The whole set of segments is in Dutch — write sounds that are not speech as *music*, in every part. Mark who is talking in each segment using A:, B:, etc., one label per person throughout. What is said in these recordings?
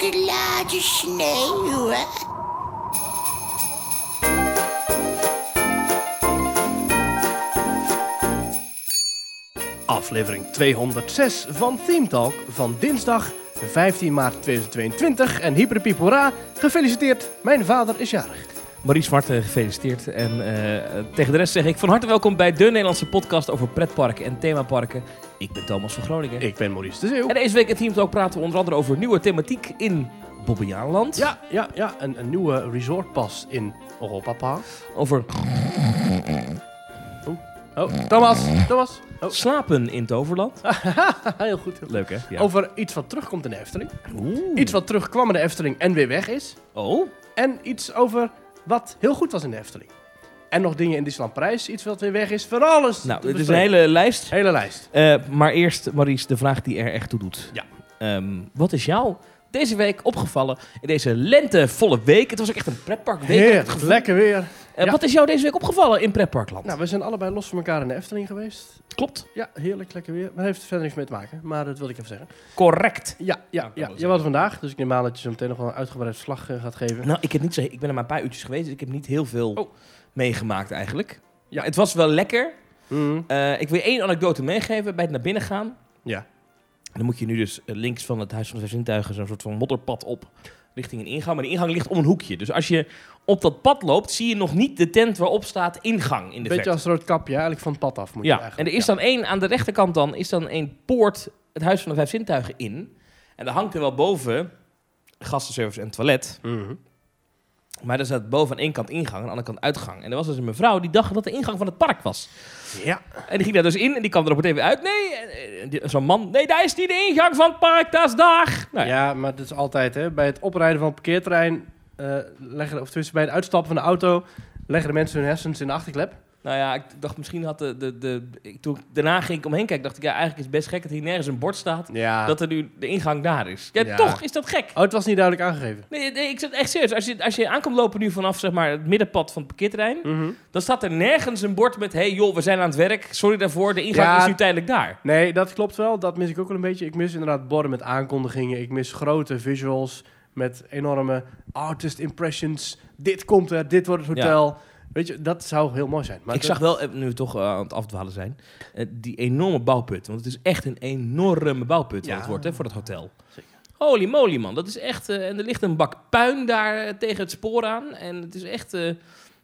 A: de lage sneeuw, hè?
B: Aflevering 206 van Theme Talk van dinsdag 15 maart 2022. En hyperpiep hoera, gefeliciteerd, mijn vader is jarig.
C: Marie Zwart, eh, gefeliciteerd. En eh, tegen de rest zeg ik van harte welkom bij de Nederlandse podcast over pretparken en themaparken. Ik ben Thomas van Groningen.
B: Ik ben Maurice de Zeeuw.
C: En deze week in Team Talk praten we onder andere over nieuwe thematiek in Bobbejaanland.
B: Ja, ja, ja, een, een nieuwe resortpas in Oropapa.
C: Over
B: Oh, Thomas, Thomas. Oh, *laughs*
C: slapen in Toverland.
B: heel goed. heel goed.
C: Leuk hè? Ja.
B: Over iets wat terugkomt in de Efteling.
C: Oeh.
B: Iets wat terugkwam in de Efteling en weer weg is.
C: Oh,
B: En iets over wat heel goed was in de Efteling. En nog dingen in Disneyland Prijs, iets wat weer weg is. Van alles.
C: nou,
B: te
C: dit is een
B: bespreken.
C: hele lijst.
B: hele lijst.
C: Eh, maar eerst, Maries, de vraag die er echt toe doet.
B: Ja.
C: Ehm, wat is jou deze week opgevallen in deze lentevolle week? Het was ook echt een pretparkweek.
B: Heerlijk, lekker weer.
C: Eh,
B: Ja.
C: Wat is jou deze week opgevallen in pretparkland?
B: Nou, we zijn allebei los van elkaar in de Efteling geweest.
C: Klopt.
B: Ja, heerlijk, lekker weer. Maar daar heeft verder niks mee te maken, maar dat wilde ik even zeggen.
C: Correct.
B: Ja, ja,
C: kan wel
B: ja. Je
C: zeggen.
B: was vandaag, dus ik neem aan dat je zo meteen nog wel een uitgebreid slag eh, gaat geven.
C: Nou, ik, heb niet zo, ik ben er maar een paar uurtjes geweest, dus ik heb niet heel veel
B: Oh.
C: meegemaakt eigenlijk.
B: Ja.
C: Maar Het was wel lekker.
B: Mhm.
C: Eh, ik wil je één anekdote meegeven bij het naar binnen gaan.
B: Ja.
C: Dan moet je nu dus eh, links van het Huis van de Zes Zintuigen zo'n soort van modderpad op richting een ingang. Maar de ingang ligt om een hoekje. Dus als je op dat pad loopt, zie je nog niet de tent waarop staat ingang in de
B: Beetje
C: verte.
B: als rood kapje, eigenlijk van het pad af moet je
C: Ja, en
B: eigenlijk.
C: er is dan één, aan de rechterkant dan, is dan één poort het Huis van de Vijf Zintuigen in. En daar hangt er wel boven gastenservice en toilet.
B: Ja. Mhm.
C: Maar er zat boven aan één kant ingang en aan de andere kant uitgang. En er was dus een mevrouw die dacht dat de ingang van het park was.
B: ja.
C: En die ging daar dus in en die kwam er op het even uit. Nee, en, eh, die- zo'n man. Nee, daar is niet de ingang van het park, daar is daar. Nou, ja.
B: Ja, maar dat is altijd, hè. Bij het oprijden van het parkeerterrein, eh, leggen, of tussen bij het uitstappen van de auto, leggen de mensen hun hersens in de achterklep.
C: nou ja, ik dacht misschien had de... de, de ik, toen ik daarna ging ik omheen kijken, dacht ik ja, eigenlijk is het best gek dat hier nergens een bord staat.
B: Ja.
C: Dat er nu de ingang daar is. Ja,
B: Ja.
C: toch is dat gek.
B: Oh, het was niet duidelijk aangegeven.
C: Nee, nee, ik zit echt serieus. Als je, als je aankomt lopen nu vanaf zeg maar, het middenpad van het parkeerterrein,
B: Mhm.
C: dan staat er nergens een bord met... hey, joh, we zijn aan het werk, sorry daarvoor, de ingang
B: Ja.
C: is nu tijdelijk daar.
B: Nee, dat klopt wel. Dat mis ik ook wel een beetje. Ik mis inderdaad borden met aankondigingen. Ik mis grote visuals met enorme artist impressions. Dit komt er, dit wordt het hotel. Weet je, dat zou heel mooi zijn. Maar
C: ik
B: dat-
C: zag wel, eh, nu we toch eh, aan het afdwalen zijn, eh, die enorme bouwput. Want het is echt een enorme bouwput
B: Ja.
C: wat het wordt hè, voor dat hotel.
B: Zeker.
C: Holy moly man, dat is echt... eh, en er ligt een bak puin daar eh, tegen het spoor aan. En het is echt, eh,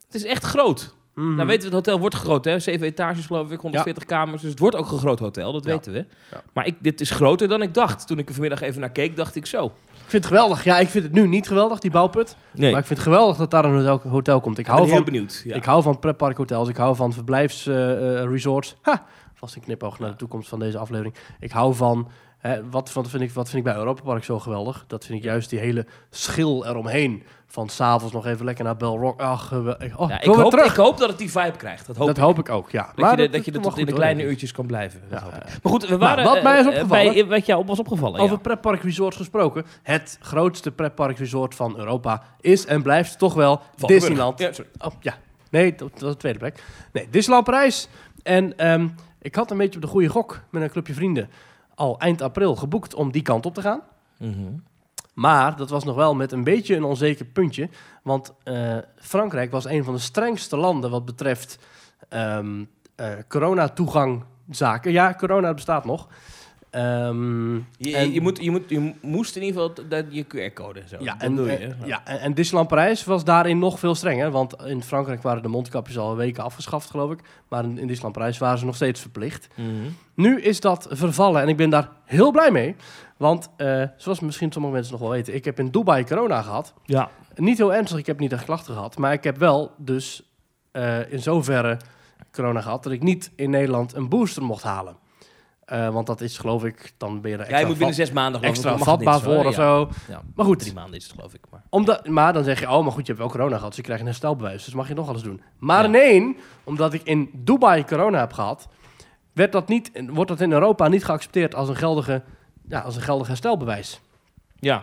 C: het is echt groot.
B: Mhm.
C: Nou weten we, het hotel wordt groot hè. Zeven etages geloof ik, 140 kamers. Dus het wordt ook een groot hotel, dat
B: Ja.
C: weten we.
B: Ja.
C: Maar ik, dit is groter dan ik dacht. Toen ik er vanmiddag even naar keek, dacht ik zo.
B: Ik vind het geweldig. Ja, ik vind het nu niet geweldig, die bouwput.
C: Nee,
B: Maar ik vind het geweldig dat daar een hotel, hotel komt. Ik
C: ik ben
B: hou,
C: heel
B: van,
C: benieuwd. Ja.
B: ik hou van pretparkhotels. Ik hou van verblijfsresorts. ha, vast een knipoog naar de toekomst van deze aflevering. Ik hou van... hè, wat, wat, vind ik, wat vind ik bij Europa Park zo geweldig? Dat vind ik juist die hele schil eromheen. Van s'avonds nog even lekker naar Belrock. Ach, gewel- ik- oh,
C: Ja, ik,
B: kom weer
C: hoop,
B: terug.
C: ik hoop dat het die vibe krijgt. Dat hoop
B: dat
C: ik.
B: hoop ik ook, ja.
C: Dat je, de- dat je
B: komt
C: er
B: wel
C: tot in de
B: goed
C: kleine
B: hoor.
C: uurtjes kan blijven. Dat
B: Ja,
C: hoop ik.
B: eh,
C: Maar goed, we
B: Nou,
C: waren...
B: wat
C: eh,
B: mij is
C: eh,
B: opgevallen-
C: bij- wat jou op was opgevallen,
B: Over
C: ja.
B: pretpark resorts gesproken. Het grootste pretpark resort van Europa is en blijft toch wel
C: Van
B: Disneyland.
C: Burg. Ja, sorry.
B: Oh, ja. Nee, dat dat was de tweede plek. Nee, Disneyland Parijs. En ehm, ik had een beetje op de goede gok met een clubje vrienden al eind april geboekt om die kant op te gaan.
C: Mhm.
B: Maar dat was nog wel met een beetje een onzeker puntje. Want eh, Frankrijk was een van de strengste landen wat betreft ehm eh, corona-toegangzaken. Ja, corona bestaat nog. Ehm,
C: Je, je-
B: en-
C: je, moet, je, moet, je moest in ieder geval t- dat je QR-code en zo.
B: ja,
C: dat
B: en,
C: doe je.
B: eh,
C: hè?
B: ja, en, en Disneyland Parijs was daarin nog veel strenger. Want in Frankrijk waren de mondkapjes al weken afgeschaft, geloof ik. Maar in, in Disneyland Parijs waren ze nog steeds verplicht.
C: Mhm.
B: Nu is dat vervallen en ik ben daar heel blij mee. Want eh, zoals misschien sommige mensen nog wel weten, ik heb in Dubai corona gehad.
C: ja.
B: Niet heel ernstig, ik heb niet echt klachten gehad. Maar ik heb wel dus eh, in zoverre corona gehad dat ik niet in Nederland een booster mocht halen. Eh, want dat is geloof ik, dan ben je er
C: Ja,
B: extra,
C: je moet binnen
B: vat-
C: zes maanden geloof ik,
B: extra
C: mag het
B: vatbaar
C: niet,
B: voor
C: hè?
B: of
C: Ja.
B: zo.
C: Ja,
B: Maar goed,
C: Drie maanden is het geloof ik. Maar.
B: omdat, maar dan zeg je, oh, maar goed, je hebt wel corona gehad, dus je krijgt een herstelbewijs, dus mag je nog alles doen. Maar
C: Ja.
B: nee, omdat ik in Dubai corona heb gehad, werd dat niet, wordt dat in Europa niet geaccepteerd als een, geldige, ja, als een geldig herstelbewijs.
C: Ja.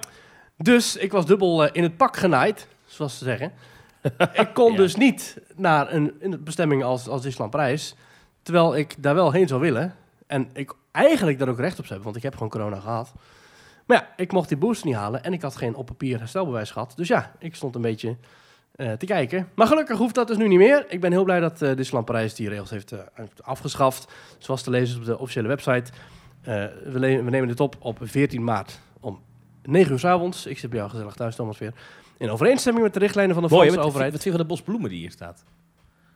B: Dus ik was dubbel eh, in het pak genaaid, zoals ze zeggen.
C: *laughs*
B: ik kon
C: Ja.
B: dus niet naar een, een bestemming als, als Disneyland Parijs, terwijl ik daar wel heen zou willen. En ik eigenlijk daar ook recht op zou hebben, want ik heb gewoon corona gehad. Maar Maar ja, ik mocht die booster niet halen en ik had geen op papier herstelbewijs gehad. Dus ja, ik stond een beetje eh, te kijken. Maar gelukkig hoeft dat dus nu niet meer. Ik ben heel blij dat eh Disneyland Parijs die regels heeft eh, heeft afgeschaft. Zoals te lezen op de officiële website. Eh, we, le- we nemen dit op op 14 maart om 9 uur 's avonds. Ik zit bij jou gezellig thuis, Thomas, weer. In overeenstemming met de richtlijnen van de
C: Mooi, hè,
B: Franse
C: wat,
B: overheid.
C: wat vind je van de bosbloemen die hier staat?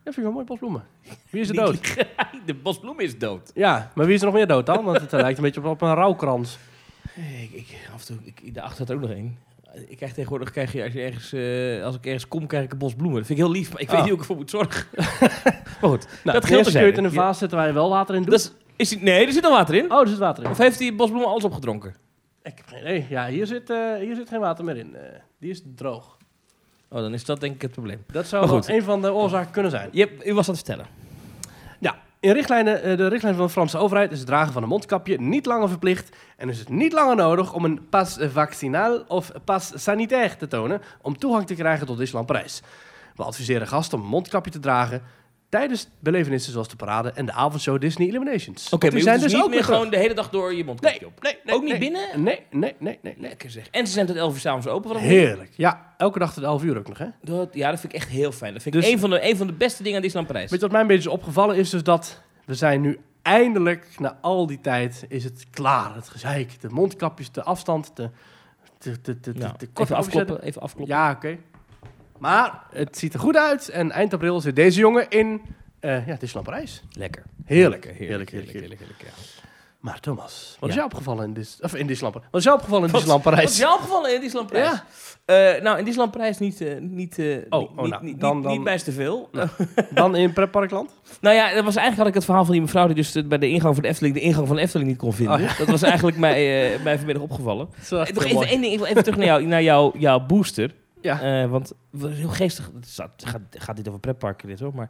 B: Ja, vind ik wel mooi, bosbloemen. Wie *laughs* is er dood?
C: *laughs* de bosbloem is dood.
B: Ja, maar wie is er nog meer dood dan? Want het *laughs* eh, lijkt een beetje op, op een rouwkrans.
C: Ik, ik, af en toe, ik, daarachter had er ook nog één. Ik krijg tegenwoordig, krijg je, als, je ergens, eh, als ik ergens kom, krijg ik een bos bloemen. Dat vind ik heel lief, maar ik
B: Ah.
C: weet niet hoe ik ervoor moet zorgen. maar goed,
B: Nou,
C: dat geldt
B: kun je het in een vaas zetten waar je wel water in doet.
C: Dat is, is die- nee, er zit al water in.
B: Oh, er zit water in.
C: Of heeft die bosbloem alles opgedronken?
B: Ik heb geen idee. Ja, hier zit, eh, hier zit geen water meer in. Eh, die is droog.
C: Oh, dan is dat denk ik het probleem.
B: Dat zou
C: Maar
B: wel
C: goed.
B: een van de oorzaken kunnen zijn.
C: Je, hebt- u was aan het vertellen.
B: Ja, in richtlijnen, eh, de richtlijnen van de Franse overheid is het dragen van een mondkapje niet langer verplicht. En is het niet langer nodig om een pas vaccinaal of pas sanitair te tonen om toegang te krijgen tot Disneyland Parijs. We adviseren gasten om een mondkapje te dragen tijdens belevenissen zoals de parade en de avondshow Disney Illuminations.
C: Oké,
B: Want
C: maar
B: die
C: je hoeft dus niet meer
B: weer
C: gewoon de hele dag door je mondkapje op.
B: terug. Nee,
C: Ook niet binnen?
B: Nee, nee, nee, nee. nee.
C: Lekker zeg. En ze zijn tot 11 uur s'avonds open. Wat een-
B: Heerlijk. Ja, elke dag tot 11 uur ook nog, hè?
C: Dat, ja, dat vind ik echt heel fijn. Dat vind
B: Dus-
C: ik een van, de, een van de beste dingen aan Disneyland Parijs.
B: Weet je wat mij een beetje is opgevallen is dus dat we zijn nu eindelijk, na al die tijd, is het klaar. Het gezeik, de mondkapjes, de afstand, de, de, de, de, de, de
C: Ja, Nou, even
B: korte
C: afkloppen, even afkloppen.
B: Ja, oké. Maar het ziet er goed uit en eind april zit deze jongen in, eh ja, het is Parijs.
C: Lekker.
B: Heerlijk.
C: Heerlijk, heerlijk,
B: heerlijk,
C: heerlijk. heerlijk, heerlijk,
B: Maar Thomas, wat is
C: Ja.
B: jou opgevallen in dit, of in Disneyland Parijs? Wat is jou opgevallen in
C: Wat-
B: Disneyland
C: ja. Wat is
B: Parijs?
C: jouw gevallen in Disneyland Parijs?
B: Ja.
C: Eh, nou, in Disneyland Parijs niet, eh, niet, eh,
B: Oh,
C: niet,
B: oh, nou,
C: niet,
B: dan-
C: niet,
B: dan-
C: niet bij te veel.
B: Dan in Pretparkland?
C: Nou ja, dat was eigenlijk had ik het verhaal van die mevrouw die dus de- bij de ingang van de Efteling de ingang van de Efteling niet kon vinden.
B: Oh, ja.
C: Dat was eigenlijk mij, eh mij vanmiddag opgevallen.
B: Zo
C: Eh, Nog even één ding, ik wil even terug naar, jou, naar jou, jouw booster.
B: Ja.
C: Eh, want het is heel geestig, het staat- gaat, gaat dit over pretparken dit hoor, maar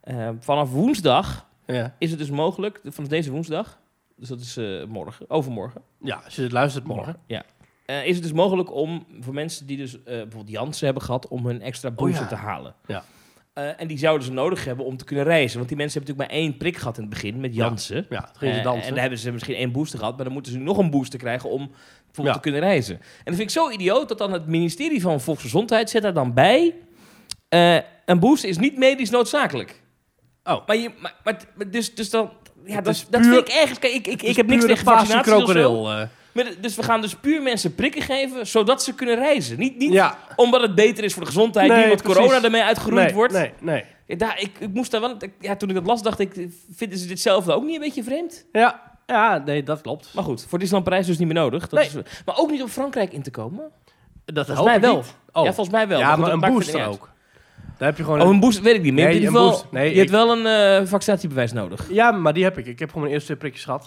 C: eh, vanaf woensdag
B: Ja.
C: is het dus mogelijk, vanaf deze woensdag, dus dat is eh, morgen, overmorgen.
B: ja, als je dit luistert morgen.
C: Ja. Eh, is het dus mogelijk om voor mensen die dus eh, bijvoorbeeld Jansen hebben gehad, om hun extra booster
B: Oh ja.
C: te halen?
B: Ja.
C: Eh, en die zouden ze nodig hebben om te kunnen reizen. Want die mensen hebben natuurlijk maar één prik gehad in het begin met Jansen.
B: Ja, dan ging je
C: Eh,
B: dansen.
C: En dan hebben ze misschien één booster gehad, maar dan moeten ze nog een booster krijgen om bijvoorbeeld
B: Ja.
C: te kunnen reizen. En dat vind ik zo idioot dat dan het ministerie van Volksgezondheid zet daar dan bij. eh, een booster is niet medisch noodzakelijk.
B: Oh.
C: Maar, je, maar, maar t- maar dus, dus dan. Ja,
B: Het
C: dat,
B: is
C: dat
B: puur-
C: vind ik ergens. Kijk, ik, ik, ik
B: Dus
C: heb niks
B: pure
C: tegen vaccinaties of zo.
B: paarse krokodil, eh.
C: Maar de- dus we gaan dus puur mensen prikken geven, zodat ze kunnen reizen. Niet, niet
B: Ja.
C: omdat het beter is voor de gezondheid,
B: Nee,
C: niet omdat
B: precies.
C: corona ermee uitgeroeid
B: nee,
C: wordt.
B: Nee, nee.
C: Ja, daar, ik, ik moest daar wel, ik- ja, toen ik dat las, dacht ik, vinden ze dit zelf dan ook niet een beetje vreemd?
B: Ja, ja, nee, dat klopt.
C: Maar goed, voor Disneyland Parijs dus niet meer nodig. Dat
B: Nee.
C: is, maar ook niet om Frankrijk in te komen.
B: dat
C: Volgens mij wel. Ja, volgens mij wel.
B: Oh. ja,
C: goed,
B: maar
C: dat
B: een
C: maakt verder
B: booster
C: niet
B: ook. Daar heb je gewoon...
C: uit. Oh, een booster, weet ik niet. Maar
B: Nee,
C: in ieder
B: een
C: geval,
B: boost. Nee,
C: je
B: ik-
C: hebt wel een eh, vaccinatiebewijs nodig. Oké.
B: Ja, maar die heb ik. Ik heb gewoon mijn eerste twee prikjes gehad.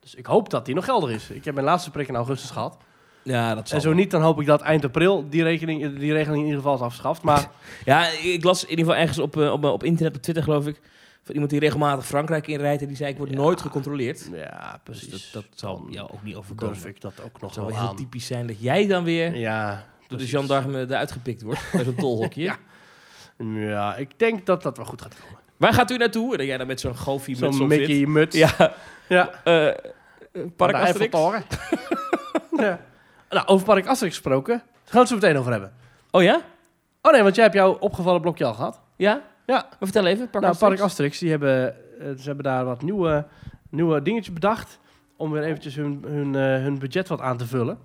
B: Dus ik hoop dat die nog geldig is. Ik heb mijn laatste prik in augustus gehad.
C: Ja, dat zal
B: En zo
C: wel.
B: niet, dan hoop ik dat eind april die, rekening, die regeling in ieder geval is afgeschaft. Maar
C: *laughs* Ja, ik las in ieder geval ergens op, eh, op, op internet, op Twitter geloof ik, van iemand die regelmatig Frankrijk inrijdt en die zei, ik word
B: Ja.
C: nooit gecontroleerd.
B: ja,
C: Dus
B: precies.
C: dat, dat zal
B: Dan
C: jou ook niet overkomen.
B: durf ik dat ook
C: Het
B: nog
C: zou
B: wel
C: wel heel
B: aan.
C: typisch zijn dat jij dan weer
B: Ja,
C: door de
B: precies.
C: gendarme eruit gepikt wordt. *laughs* Bij zo'n tolhokje.
B: Ja. Ja, ik denk dat dat wel goed gaat komen.
C: Waar gaat u naartoe? En dan jij dan met zo'n goofie met
B: Zo'n
C: zo'n fit.
B: Mickey muts.
C: Ja.
B: ja.
C: eh, eh, Park
B: Aan de
C: Asterix.
B: Eiffeltoren.
C: *laughs*
B: ja. Nou, over Park Asterix gesproken. Daar gaan we het zo meteen over hebben.
C: Oh ja?
B: Oh nee, want jij hebt jouw opgevallen blokje al gehad.
C: Ja?
B: Ja.
C: Maar vertel even. Park
B: nou,
C: Asterix.
B: Park Asterix, die hebben, eh, ze hebben daar wat nieuwe, nieuwe dingetjes bedacht. Om weer eventjes hun, hun, eh, hun budget wat aan te vullen.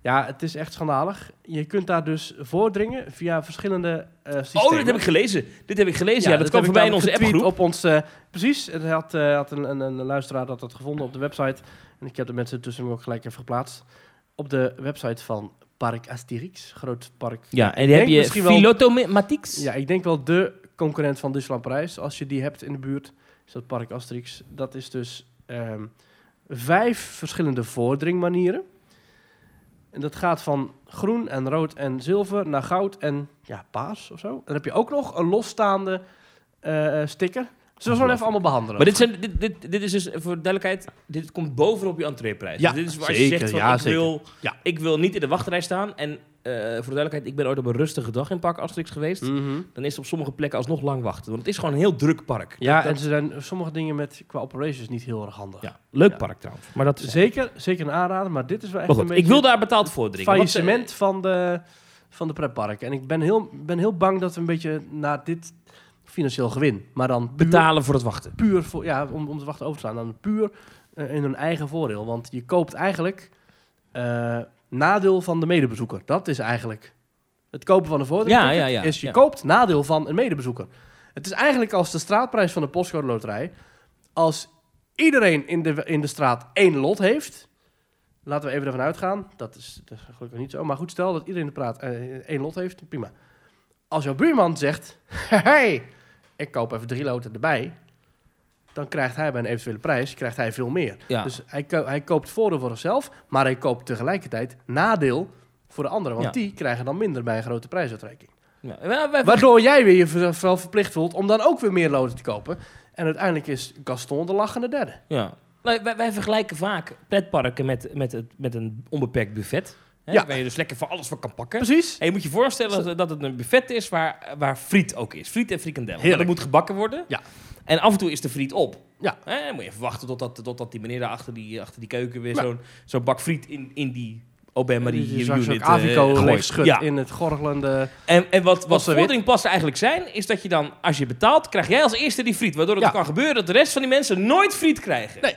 B: Ja, het is echt schandalig. Je kunt daar dus voordringen via verschillende eh systemen.
C: Oh, dit heb ik gelezen. Dit heb ik gelezen. Ja, dat
B: heb
C: kwam
B: ik
C: voorbij in
B: namelijk
C: onze appgroep.
B: getweet Op ons, eh, precies, het had, eh, had een, een, een luisteraar dat had gevonden op de website. En ik heb de mensen tussen ook gelijk even geplaatst. Op de website van Park Asterix, groot park.
C: Ja, en
B: denk
C: die heb je
B: misschien wel-
C: Philotomatics.
B: Ja, ik denk wel de concurrent van Disneyland Parijs. Als je die hebt in de buurt, is dat Park Asterix. Dat is dus ehm, vijf verschillende voordringmanieren. En dat gaat van groen en rood en zilver naar goud en ja, paars of zo. Dan heb je ook nog een losstaande eh, sticker. Zullen we gewoon even allemaal behandelen?
C: Maar dit, zijn, dit, dit, dit is dus, voor duidelijkheid, dit komt bovenop je entreeprijs.
B: Ja,
C: Dus dit is waar je
B: zeker,
C: zegt, van,
B: ja,
C: ik,
B: zeker.
C: Wil,
B: Ja.
C: ik wil niet in de wachtrij staan. En eh, voor de duidelijkheid, ik ben ooit op een rustige dag in Park Asterix geweest.
B: Mhm.
C: Dan is het op sommige plekken alsnog lang wachten. Want het is gewoon een heel druk park.
B: Ja,
C: Dat-
B: en ze zijn sommige dingen met, qua operations niet heel erg handig.
C: ja, leuk
B: Ja.
C: park trouwens. Maar dat is...
B: Zeker, zeker een aanrader, maar dit is wel echt
C: Maar
B: een
C: goed,
B: beetje
C: ik wil daar betaald voor
B: het
C: drinken. want, eh,
B: faillissement van de, van de pretpark. En ik ben heel, ben heel bang dat we een beetje naar dit financieel gewin, maar dan puur-
C: betalen voor het wachten.
B: puur voor, ja, om, om de wacht over te slaan, dan puur eh, in hun eigen voordeel. Want je koopt eigenlijk eh, nadeel van de medebezoeker. Dat is eigenlijk het kopen van een voordeel.
C: Ja, ja, ja,
B: is je
C: ja.
B: koopt nadeel van een medebezoeker. Het is eigenlijk als de straatprijs van de postcode loterij. Als iedereen in de, in de straat één lot heeft. Laten we even ervan uitgaan. Dat is, dat is gelukkig niet zo. Maar goed, stel dat iedereen in de praat eh, één lot heeft. Prima. Als jouw buurman zegt... *laughs* Hey, ik koop even drie loten erbij. Dan krijgt hij bij een eventuele prijs krijgt hij veel meer.
C: Ja.
B: Dus hij, ko- hij koopt voordeel voor zichzelf. Maar hij koopt tegelijkertijd nadeel voor de anderen. Want
C: Ja.
B: die krijgen dan minder bij een grote prijsuitreiking.
C: Ja, wij- wij-
B: Waardoor jij weer je ver- wel verplicht voelt om dan ook weer meer loten te kopen. En uiteindelijk is Gaston de lachende derde.
C: Ja. Wij, wij, wij vergelijken vaak pretparken met, met, het, met een onbeperkt buffet. Hè,
B: Ja.
C: Waar je dus lekker van alles van kan pakken.
B: Precies.
C: En je moet je voorstellen dat- dat het een buffet is waar, waar friet ook is. Friet en frikandellen.
B: Heerlijk.
C: Dat moet gebakken worden.
B: Ja.
C: En af en toe is de friet op.
B: Ja.
C: Hè, dan moet je even wachten totdat, totdat die meneer daar achter die, achter die keuken weer
B: Ja.
C: zo'n zo'n bak friet in, in die Obama die
B: Dus Je
C: hier
B: zag
C: unit
B: ze ook
C: eh,
B: Avico
C: gooit.
B: leegschud
C: Ja.
B: in het gorgelende...
C: En, en wat, wat
B: Was er wit?
C: vorderingpassen eigenlijk zijn, is dat je dan, als je betaalt, krijg jij als eerste die friet. Waardoor het
B: Ja.
C: kan gebeuren dat de rest van die mensen nooit friet krijgen.
B: Nee.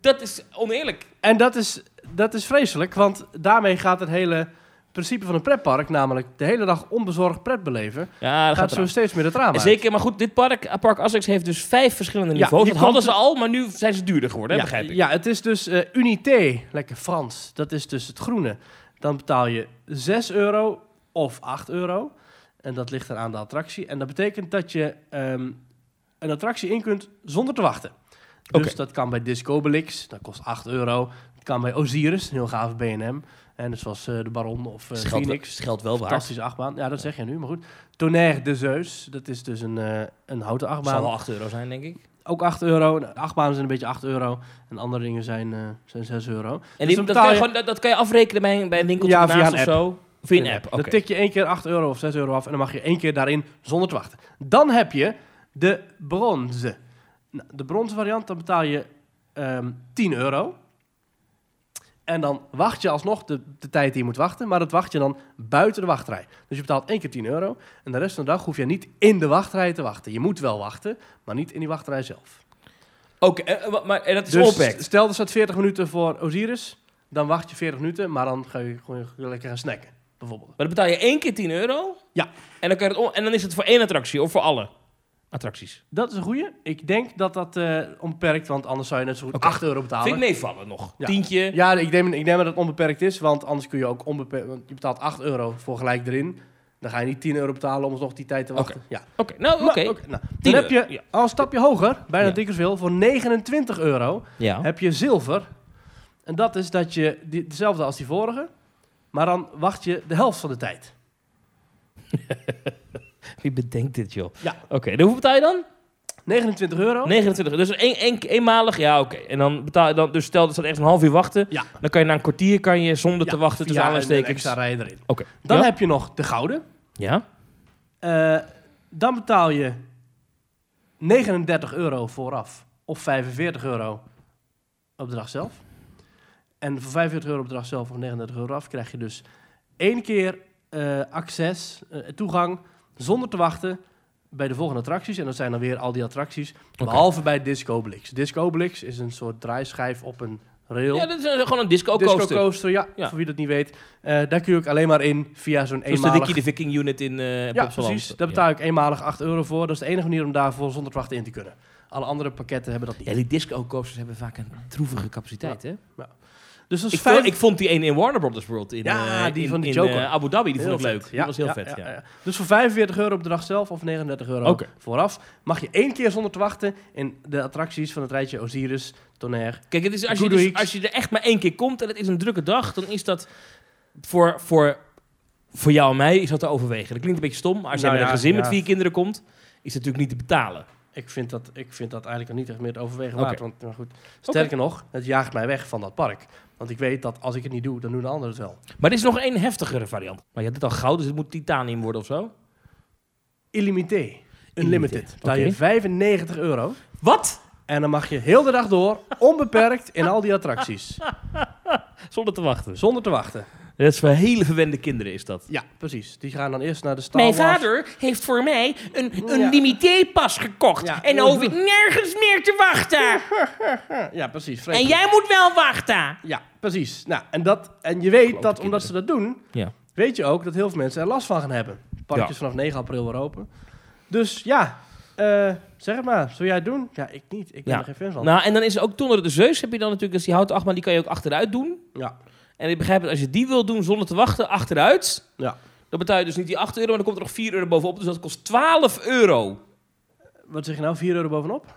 C: Dat is oneerlijk.
B: En dat is, dat is vreselijk, want daarmee gaat het hele principe van een pretpark... namelijk de hele dag onbezorgd pret beleven...
C: Ja, dat
B: gaat zo steeds meer het raam
C: En
B: uit.
C: zeker, maar goed, dit park, eh, Park Asterix, heeft dus vijf verschillende
B: Ja,
C: niveaus.
B: je
C: Dat hadden ze
B: komt-
C: al, maar nu zijn ze duurder geworden, hè,
B: ja,
C: begrijp ik.
B: Ja, het is dus eh, unité, lekker Frans. Dat is dus het groene. Dan betaal je 6 euro of 8 euro. En dat ligt eraan de attractie. En dat betekent dat je ehm, een attractie in kunt zonder te wachten. Dus
C: Oké.
B: dat kan bij Discobelix, dat kost 8 euro. Dat kan bij Osiris, een heel gaaf BNM. En dus was eh, de Baron of eh,
C: Dat geldt wel-
B: Phoenix.
C: dat geldt wel waar.
B: Fantastische achtbaan. Ja, dat zeg je nu, maar goed. Tonnerre de Zeus, dat is dus een, eh, een houten
C: Dat zal
B: achtbaan
C: wel 8 euro zijn, denk ik.
B: ook 8 euro. Nou, De achtbanen zijn een beetje 8 euro. En andere dingen zijn, eh, zijn 6 euro.
C: En
B: Dus
C: die,
B: dan
C: dat,
B: betaal
C: kan je
B: je-
C: gewoon, dat, dat kan je afrekenen bij een, bij een winkeltje
B: Ja, via een
C: naast of
B: app.
C: zo. Via een app, oké.
B: Dan tik je één keer 8 euro of 6 euro af. En dan mag je één keer daarin zonder te wachten. Dan heb je de bronzen. Nou, de bronzen variant, dan betaal je ehm 10 euro. En dan wacht je alsnog de, de tijd die je moet wachten. Maar dat wacht je dan buiten de wachtrij. Dus je betaalt één keer 10 euro. En de rest van de dag hoef je niet in de wachtrij te wachten. Je moet wel wachten, maar niet in die wachtrij zelf.
C: Oké, eh, wa- maar en dat is
B: Dus
C: onbeperkt.
B: stel er staat 40 minuten voor Osiris, dan wacht je 40 minuten, maar dan ga je gewoon lekker gaan snacken, bijvoorbeeld.
C: Maar dan betaal je één keer 10 euro.
B: Ja.
C: En dan, kan je het om- en dan is het voor één attractie of voor alle attracties.
B: Dat is een goeie. Ik denk dat dat eh, onbeperkt, want anders zou je net zo goed
C: Oké.
B: 8 euro betalen.
C: Vind ik meevallen nog.
B: Ja.
C: Tientje.
B: Ja, ik neem, ik neem aan dat het onbeperkt is, want anders kun je ook onbeperkt, want je betaalt 8 euro voor gelijk erin. Dan ga je niet 10 euro betalen om nog die tijd te wachten. Ja.
C: Oké, nou oké.
B: Maar, oké, nou, dan
C: 10
B: heb je
C: euro, ja.
B: al een stapje hoger, bijna
C: Ja.
B: dikker veel, voor 29 euro.
C: Ja.
B: heb je zilver. En dat is dat je die, dezelfde als die vorige, maar dan wacht je de helft van de tijd.
C: Wie bedenkt dit, joh?
B: Ja.
C: Oké, dan hoeveel betaal je dan?
B: 29 euro.
C: 29. Dus één, één, eenmalig, ja oké. En dan betaal je dan, dus stel dat ze echt een half uur wachten.
B: Ja.
C: Dan kan je na een kwartier kan je zonder te
B: Ja,
C: wachten
B: via
C: tussen
B: een
C: aanhalingstekens.
B: extra
C: Oké.
B: rij erin. Dan
C: ja?
B: heb je nog de gouden.
C: ja?
B: Eh, dan betaal je 39 euro vooraf of 45 euro op de dag zelf. En voor 45 euro op de dag zelf of 39 euro af krijg je dus één keer eh, access, eh, toegang, zonder te wachten bij de volgende attracties. En dat zijn dan weer al die attracties, behalve bij Disco Blix. Disco Blix is een soort draaischijf op een rail.
C: Ja, dat is eh, gewoon een disco
B: Disco
C: coaster. Dus
B: coaster, ja,
C: Ja.
B: voor wie dat niet weet. Eh, daar kun je ook alleen maar in via zo'n
C: Dus de
B: eenmalig...
C: Dickie de Viking unit in eh
B: Ja,
C: Plopsaland.
B: precies. Daar betaal ik eenmalig 8 euro voor. Dat is de enige manier om daarvoor zonder te wachten in te kunnen. Alle andere pakketten hebben dat
C: Ja. Ja,
B: niet.
C: die disco coasters hebben vaak een troevige capaciteit, hè?
B: Dus dat is
C: Ik,
B: vijf...
C: vond, ik vond die een in Warner Brothers World in,
B: Ja,
C: eh,
B: die
C: in-
B: van die
C: in,
B: Joker.
C: eh, Abu Dhabi, die
B: Heel
C: vond ik leuk.
B: vet.
C: Die was heel vet, ja.
B: Dus voor 45 euro op de dag zelf of 39 euro
C: Oké.
B: vooraf... mag je één keer zonder te wachten in de attracties van het rijtje Osiris, Tonnerre.
C: Kijk, het is, als, je
B: Goede
C: dus,
B: Hicks.
C: als je er echt maar één keer komt en het is een drukke dag, dan is dat voor, voor, voor jou en mij is dat te overwegen. Dat klinkt een beetje stom, maar als
B: Nou
C: jij met
B: ja,
C: een gezin
B: ja.
C: met vier kinderen komt, is het natuurlijk niet te betalen.
B: Ik vind, dat, ik vind dat eigenlijk nog niet echt meer het overwegen
C: Oké.
B: waard. Want, maar goed, sterker nog, het jaagt mij weg van dat park. Want ik weet dat als ik het niet doe, dan doen de anderen het wel.
C: Maar dit is nog een heftigere variant. Maar je had dit al goud, dus het moet titanium worden of zo.
B: Illimité.
C: Unlimited,
B: Unlimited. Betaal je
C: oké.
B: 95 euro.
C: Wat?
B: En dan mag je heel de dag door, onbeperkt, in al die attracties.
C: Zonder te wachten.
B: Zonder te wachten.
C: Dat is voor hele verwende kinderen is dat.
B: Ja, precies. Die gaan dan eerst naar de Star
D: Mijn
B: Wars.
D: vader heeft voor mij een, een
B: Ja.
D: limité-pas gekocht.
B: Ja.
D: En dan hoef ik nergens meer te wachten.
B: Ja, precies. Freek.
D: En jij moet wel wachten.
B: Ja, precies. Nou, en, dat, en je weet dat
C: kinderen.
B: omdat ze dat doen,
C: Ja.
B: weet je ook dat heel veel mensen er last van gaan hebben. Parkjes
C: Ja.
B: vanaf 9 april weer open. Dus ja, eh, zeg het maar. Zul jij het doen? Ja, ik niet. Ik ben
C: Ja.
B: er geen fan van.
C: Nou, en dan is er ook Tonder de Zeus. Heb je dan natuurlijk, dus die houten achtbaan, die kan je ook achteruit doen.
B: Ja.
C: En ik begrijp het, als je die wil doen zonder te wachten, achteruit.
B: ja.
C: Dan betaal je dus niet die 8 euro, maar dan komt er nog 4 euro bovenop. Dus dat kost 12 euro.
B: Wat zeg je nou? 4 euro bovenop?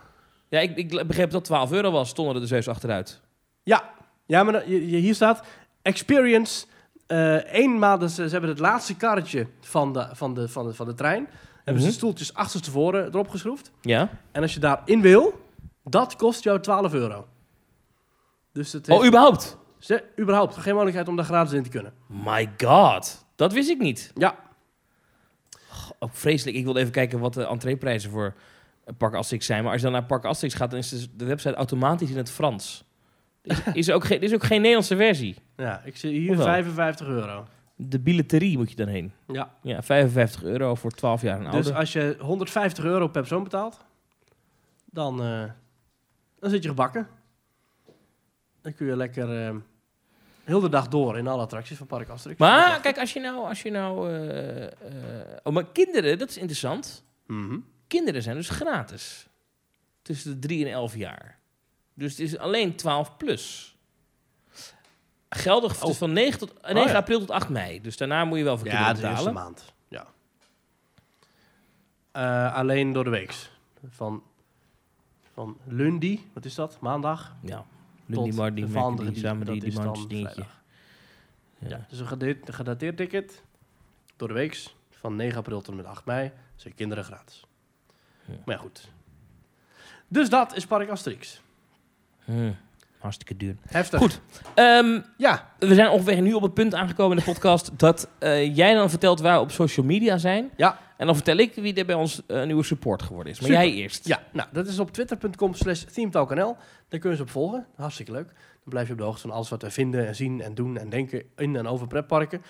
C: Ja, ik, ik begreep dat 12 euro was, Tonder de Zeus achteruit.
B: Ja. Ja, maar dan- je- je- hier staat experience. eh één maand, dus, eh, ze hebben het laatste karretje van de, van de, van de, van de trein. Hebben ze
C: Mhm.
B: stoeltjes achterstevoren erop geschroefd.
C: Ja.
B: En als je daarin wil, dat kost jou 12 euro. Dus het heeft
C: Oh, überhaupt?
B: ze, überhaupt geen mogelijkheid om daar gratis in te kunnen.
C: My god. Dat wist ik niet.
B: Ja,
C: Oh, vreselijk. Ik wilde even kijken wat de entreeprijzen voor eh, Park Asterix zijn. Maar als je dan naar Park Asterix gaat, dan is dus de website automatisch in het Frans. Is, is, er, ook geen, is ook geen Nederlandse versie.
B: ja ik zie hier
C: Hoewel.
B: 55 euro.
C: De billetterie moet je dan heen.
B: Ja,
C: Ja, 55 euro voor 12 jaar en ouder.
B: dus als je 150 euro per persoon betaalt, dan, eh, dan zit je gebakken. Dan kun je lekker eh, heel de dag door in alle attracties van Park Asterix.
C: maar kijk, als je nou... Als je nou eh, eh, oh, maar kinderen, dat is interessant.
B: Mhm.
C: Kinderen zijn dus gratis. Tussen de 3 en 11 jaar. Dus het is alleen 12 plus. Geldig dus van 9, tot, eh, 9
B: Oh. ja.
C: april tot 8 mei. Dus daarna moet je wel voor
B: Ja,
C: kinderen
B: de eerste
C: betalen.
B: maand. Ja. Eh, alleen door de weeks. Van, van lundi, wat is dat? Maandag.
C: Ja,
B: tot
C: Lundi, Mardi,
B: de
C: Mercury,
B: volgende die-
C: samen die,
B: dat
C: die
B: is dan
C: mans dingetje.
B: vrijdag.
C: Ja.
B: Ja. Dus een gedate- een gedateerd ticket door de weeks van 9 april tot en met 8 mei zijn kinderen gratis.
C: Ja.
B: Maar ja, goed. Dus dat is Park Asterix.
C: Hm, hartstikke duur.
B: Heftig.
C: Goed. Ehm,
B: Ja,
C: we zijn ongeveer nu op het punt aangekomen in de podcast *laughs* dat eh, jij dan vertelt waar we op social media zijn.
B: Ja.
C: En dan vertel ik wie er bij ons eh, nieuwe support geworden is. Maar
B: Super.
C: jij eerst.
B: ja, nou, dat is op twitter.com slash themetalknl. Daar kun je ze op volgen. Hartstikke leuk. Dan blijf je op de hoogte van alles wat we vinden en zien en doen en denken in en over pretparken.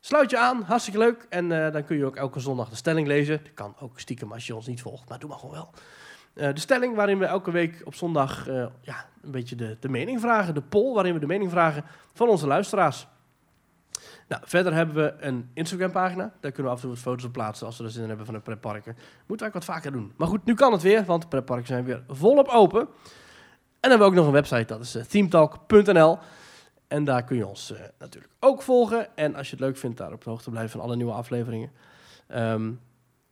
B: Sluit je aan, hartstikke leuk. En eh, dan kun je ook elke zondag de stelling lezen. Dat kan ook stiekem als je ons niet volgt, maar doe maar gewoon wel. Eh, de stelling waarin we elke week op zondag eh, ja, een beetje de, de mening vragen. De poll waarin we de mening vragen van onze luisteraars. Nou, verder hebben we een Instagram-pagina. Daar kunnen we af en toe wat foto's op plaatsen als we er zin in hebben van de pretparken. Moeten we eigenlijk wat vaker doen. Maar goed, nu kan het weer, want de pretparken zijn weer volop open. En dan hebben we ook nog een website, dat is eh, themetalk.nl. En daar kun je ons eh, natuurlijk ook volgen. En als je het leuk vindt, daar op de hoogte blijven van alle nieuwe afleveringen. Ehm,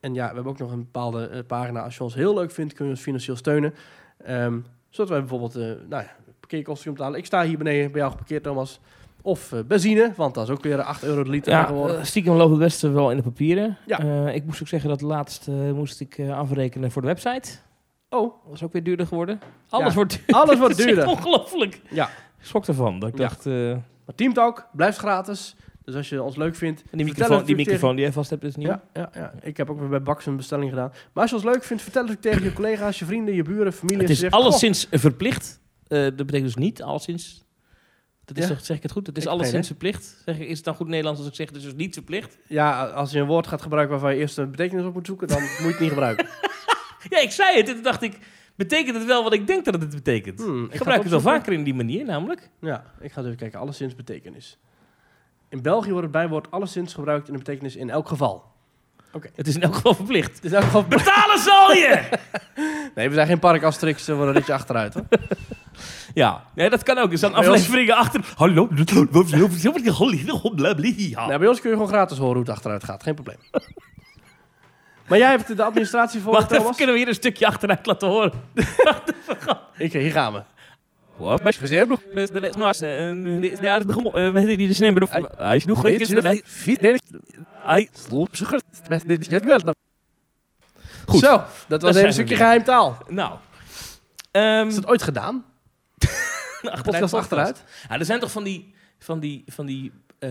B: en ja, we hebben ook nog een bepaalde eh, pagina. Als je ons heel leuk vindt, kun je ons financieel steunen. Ehm, zodat wij bijvoorbeeld eh nou ja, parkeerkosten kunnen betalen. Ik sta hier beneden bij jou geparkeerd, Thomas. Of eh, benzine, want dat is ook weer 8 euro de liter
C: Ja,
B: tegenwoordig.
C: eh, stiekem loopt het beste wel in de papieren.
B: Ja.
C: Eh, ik moest ook zeggen dat laatst eh, moest ik eh, afrekenen voor de website.
B: Oh,
C: Dat was ook weer duurder geworden. Alles
B: Ja.
C: wordt duurder.
B: *laughs* alles wordt
C: *laughs* Het is echt
B: duurder.
C: ongelooflijk.
B: Ja.
C: Ik schrok ervan. Dat ik
B: Ja.
C: dacht... eh,
B: Maar Team Talk blijft gratis. Dus als je ons leuk vindt.
C: En
B: vertel
C: die microfoon,
B: het
C: die
B: natuurlijk
C: microfoon die jij vast hebt is nieuw.
B: tegen- Ja, ja, ja, ik heb ook weer bij Bax een bestelling gedaan. Maar als je ons leuk vindt, vertel het ook tegen je collega's, je vrienden, je buren, familie.
C: het
B: als
C: is
B: je zegt, "Goh,
C: alleszins verplicht. Eh, dat betekent dus niet alleszins. Dat is
B: Ja.
C: toch, zeg ik het goed? Het is
B: Ik
C: alleszins
B: weet
C: verplicht. Zeg, ik- is het dan goed Nederlands als ik zeg het is dus niet verplicht?
B: Ja, als je een woord gaat gebruiken waarvan je eerst een betekenis op moet zoeken, dan moet je het niet
C: *laughs*
B: gebruiken.
C: Ja, ik zei het en toen dacht ik, betekent het wel wat ik denk dat het betekent?
B: Hmm, ik ga
C: ik gebruik
B: het
C: het wel
B: opzoeken.
C: vaker in die manier namelijk.
B: Ja, ik ga eens even kijken. Alleszins betekenis. In België wordt het bijwoord alleszins gebruikt in de betekenis in elk
C: *laughs*
B: geval.
C: Het is in elk geval verplicht.
B: Het is in elk geval...
C: Betalen zal je!
B: Nee, we zijn geen park Asterix, we worden een ritje achteruit. Hoor.
C: ja, nee, dat kan ook. Er staan
B: Bij ons-
C: afleveringen achter. Hallo, blablabla. Ah.
B: Nou, bij ons kun je gewoon gratis horen hoe het achteruit gaat, geen probleem. *laughs* Maar jij hebt de administratie voor,
C: Wacht even,
B: Thomas?
C: kunnen we hier een stukje achteruit laten horen?
B: Ik, eh, hier gaan we.
C: Wat? Maar
B: Gezellig nog.
C: Dus de les was, eh, ja, de gommel, eh, weet ik niet, de sneeuw, maar de- Hij is nog goed, is er- hij-
B: Vier
C: hij-
B: Sloep, dit is het wel.
C: Goed.
B: Zo, dat was
C: zijn
B: even
C: we
B: een stukje
C: weer.
B: geheimtaal.
C: Nou. Ehm,
B: Is dat ooit gedaan? Podcast achteruit?
C: Ja, er zijn toch van die... Van die, van die eh,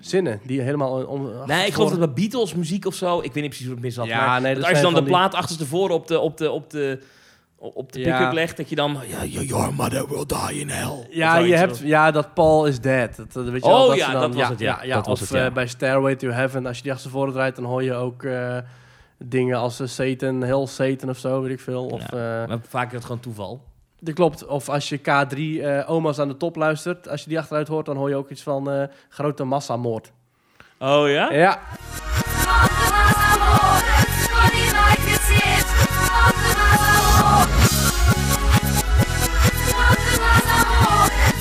B: Zinnen die helemaal... On,
C: nee, ik geloof dat bij Beatles muziek of zo... Ik weet niet precies hoe het mis zat.
B: Ja,
C: maar
B: nee, dat
C: dat als je
B: zijn
C: dan de
B: van die-
C: plaat achterstevoren op de, op de, op de, op de
B: Ja.
C: pick-up legt... dat je dan... Ja, your- your mother will die in hell. Of
B: Ja,
C: zoiets.
B: je hebt, ja, dat Paul is dead. Dat, dat weet je
C: Oh
B: wel, dat
C: ja,
B: ze dan-
C: dat was het, ja. Dat was
B: of
C: het, ja.
B: eh, bij Stairway to Heaven, als je die achtervoor draait, dan hoor je ook eh, dingen als eh, Satan, Hell Satan of zo, weet ik veel. Of, eh,
C: Maar vaak is het gewoon toeval.
B: dat klopt. Of als je K3 eh, Oma's aan de top luistert, als je die achteruit hoort, dan hoor je ook iets van eh, grote massamoord.
C: Oh ja?
B: Ja,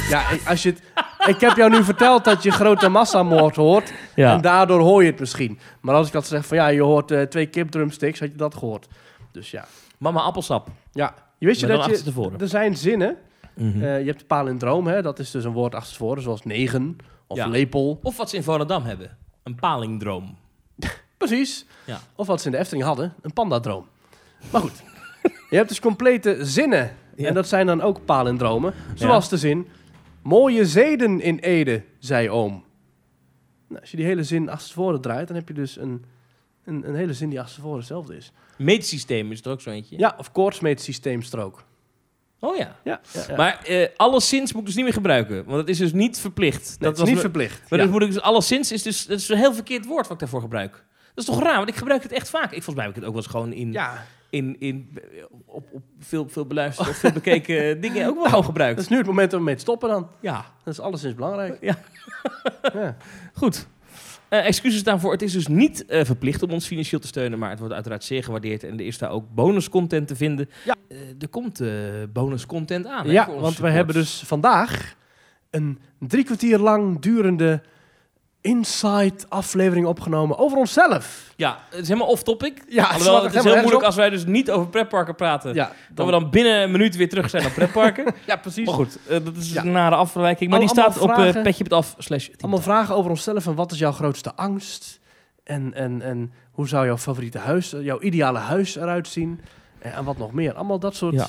B: ja ik- als je het, ik heb jou nu verteld dat je grote massamoord hoort.
C: Ja.
B: En daardoor hoor je het misschien. Maar als ik had gezegd van ja, je hoort eh, twee kipdrumsticks, had je dat gehoord. Dus ja.
C: Mama appelsap.
B: Ja, je wist je
C: Maar
B: dat
C: dan
B: je,
C: achterstevoren.
B: er zijn zinnen.
C: Mhm.
B: Eh, je hebt de palindroom, hè? dat is dus een woord achterstevoren, zoals negen of
C: Ja.
B: lepel.
C: Of wat ze in Volendam hebben. Een palingdroom.
B: Precies.
C: Ja.
B: Of wat ze in de Efteling hadden, een pandadroom. Maar goed, je hebt dus complete zinnen.
C: Ja.
B: En dat zijn dan ook palindromen. Zoals de zin, mooie zeden in Ede, zei oom. Nou, als je die hele zin achterstevoren draait, dan heb je dus een, een, een hele zin die achterstevoren hetzelfde is.
C: Meetsysteem is er ook zo eentje.
B: Ja, of koortsmeetsysteemstrook.
C: Oh ja.
B: Ja, ja, ja.
C: Maar eh, alleszins moet ik dus niet meer gebruiken. Want dat is dus niet verplicht.
B: Nee,
C: dat
B: het is niet
C: me-
B: verplicht.
C: Maar
B: Ja.
C: dus moet ik dus alleszins is dus dat is een heel verkeerd woord wat ik daarvoor gebruik. Dat is toch raar, want ik gebruik het echt vaak. Ik, volgens mij heb ik het ook wel eens gewoon in,
B: ja,
C: in, in, op, op veel, veel beluisterde of veel bekeken *laughs* dingen ook wel gewoon
B: dat
C: gebruikt.
B: is nu het moment om mee te stoppen dan.
C: Ja,
B: Dat is alleszins belangrijk.
C: Ja.
B: ja.
C: goed. Eh, excuses daarvoor. Het is dus niet eh, verplicht om ons financieel te steunen, maar het wordt uiteraard zeer gewaardeerd. En er is daar ook bonuscontent te vinden.
B: Ja.
C: Eh, er komt eh bonuscontent aan. hè,
B: Ja,
C: voor
B: want we
C: onze supporters.
B: hebben dus vandaag een drie kwartier lang durende inside aflevering opgenomen over onszelf.
C: Ja, het is helemaal off-topic.
B: Ja, het slaat
C: Alhoewel,
B: echt
C: het is
B: helemaal nergens
C: heel moeilijk
B: op.
C: als wij dus niet over pretparken praten.
B: Ja,
C: Dat Eh, we dan binnen een minuut weer terug zijn op pretparken.
B: *laughs* ja precies.
C: maar goed, eh, dat is dus
B: Ja.
C: een nare afwijking. Maar
B: Al-
C: die staat
B: allemaal
C: op eh
B: vragen.
C: petje.af slash tiental.
B: Allemaal vragen over onszelf en wat is jouw grootste angst? En, en, en hoe zou jouw favoriete huis, eh, jouw ideale huis eruit zien? Eh, En, en wat nog meer. Allemaal dat soort,
C: Ja.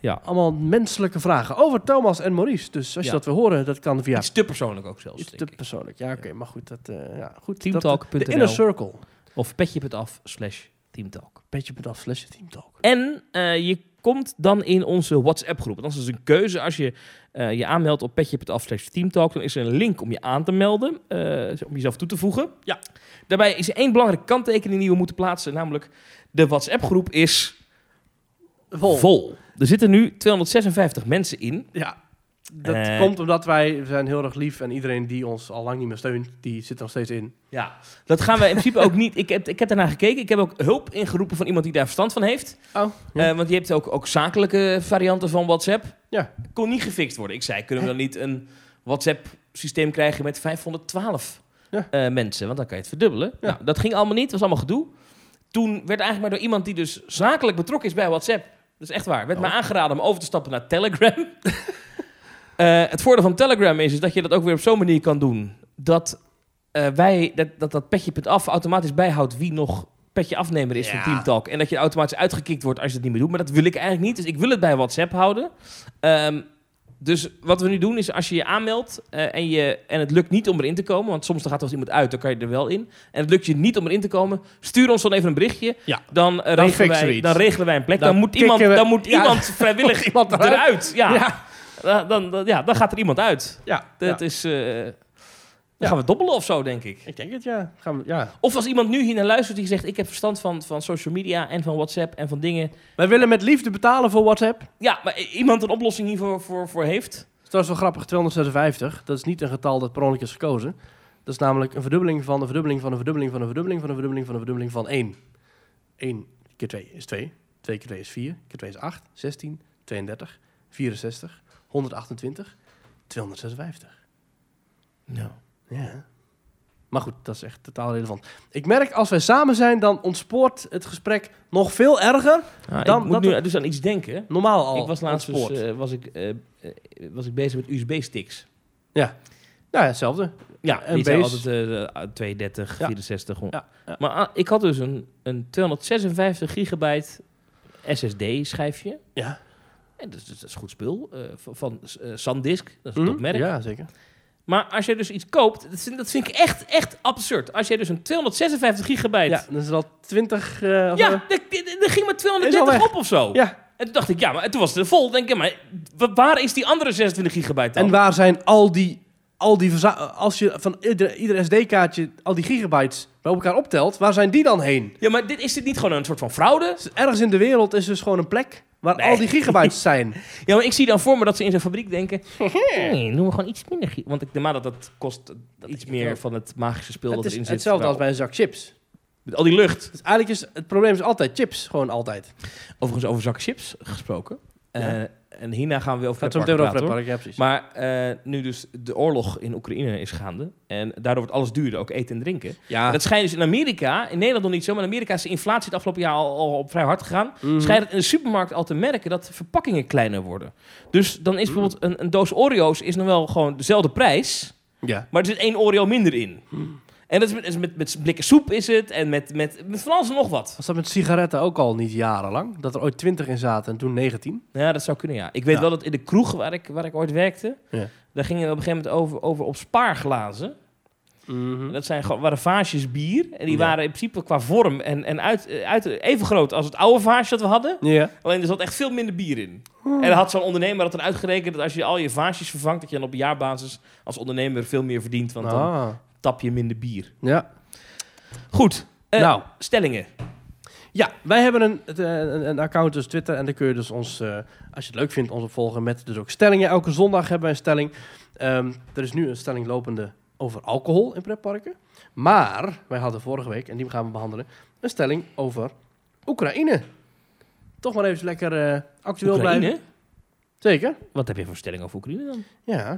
C: Ja.
B: allemaal menselijke vragen over Thomas en Maurice. Dus als je
C: Ja.
B: dat wil horen, dat kan via...
C: Iets te persoonlijk ook zelfs,
B: Iets te
C: denk ik.
B: persoonlijk. Ja, oké. Maar goed, dat... eh ja, goed
C: Teamtalk.nl.
B: dat- De inner circle.
C: Of petje.af slash teamtalk.
B: Beetje bedacht slash teamtalk.
C: En eh, je komt dan in onze WhatsApp-groep. Dat is dus een keuze. Als je eh, je aanmeldt op petje.af slash teamtalk, dan is er een link om je aan te melden. eh, om jezelf toe te voegen. Ja. Daarbij is er één belangrijke kanttekening die we moeten plaatsen. Namelijk, de WhatsApp-groep is... vol. Er zitten nu 256 mensen in.
B: Ja. Dat
C: Eh.
B: komt omdat wij we zijn heel erg lief en iedereen die ons al lang niet meer steunt, die zit er nog steeds in.
C: Ja. Dat gaan we in principe ook niet. Ik heb, ik heb daarna gekeken. Ik heb ook hulp ingeroepen van iemand die daar verstand van heeft.
B: Oh,
C: Eh, want je hebt ook, ook zakelijke varianten van WhatsApp.
B: Ja.
C: Kon niet gefixt worden. Ik zei, kunnen we dan niet een WhatsApp-systeem krijgen met 512
B: Ja.
C: eh, mensen? Want dan kan je het verdubbelen.
B: Ja.
C: Nou, dat ging allemaal niet. Dat was allemaal gedoe. Toen werd eigenlijk maar door iemand die dus zakelijk betrokken is bij WhatsApp. Dat is echt waar. Werd
B: Oh.
C: mij aangeraden om over te stappen naar Telegram. *laughs* Eh, het voordeel van Telegram is, is dat je dat ook weer op zo'n manier kan doen. Dat eh, wij, dat, dat, dat petje.af automatisch bijhoudt wie nog petje afnemer is van
B: Ja.
C: Team Talk. En dat je automatisch uitgekikt wordt als je dat niet meer doet. Maar dat wil ik eigenlijk niet. Dus ik wil het bij WhatsApp houden. Ehm, dus wat we nu doen is, als je je aanmeldt eh, en, je, en het lukt niet om erin te komen, want soms dan gaat er als iemand uit, dan kan je er wel in. En het lukt je niet om erin te komen, stuur ons dan even een berichtje.
B: Ja.
C: Dan, eh, regelen,
B: fixen we
C: wij,
B: iets.
C: dan regelen wij een plek. Dan,
B: Dan
C: moet,
B: kicken
C: iemand,
B: we-
C: dan moet
B: Ja. *laughs*
C: iemand vrijwillig
B: Iemand
C: eruit.
B: eruit.
C: Ja.
B: Ja.
C: Dan, dan, dan- ja, dan gaat er iemand uit.
B: Ja,
C: Dat is. eh, dan gaan we dobbelen of zo, denk ik.
B: ik denk het ja. Gaan we, ja.
C: Of als iemand nu hier naar luistert die zegt: Ik heb verstand van, van social media en van WhatsApp en van dingen.
B: Wij willen met liefde betalen voor WhatsApp.
C: Ja, maar i- iemand een oplossing hiervoor voor, voor heeft.
B: Dat is trouwens wel grappig, 256. Dat is niet een getal dat per ongeluk is gekozen. Dat is namelijk een verdubbeling van een verdubbeling van een verdubbeling van een verdubbeling van een verdubbeling van een verdubbeling van 1. 1 keer 2 is 2. 2 keer 2 is 4. Keer 2 is 8. 16, 32, 64, 128, 256.
C: Ja.
B: Ja. Maar goed, dat is echt totaal relevant. Ik merk als wij samen zijn, dan ontspoort het gesprek nog veel erger. Dan-
C: ik moet
B: dat
C: nu
B: het-
C: dus aan iets denken.
B: Normaal al.
C: ik was laatst dus,
B: ontspoort.
C: eh, was, ik, eh, eh, was ik bezig met USB-sticks.
B: ja. Nou, ja, hetzelfde.
C: Ja,
B: En
C: die zijn
B: base.
C: altijd eh, eh, 32,
B: Ja.
C: 64. hon-
B: Ja, ja.
C: Maar ah, ik had dus een, een 256 gigabyte SSD-schijfje.
B: Ja.
C: En dat, is- dat is goed spul. eh, van van eh, SanDisk, dat is een
B: Hm?
C: topmerk.
B: Ja, zeker.
C: Maar als jij dus iets koopt, dat vind, dat vind ik echt, echt absurd. Als jij dus een 256 gigabyte...
B: Ja, dan is er al 20... eh, of-
C: Ja, dat- dat- dat ging maar
B: Is al
C: 230
B: weg.
C: op of zo.
B: ja.
C: En toen dacht ik, ja, maar en toen was het vol. Denk ik, maar wa- waar is die andere 26 gigabyte dan?
B: En waar zijn al die... Al die verza- als je van ieder, ieder SD-kaartje al die gigabytes bij elkaar optelt, waar zijn die dan heen?
C: Ja, maar dit, is dit niet gewoon een soort van fraude?
B: Dus ergens in de wereld is dus gewoon een plek waar
C: Nee.
B: al die gigabytes zijn.
C: Ja, maar *laughs* ik zie dan voor me dat ze in zijn
B: *laughs*
C: fabriek denken... Nee, noem maar gewoon iets minder. gi- Want ik denk maar dat dat kost eh, iets meer van het magische speel
B: Het
C: dat
B: is
C: erin zit.
B: hetzelfde als
C: Wel,
B: bij een zak chips.
C: Met al die lucht.
B: Dus eigenlijk is het probleem is altijd chips, gewoon altijd.
C: Overigens over zak chips gesproken. Eh, en hierna gaan we over
B: Gaat
C: het
B: zo meteen over het park, ja precies.
C: Maar eh, nu dus de oorlog in Oekraïne is gaande. En daardoor wordt alles duurder, ook eten en drinken.
B: ja,
C: Dat schijnt dus in Amerika, in Nederland nog niet zo, maar in Amerika is de inflatie het afgelopen jaar al, al op vrij hard gegaan.
B: Mhm.
C: Schijnt het in de supermarkt al te merken dat de verpakkingen kleiner worden. Dus dan is bijvoorbeeld een, een doos Oreo's is nog wel gewoon dezelfde prijs,
B: ja.
C: maar er zit één Oreo minder in. En dat is met, is met, met blikken soep is het en met, met, met van alles en nog wat.
B: Was dat met sigaretten ook al niet jarenlang? Dat er ooit 20 in zaten en toen 19?
C: Ja, dat zou kunnen, ja. Ik weet
B: Ja.
C: wel dat in de kroeg waar ik, waar ik ooit werkte,
B: Ja.
C: daar gingen we op een gegeven moment over, over op spaarglazen. En Dat zijn, gewoon- waren vaasjes bier. En die
B: Ja.
C: waren in principe qua vorm en, en uit, eh, uit, even groot als het oude vaasje dat we hadden.
B: Ja.
C: Alleen er zat echt veel minder bier in. En dan had zo'n ondernemer dat dan uitgerekend dat als je al je vaasjes vervangt, dat je dan op jaarbasis als ondernemer veel meer verdient. Want dan
B: Ah.
C: tap je minder bier.
B: Ja.
C: Goed. eh,
B: Nou.
C: Stellingen.
B: ja, wij hebben een, het, eh, een, een account dus Twitter en daar kun je dus ons, eh, als je het leuk vindt, ons opvolgen met dus ook stellingen. Elke zondag hebben wij een stelling. Ehm, er is nu een stelling lopende over alcohol in pretparken. Maar wij hadden vorige week, en die gaan we behandelen, een stelling over Oekraïne. Toch maar even lekker eh, actueel blijven.
C: Oekraïne.
B: Zeker.
C: Wat heb je voor stelling over Oekraïne dan?
B: Ja.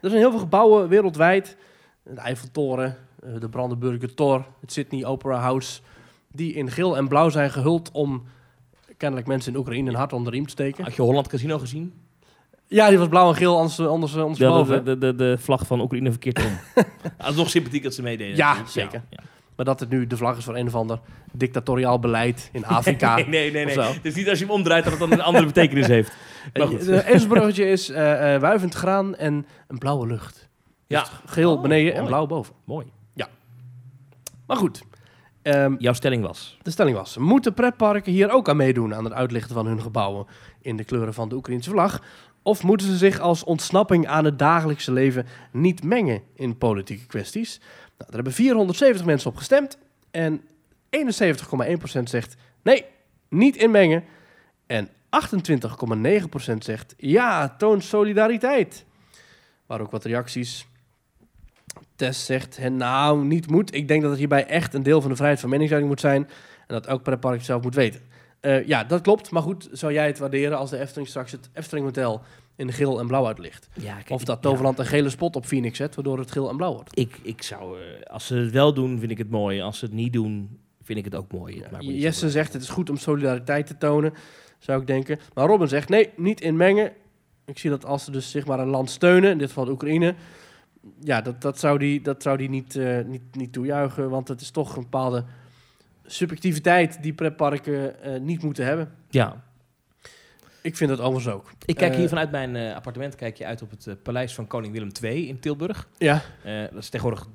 B: Er zijn heel veel gebouwen wereldwijd. De Eiffeltoren, eh, de Brandenburger Tor, het Sydney Opera House. Die in geel en blauw zijn gehuld om kennelijk mensen in Oekraïne een hart onder de riem te steken.
C: Had je Holland Casino gezien?
B: Ja, die was blauw en geel, anders, eh, anders, anders
C: Ja,
B: boven.
C: de, de, de, de vlag van Oekraïne verkeerd
B: *laughs*
C: om. Dat is nog sympathiek dat ze meededen.
B: Ja,
C: natuurlijk.
B: zeker.
C: Ja.
B: Maar dat het nu de vlag is van een of ander dictatoriaal beleid
C: *laughs*
B: in Afrika.
C: Nee, nee, nee. nee.
B: Of zo.
C: Het is niet als je hem omdraait dat het dan een andere betekenis
B: *laughs*
C: heeft. Maar goed.
B: Het Eemsbruggetje is eh, eh, wuivend graan en een blauwe lucht.
C: Ja.
B: Dus geel
C: Oh,
B: beneden en
C: mooi.
B: blauw boven.
C: Mooi.
B: Maar goed, ehm,
C: Jouw stelling was?
B: De stelling was: moeten pretparken hier ook aan meedoen aan het uitlichten van hun gebouwen in de kleuren van de Oekraïnse vlag? Of moeten ze zich als ontsnapping aan het dagelijkse leven niet mengen in politieke kwesties? Nou, er hebben 470 mensen op gestemd en 71,1% zegt nee, niet inmengen. En 28,9% zegt ja, toon solidariteit. Maar ook wat reacties. Tess zegt, "Hè, nou, niet moet. Ik denk dat het hierbij echt een deel van de vrijheid van meningsuiting moet zijn. En dat elk pretpark het zelf moet weten. Eh, ja, dat klopt. Maar goed, zou jij het waarderen als de Efteling straks het Efteling Hotel in geel en blauw uitlicht?
C: Ja, kijk,
B: Of dat
C: ja.
B: Toverland een gele spot op Phoenix zet, waardoor het geel en blauw wordt?
C: Ik, ik zou, eh, als ze het wel doen, vind ik het mooi. Als ze het niet doen, vind ik het ook mooi. Het maakt me niet zo
B: Jesse
C: uit.
B: zegt, het is goed om solidariteit te tonen, zou ik denken. Maar Robin zegt, nee, niet inmengen. Ik zie dat als ze dus zeg maar een land steunen, in dit geval de Oekraïne... Ja, dat, dat zou die, dat zou die niet, eh, niet, niet toejuichen, want het is toch een bepaalde subjectiviteit die pretparken eh, niet moeten hebben.
C: Ja,
B: Ik vind dat overigens ook.
C: ik kijk
B: Eh,
C: hier vanuit mijn eh, appartement kijk je uit op het eh, paleis van koning Willem II in Tilburg.
B: Ja,
C: Eh, dat is tegenwoordig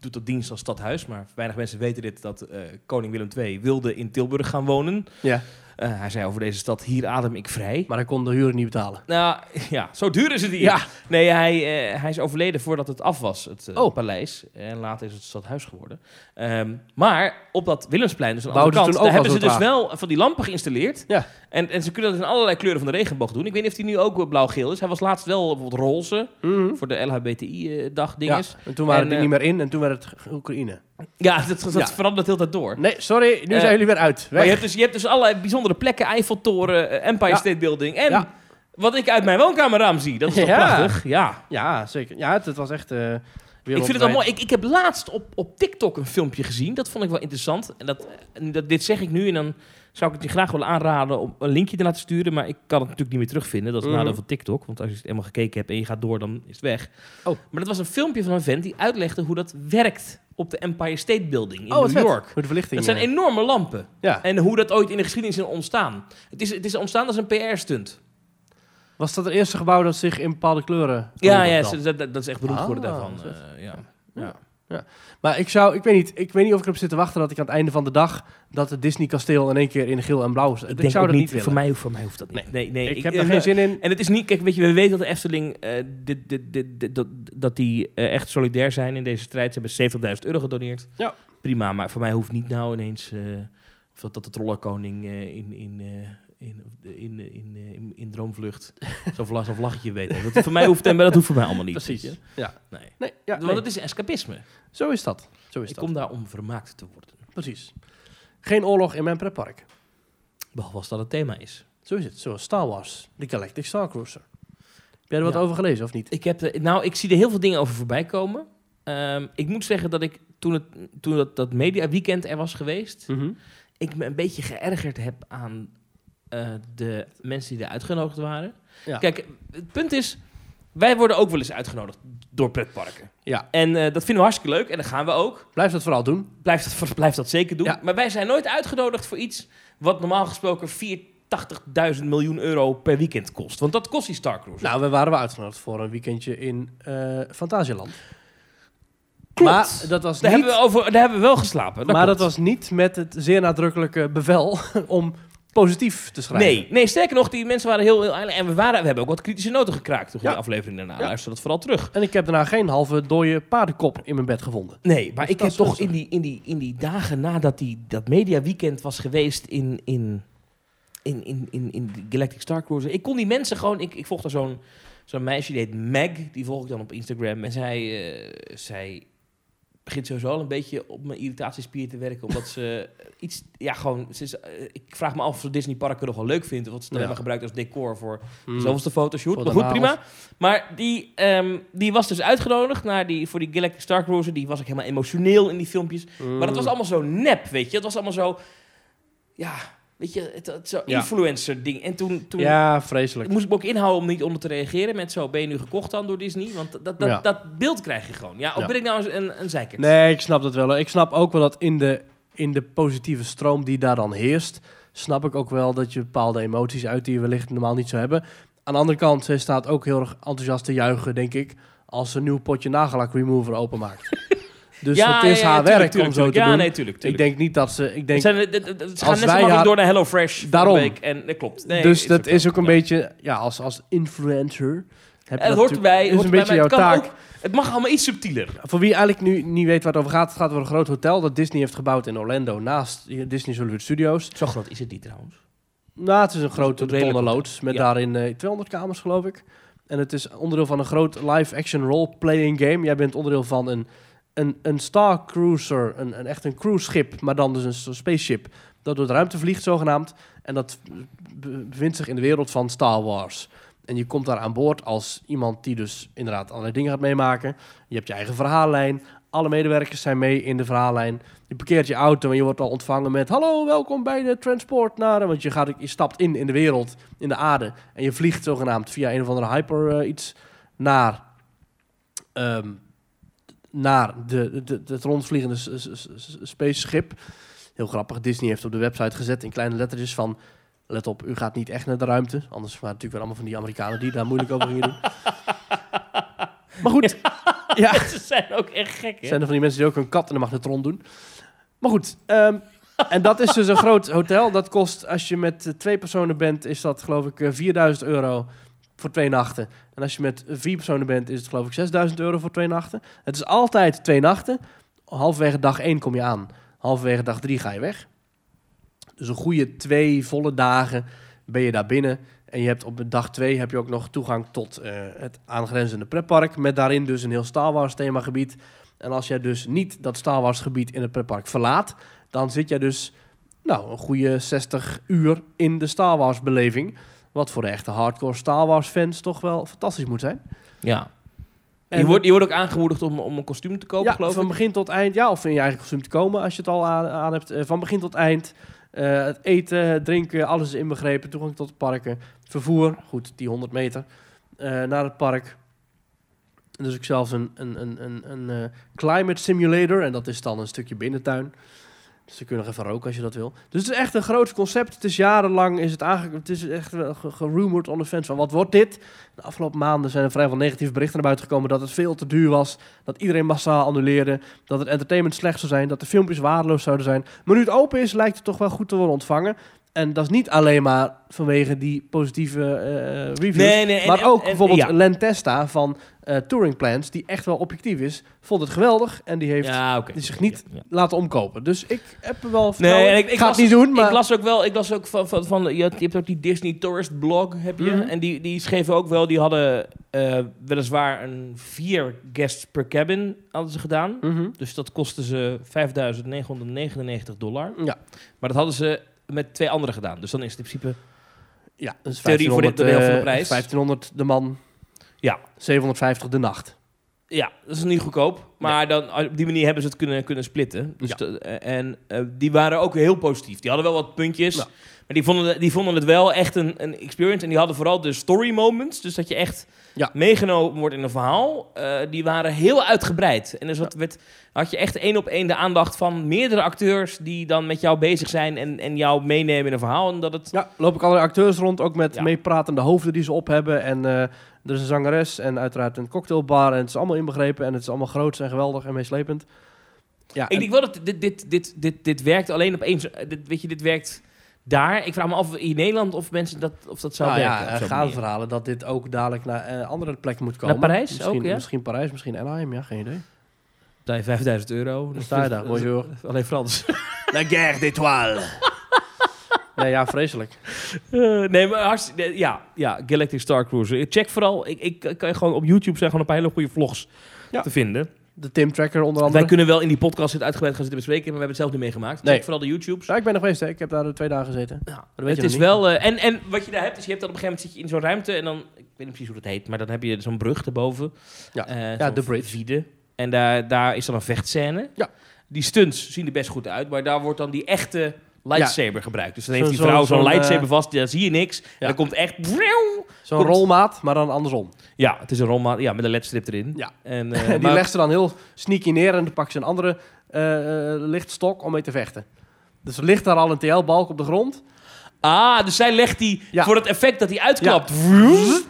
C: doet dat dienst als stadhuis, maar weinig mensen weten dit dat eh, koning Willem II wilde in Tilburg gaan wonen.
B: ja.
C: Eh, hij zei over deze stad: hier adem ik vrij.
B: maar hij kon de huren niet betalen.
C: Nou, *laughs* ja, zo duur is het hier.
B: Ja.
C: Nee, hij, eh, hij is overleden voordat het af was, het eh,
B: Oh.
C: paleis. En later is het stadhuis geworden. Ehm, maar op dat Willemsplein, dus aan de
B: Bouwden
C: andere kant,
B: toen ook
C: daar hebben
B: al
C: ze
B: zo'n
C: dus wel van die lampen geïnstalleerd.
B: Ja.
C: En, en ze kunnen dat in allerlei kleuren van de regenboog doen. Ik weet niet of die nu ook eh, blauw-geel is. Hij was laatst wel bijvoorbeeld roze voor de LHBTI-dag
B: Ja,
C: eh, dinges.
B: en toen waren
C: En,
B: die
C: eh,
B: niet meer in en toen werd het Ge- Oekraïne.
C: Ja, dat, dat
B: Ja.
C: verandert heel tijd door.
B: Nee, sorry, nu
C: Eh,
B: zijn jullie weer uit.
C: Maar
B: Weg.
C: je hebt, dus, je hebt dus allerlei bijzondere plekken. Eiffeltoren, eh, Empire
B: Ja.
C: State Building en
B: Ja.
C: Wat ik uit mijn woonkamer raam zie. Dat is toch
B: Ja.
C: prachtig? Ja.
B: Ja, zeker. Ja, het, het was echt... eh,
C: Ik vind het wel
B: wereldwijd.
C: mooi. Ik, ik heb laatst op, op TikTok een filmpje gezien. Dat vond ik wel interessant. En dat, en dat, dit zeg ik nu en dan zou ik het je graag willen aanraden om een linkje te laten sturen. Maar ik kan het natuurlijk niet meer terugvinden. Dat is het
B: Mhm.
C: nadeel van TikTok. Want als je het helemaal gekeken hebt en je gaat door, dan is het weg.
B: Oh.
C: Maar dat was een filmpje van een vent die uitlegde hoe dat werkt op de Empire State Building in
B: Oh, wat
C: New
B: vet.
C: York.
B: Hoe de verlichting...
C: Dat zijn
B: eh,
C: enorme lampen.
B: Ja.
C: En hoe dat ooit in de geschiedenis is ontstaan. Het is, het is ontstaan als een PR-stunt.
B: Oh, Was dat het eerste gebouw dat zich in bepaalde kleuren...
C: Ja,
B: klonk
C: ja
B: dan?
C: dat, dat, dat is echt beroemd geworden
B: Ah,
C: daarvan.
B: dat is
C: Eh, ja.
B: Maar ik zou... Ik weet, niet, ik weet niet of ik erop zit te wachten dat ik aan het einde van de dag... dat het Disney-kasteel in één keer in geel en blauw is. Ik,
C: denk
B: zou
C: ook
B: dat niet,
C: Voor
B: willen.
C: mij, voor mij hoeft dat niet. Nee, nee,
B: ik, heb er geen zin in.
C: En het is niet, kijk, *laughs* weet je, we weten dat de Efteling, eh, dit, dit, dit, dit- dat, dat die eh, echt solidair zijn in deze strijd. Ze hebben 70.000 euro gedoneerd.
B: Ja.
C: Prima, maar voor mij hoeft niet nou ineens, eh, of dat, dat de trollenkoning eh, in, in, eh, in, in, in, in, in,
B: *laughs*
C: in Droomvlucht zo'n vlag, zo'n vlaggetje weet. hè. Dat, voor mij hoeft, en dat hoeft voor mij allemaal niet.
B: Precies.
C: weet je.
B: Ja.
C: Nee.
B: Nee, ja,
C: Want
B: nee.
C: het is escapisme.
B: Zo is dat. Zo is
C: Ik
B: dat.
C: kom daar om vermaakt te worden.
B: Precies. Geen oorlog in mijn pretpark.
C: Behalve als dat het thema is.
B: Zo is het. Zoals Star Wars. De Galactic Star Cruiser. Heb jij er wat
C: Ja.
B: over gelezen of niet?
C: Ik heb, de- nou, ik zie er heel veel dingen over voorbij komen. Ehm, ik moet zeggen dat ik toen, het, toen dat, dat media weekend er was geweest, ik me een beetje geërgerd heb aan eh, de mensen die er uitgenodigd waren.
B: Ja.
C: Kijk, het punt is, wij worden ook wel eens uitgenodigd door pretparken.
B: Ja.
C: En eh, dat vinden we hartstikke leuk en dat gaan we ook.
B: Blijf dat vooral doen.
C: Blijf dat, *laughs* blijf dat zeker doen.
B: Ja.
C: Maar wij zijn nooit uitgenodigd voor iets wat normaal gesproken 480.000 miljoen euro per weekend kost. Want dat kost die Star Cruise.
B: Nou, we waren wel uitgenodigd voor een weekendje in eh Fantasieland.
C: Klopt.
B: Maar dat was
C: Daar
B: niet...
C: hebben, we over, daar hebben we wel geslapen.
B: maar dat
C: klopt.
B: was niet met het zeer nadrukkelijke bevel *laughs* om positief te schrijven.
C: Nee, nee, sterker nog, die mensen waren heel... heel eilig. en we, waren, we hebben ook wat kritische noten gekraakt toen
B: Ja.
C: die aflevering daarna.
B: Ja.
C: Luister dat vooral terug.
B: En ik heb daarna geen halve dode paardenkop in mijn bed gevonden.
C: Nee, maar
B: Dus dat
C: ik heb
B: is
C: toch
B: gunstig.
C: in die, in, die, in die dagen nadat die, dat mediaweekend was geweest in... in in, in, in, in de Galactic Star Cruiser. Ik kon die mensen gewoon... Ik, ik volg daar zo'n zo'n meisje, die heet Meg. Die volg ik dan op Instagram. En zij, eh, zij begint sowieso al een beetje op mijn irritatiespier te werken. Omdat *laughs* ze iets... Ja, gewoon... Ze is, eh, ik vraag me af of ze Disney parken nog wel leuk vindt. Of wat ze het
B: Ja.
C: alleen maar gebruikt als decor voor
B: Mm.
C: Zo was de fotoshoot.
B: Voor
C: Maar
B: de
C: goed, prima. Maar die, ehm, die was dus uitgenodigd naar die, voor die Galactic Star Cruiser. Die was ik helemaal emotioneel in die filmpjes.
B: Mm.
C: Maar dat was allemaal zo nep, weet je. Het was allemaal zo... Ja, weet je, het, het zo
B: Ja.
C: influencer ding. En toen, toen
B: Ja, vreselijk.
C: moest ik me ook inhouden om niet onder te reageren met zo... Ben je nu gekocht dan door Disney? Want dat, dat,
B: Ja.
C: dat beeld krijg je gewoon. Ja, of
B: Ja.
C: ben ik nou eens een, een zeikert?
B: Nee, ik snap dat wel. Ik snap ook wel dat in de, in de positieve stroom die daar dan heerst, snap ik ook wel dat je bepaalde emoties uit die je wellicht normaal niet zou hebben. Aan de andere kant, zij staat ook heel erg enthousiast te juigen, denk ik, als ze een nieuw potje nagelak remover
C: *laughs*
B: openmaakt. dus
C: Ja,
B: het is
C: ja, ja,
B: haar
C: tuurlijk,
B: werk
C: tuurlijk,
B: om zo
C: tuurlijk.
B: te
C: ja,
B: doen.
C: nee, tuurlijk,
B: ik
C: tuurlijk.
B: denk niet dat ze... Ik denk,
C: Het zijn, het, het- het- ze gaan
B: Als
C: net zo
B: wij
C: makkelijk
B: haar-
C: door naar HelloFresh van de
B: Daarom.
C: week. En dat klopt. Nee,
B: dus dat is ook een
C: ja.
B: beetje... Ja, als, als influencer... Heb
C: En
B: je
C: dat
B: dat
C: hoort
B: natuurlijk-
C: erbij.
B: is
C: hoort
B: een
C: erbij,
B: beetje
C: maar
B: jouw
C: het
B: taak.
C: kan ook- het mag allemaal iets subtieler.
B: Voor wie eigenlijk nu niet weet waar het over gaat, het gaat over een groot hotel dat Disney heeft gebouwd in Orlando naast Disney Hollywood Studios.
C: Zo groot is het niet trouwens.
B: Nou, het is een grote
C: een redelijk
B: betonnen loods met
C: ja.
B: daarin eh, 200 kamers, geloof ik. En het is onderdeel van een groot live-action role-playing game. Jij bent onderdeel van een, een, een Star Cruiser, een, een, echt een cruiseschip, maar dan dus een soort spaceship dat door de ruimte vliegt, zogenaamd. En dat be- bevindt zich in de wereld van Star Wars. En je komt daar aan boord als iemand die dus inderdaad allerlei dingen gaat meemaken. Je hebt je eigen verhaallijn. Alle medewerkers zijn mee in de verhaallijn. Je parkeert je auto en je wordt al ontvangen met... Hallo, welkom bij de transport naar... Want je, gaat, je stapt in in de wereld, in de aarde. En je vliegt zogenaamd via een of andere hyper eh, iets... naar, ehm, naar de, de, de, het rondvliegende s- s- s- s- spaceship. Heel grappig, Disney heeft op de website gezet in kleine lettertjes van... Let op, u gaat niet echt naar de ruimte. Anders waren het natuurlijk weer allemaal van die Amerikanen die daar moeilijk over gingen doen. Maar goed, ja.
C: *laughs* Ze zijn ook echt gek, hè?
B: Zijn er van die mensen die ook een kat in de magnetron doen? Maar goed, ehm, *laughs* en dat is dus een groot hotel. Dat kost, als je met eh, twee personen bent, is dat geloof ik eh, 4000 euro voor twee nachten. En als je met vier personen bent, is het geloof ik 6000 euro voor twee nachten. Het is altijd twee nachten. Halverwege dag één kom je aan. Halverwege dag drie ga je weg. Dus een goede twee volle dagen ben je daar binnen. En je hebt op dag twee heb je ook nog toegang tot eh, het aangrenzende pretpark. Met daarin dus een heel Star Wars themagebied. En als jij dus niet dat Star Wars gebied in het pretpark verlaat, dan zit jij dus nou, een goede 60 uur in de Star Wars beleving. Wat voor de echte hardcore Star Wars fans toch wel fantastisch moet zijn.
C: Ja.
B: En-
C: je, wordt, je wordt ook aangemoedigd om, om een kostuum te kopen,
B: ja,
C: geloof
B: van
C: ik.
B: begin tot eind. Ja, of in je eigen kostuum te komen als je het al aan, aan hebt. Eh, van begin tot eind. eh, het eten, het drinken, alles is inbegrepen. Toegang tot de parken. Vervoer, goed, die 100 meter. eh, naar het park. En Dus ik zelfs een, een, een, een, een eh, climate simulator. En dat is dan een stukje binnentuin. Dus dan kun je nog even roken als je dat wil. Dus het is echt een groot concept. Het is jarenlang is het aange... Het is echt wel ge- gerumord on the fence van wat wordt dit? De afgelopen maanden zijn er vrijwel negatieve berichten naar buiten gekomen... dat het veel te duur was. Dat iedereen massaal annuleerde. Dat het entertainment slecht zou zijn. Dat de filmpjes waardeloos zouden zijn. Maar nu het open is, lijkt het toch wel goed te worden ontvangen. En dat is niet alleen maar vanwege die positieve eh reviews.
C: nee. en-
B: Maar
C: en-
B: ook
C: en-
B: bijvoorbeeld
C: ja.
B: Len Testa van eh, Touring Plans, die echt wel objectief is, vond het geweldig en die heeft
C: Ja, oké.
B: die zich niet
C: Ja, ja.
B: laten omkopen. Dus ik heb er wel
C: Nee,
B: vertrouwen.
C: en
B: Nee,
C: ik,
B: ik,
C: ik
B: ga
C: las,
B: het niet doen, *laughs* maar
C: Ik las ook wel, ik las ook van, van, van je, hebt, je hebt ook die Disney Tourist blog, heb je.
B: Mhm.
C: En die, die schreven ook wel, die hadden eh, weliswaar een vier guests per cabin hadden ze gedaan.
B: Mhm.
C: Dus dat kostte ze 5.999 dollar.
B: Ja.
C: Maar dat hadden ze met twee anderen gedaan. Dus dan is het in principe...
B: ja, dat is
C: Theorie voor
B: 1500,
C: dit toneel van de
B: eh,
C: prijs.
B: 1500 de man.
C: Ja.
B: 750 de nacht.
C: Ja, dat is niet goedkoop. Maar dan, ah, op die manier hebben ze het kunnen, kunnen splitten. Dus
B: Ja.
C: dat- eh, en eh, die waren ook heel positief. Die hadden wel wat puntjes.
B: Ja.
C: Maar die vonden, die vonden het wel echt een, een experience. En die hadden vooral de story moments. Dus dat je echt
B: Ja.
C: meegenomen wordt in een verhaal. eh, die waren heel uitgebreid. En dus wat werd, had je echt één op één de aandacht van meerdere acteurs... die dan met jou bezig zijn en, en jou meenemen in een verhaal. En dat het...
B: Ja, loop ik allerlei acteurs rond, ook met
C: Ja.
B: meepratende hoofden die ze op hebben. En eh, er is een zangeres en uiteraard een cocktailbar. En het is allemaal inbegrepen en het is allemaal groots en geweldig en meeslepend. Ja,
C: Ik denk wel dat dit, dit, dit, dit, dit werkt alleen op één... zo- eh, Dit, weet je, dit werkt daar. Ik vraag me af in Nederland of mensen dat, of dat zou
B: nou
C: werken.
B: ja,
C: op
B: er
C: zo'n
B: gaan
C: manier.
B: verhalen dat dit ook dadelijk naar eh, andere plekken moet komen.
C: Naar Parijs
B: misschien,
C: ook, ja?
B: Misschien Parijs, misschien Anaheim, ja, geen idee. Dus-
C: Betaal je 5000 euro.
B: Dan sta je
C: *laughs*
B: daar, bonjour.
C: Alleen *laughs* Frans.
B: La guerre d'étoiles. *laughs* nee, ja, vreselijk.
C: Eh, nee, maar hartstikke... nee, Ja, ja, Galactic Star Cruiser. Check vooral. Ik, ik ik kan je gewoon op YouTube zijn gewoon een paar hele goede vlogs
B: Ja.
C: te vinden.
B: De Tim Tracker onder andere.
C: Wij kunnen wel in die podcast het uitgebreid gaan zitten bespreken, maar we hebben het zelf niet meegemaakt. Check
B: Nee.
C: vooral de YouTube's.
B: Ja, ik ben er geweest, hè. Ik heb daar eh, twee dagen gezeten.
C: Ja,
B: weet je
C: het is
B: nog niet.
C: wel... eh, en, en wat je daar hebt, is je hebt dan op een gegeven moment zit je in zo'n ruimte en dan... Ik weet niet precies hoe dat heet, maar dan heb je zo'n brug erboven.
B: Ja.
C: Eh,
B: Ja,
C: zo'n
B: de bridge.
C: vide. En daar, daar is dan een vechtscène.
B: Ja.
C: Die stunts zien er best goed uit, maar daar wordt dan die echte lightsaber gebruikt. Dus dan heeft
B: Zo-
C: die
B: zo-
C: vrouw zo'n
B: zo'n, eh,
C: lightsaber vast, daar zie je niks. En
B: Ja.
C: dan komt echt...
B: Zo'n
C: Komt-
B: rolmaat, maar dan andersom.
C: Ja, het is een roman, ja, met een ledstrip erin.
B: Ja. *laughs*
C: En, eh,
B: En die
C: maar-
B: legt ze dan heel sneaky neer en dan pakt ze een andere eh, eh, lichtstok om mee te vechten. Dus er ligt daar al een TL-balk op de grond.
C: Ah, dus zij legt die
B: Ja.
C: voor het effect dat hij uitklapt.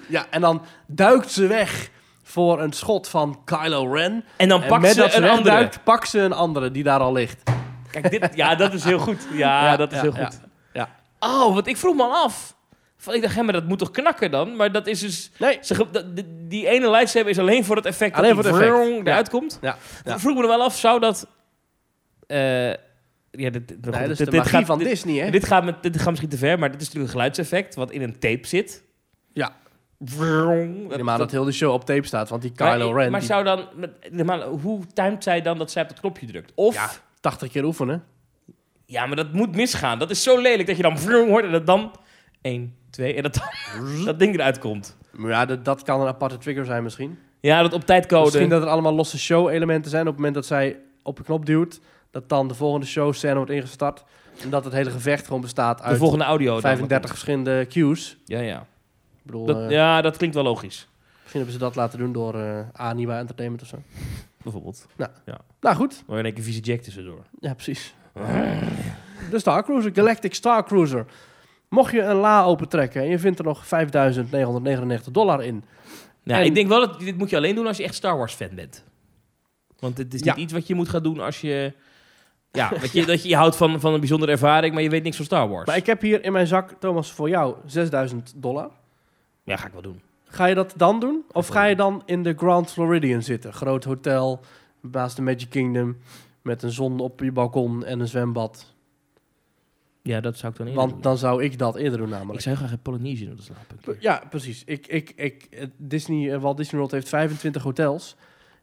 B: Ja, en dan duikt ze weg voor een schot van Kylo Ren.
C: En dan
B: En
C: pakt
B: met
C: ze
B: dat ze
C: een andere.
B: wegduikt, pakt ze een andere die daar al ligt.
C: Kijk, dit, ja, dat is heel goed. Ja,
B: Ja,
C: dat is
B: ja,
C: heel goed.
B: ja,
C: Oh, want ik vroeg me al af. Van, ik dacht, hé, maar dat moet toch knakken dan? Maar dat is dus...
B: Nee.
C: Ze, ge- dat- die- die ene lightsaber is alleen voor het effect
B: Alleen
C: dat
B: voor
C: die
B: het effect.
C: vrrrrong eruit komt.
B: Ja, ja.
C: Ik vroeg me er wel af, zou dat... eh, ja, dit, dit-
B: Nee,
C: goed,
B: dat is
C: dit-
B: de
C: dit
B: magie
C: gaat-
B: van
C: dit-
B: Disney, hè?
C: Dit gaat, met, dit gaat misschien te ver, maar dit is natuurlijk een geluidseffect wat in een tape zit.
B: Ja.
C: Vrrrrong.
B: Ja, maar dat heel de show op tape staat, want die
C: maar-
B: Kylo Ren,
C: Maar
B: die
C: zou dan... met- normaal, hoe timed zij dan dat zij op dat knopje drukt? Of...
B: Ja. 80 keer oefenen.
C: Ja, maar dat moet misgaan. Dat is zo lelijk dat je dan vroom hoort en dat dan 1, 2 en dat, dan- *laughs* dat ding eruit komt.
B: Maar ja, dat, dat kan een aparte trigger zijn misschien.
C: Ja, dat op tijdcode.
B: Misschien dat er allemaal losse show-elementen zijn op het moment dat zij op een knop duwt. Dat dan de volgende show-scène wordt ingestart. En dat het hele gevecht gewoon bestaat
C: de
B: uit
C: volgende audio. dan.
B: 35 verschillende cues.
C: Ja, ja.
B: Ik bedoel,
C: Dat,
B: eh,
C: ja, dat klinkt wel logisch.
B: misschien hebben ze dat laten doen door eh Aniwa Entertainment of zo.
C: Bijvoorbeeld.
B: Nou goed,
C: Maar in één keer vieze jack tussendoor.
B: ja
C: *laughs*
B: precies. De Star Cruiser, Galactic Star Cruiser. Mocht je een la opentrekken en je vindt er nog 5.999 dollar in.
C: Nou,
B: En-
C: ik denk wel dat dit moet je alleen doen als je echt Star Wars fan bent. Want het is niet
B: Ja.
C: iets wat je moet gaan doen als
B: *laughs*
C: je... Ja, dat je, Dat je, je houdt van, van een bijzondere ervaring, maar je weet niks van Star Wars.
B: Maar ik heb hier in mijn zak, Thomas, voor jou 6.000 dollar.
C: Ja, ga ik wel doen.
B: Ga je dat dan doen? Of ga je dan in de Grand Floridian zitten? Groot hotel, naast de Magic Kingdom, met een zon op je balkon en een zwembad.
C: Ja, dat zou ik dan eerder
B: Want
C: doen.
B: dan zou ik dat eerder doen namelijk.
C: Ik zou heel graag in Polynesië willen slapen. een keer.
B: Ja, precies. Ik, ik, ik, eh, Disney, eh, Walt Disney World heeft 25 hotels.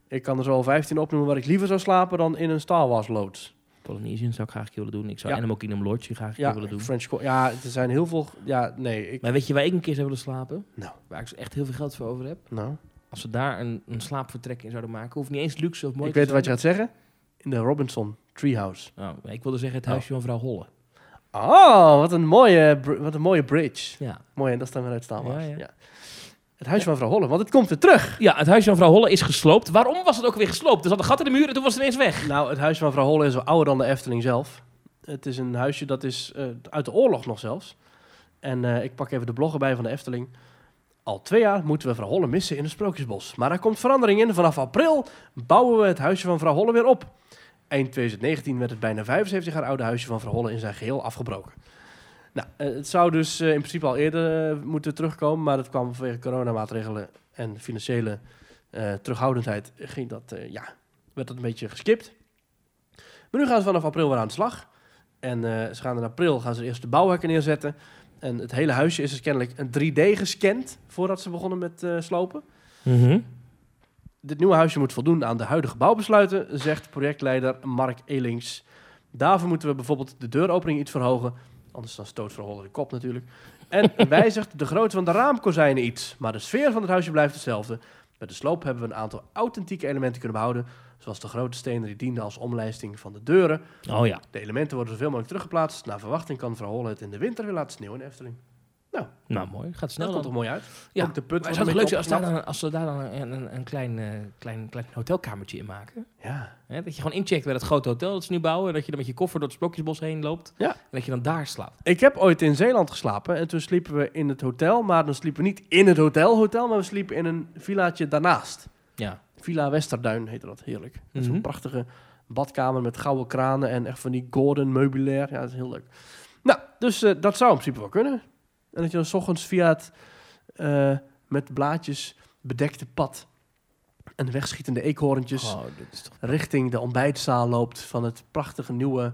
B: Ik kan er zo al 15 opnoemen waar ik liever zou slapen dan in een Star Wars loods.
C: Polynesian zou ik graag een keer willen doen. Ik zou
B: Ja.
C: Animal Kingdom Lodge graag een keer
B: Ja,
C: willen doen.
B: French Cor- Ja, er zijn heel veel... Ja, nee. Ik,
C: Maar weet je waar ik een keer zou willen slapen?
B: Nou.
C: Waar ik dus echt heel veel geld voor over heb?
B: nou,
C: Als we daar een, een slaapvertrek in zouden maken, hoeft niet eens luxe of mooi
B: ik
C: te
B: weet wat je gaat
C: zijn.
B: zeggen. In de Robinson Treehouse.
C: Oh, ik wilde zeggen het huisje van vrouw Holle.
B: Oh, wat een mooie, br- wat een mooie bridge.
C: Ja.
B: Mooi, en dat staan we uit Staalbaars.
C: Ja,
B: Ja,
C: ja.
B: Het huisje van vrouw Holle, want het komt weer terug.
C: ja, het huisje van vrouw Holle is gesloopt. Waarom was het ook weer gesloopt? Er zat een gat in de muur en toen was het ineens weg.
B: Nou, het huisje van vrouw Holle is wel ouder dan de Efteling zelf. Het is een huisje dat is eh, uit de oorlog nog zelfs. En eh, ik pak even de blog erbij van de Efteling. Al twee jaar moeten we vrouw Holle missen in het Sprookjesbos. Maar daar komt verandering in. Vanaf april bouwen we het huisje van vrouw Holle weer op. Eind 2019 werd het bijna 75 jaar oude huisje van vrouw Holle in zijn geheel afgebroken. Nou, eh, het zou dus eh, in principe al eerder eh, moeten terugkomen. Maar dat kwam vanwege coronamaatregelen en financiële eh, terughoudendheid. Ging dat, eh, ja, werd dat een beetje geskipt. Maar nu gaan ze vanaf april weer aan de slag. En eh, ze gaan in april gaan ze eerst de bouwhekken neerzetten. En het hele huisje is dus kennelijk een 3D gescand voordat ze begonnen met eh, slopen. Mhm. Dit nieuwe huisje moet voldoen aan de huidige bouwbesluiten, zegt projectleider Mark Elings. Daarvoor moeten we bijvoorbeeld de deuropening iets verhogen. Anders dan stoot verhollen de kop natuurlijk. En wijzigt de grootte van de raamkozijnen iets. Maar de sfeer van het huisje blijft hetzelfde. Met de sloop hebben we een aantal authentieke elementen kunnen behouden. Zoals de grote stenen die dienden als omlijsting van de deuren.
C: Oh ja.
B: De elementen worden zoveel mogelijk teruggeplaatst. Naar verwachting kan Vrouw Holle het in de winter weer laten sneeuwen in de Efteling.
C: Nou, mooi. Gaat
B: Dat
C: snel
B: komt
C: dan.
B: toch mooi uit?
C: Ja.
B: Ook de put
C: Maar
B: wordt
C: het zou
B: een
C: leuk
B: beetje
C: zijn als,
B: opgesnapt.
C: daar dan, als we daar dan een, een, een klein, eh, klein, klein hotelkamertje in maken.
B: Ja.
C: Hè, dat je gewoon incheckt bij dat grote hotel dat ze nu bouwen. En dat je dan met je koffer door het sprookjesbos heen loopt.
B: Ja.
C: En dat je dan daar slaapt.
B: Ik heb ooit in Zeeland geslapen. En toen sliepen we in het hotel. Maar dan sliepen we niet in het hotel, hotel. Maar we sliepen in een villaatje daarnaast.
C: Ja.
B: Villa Westerduin heette dat. Heerlijk. Met
C: Mhm.
B: Zo'n prachtige badkamer met gouden kranen. En echt van die Gordon meubilair. Ja, dat is heel leuk. Nou, dus eh, dat zou in principe wel kunnen. En dat je dan 's ochtends via het eh, met blaadjes bedekte pad. En wegschietende eekhoorntjes.
C: Oh, dit is toch...
B: richting de ontbijtzaal loopt van het prachtige nieuwe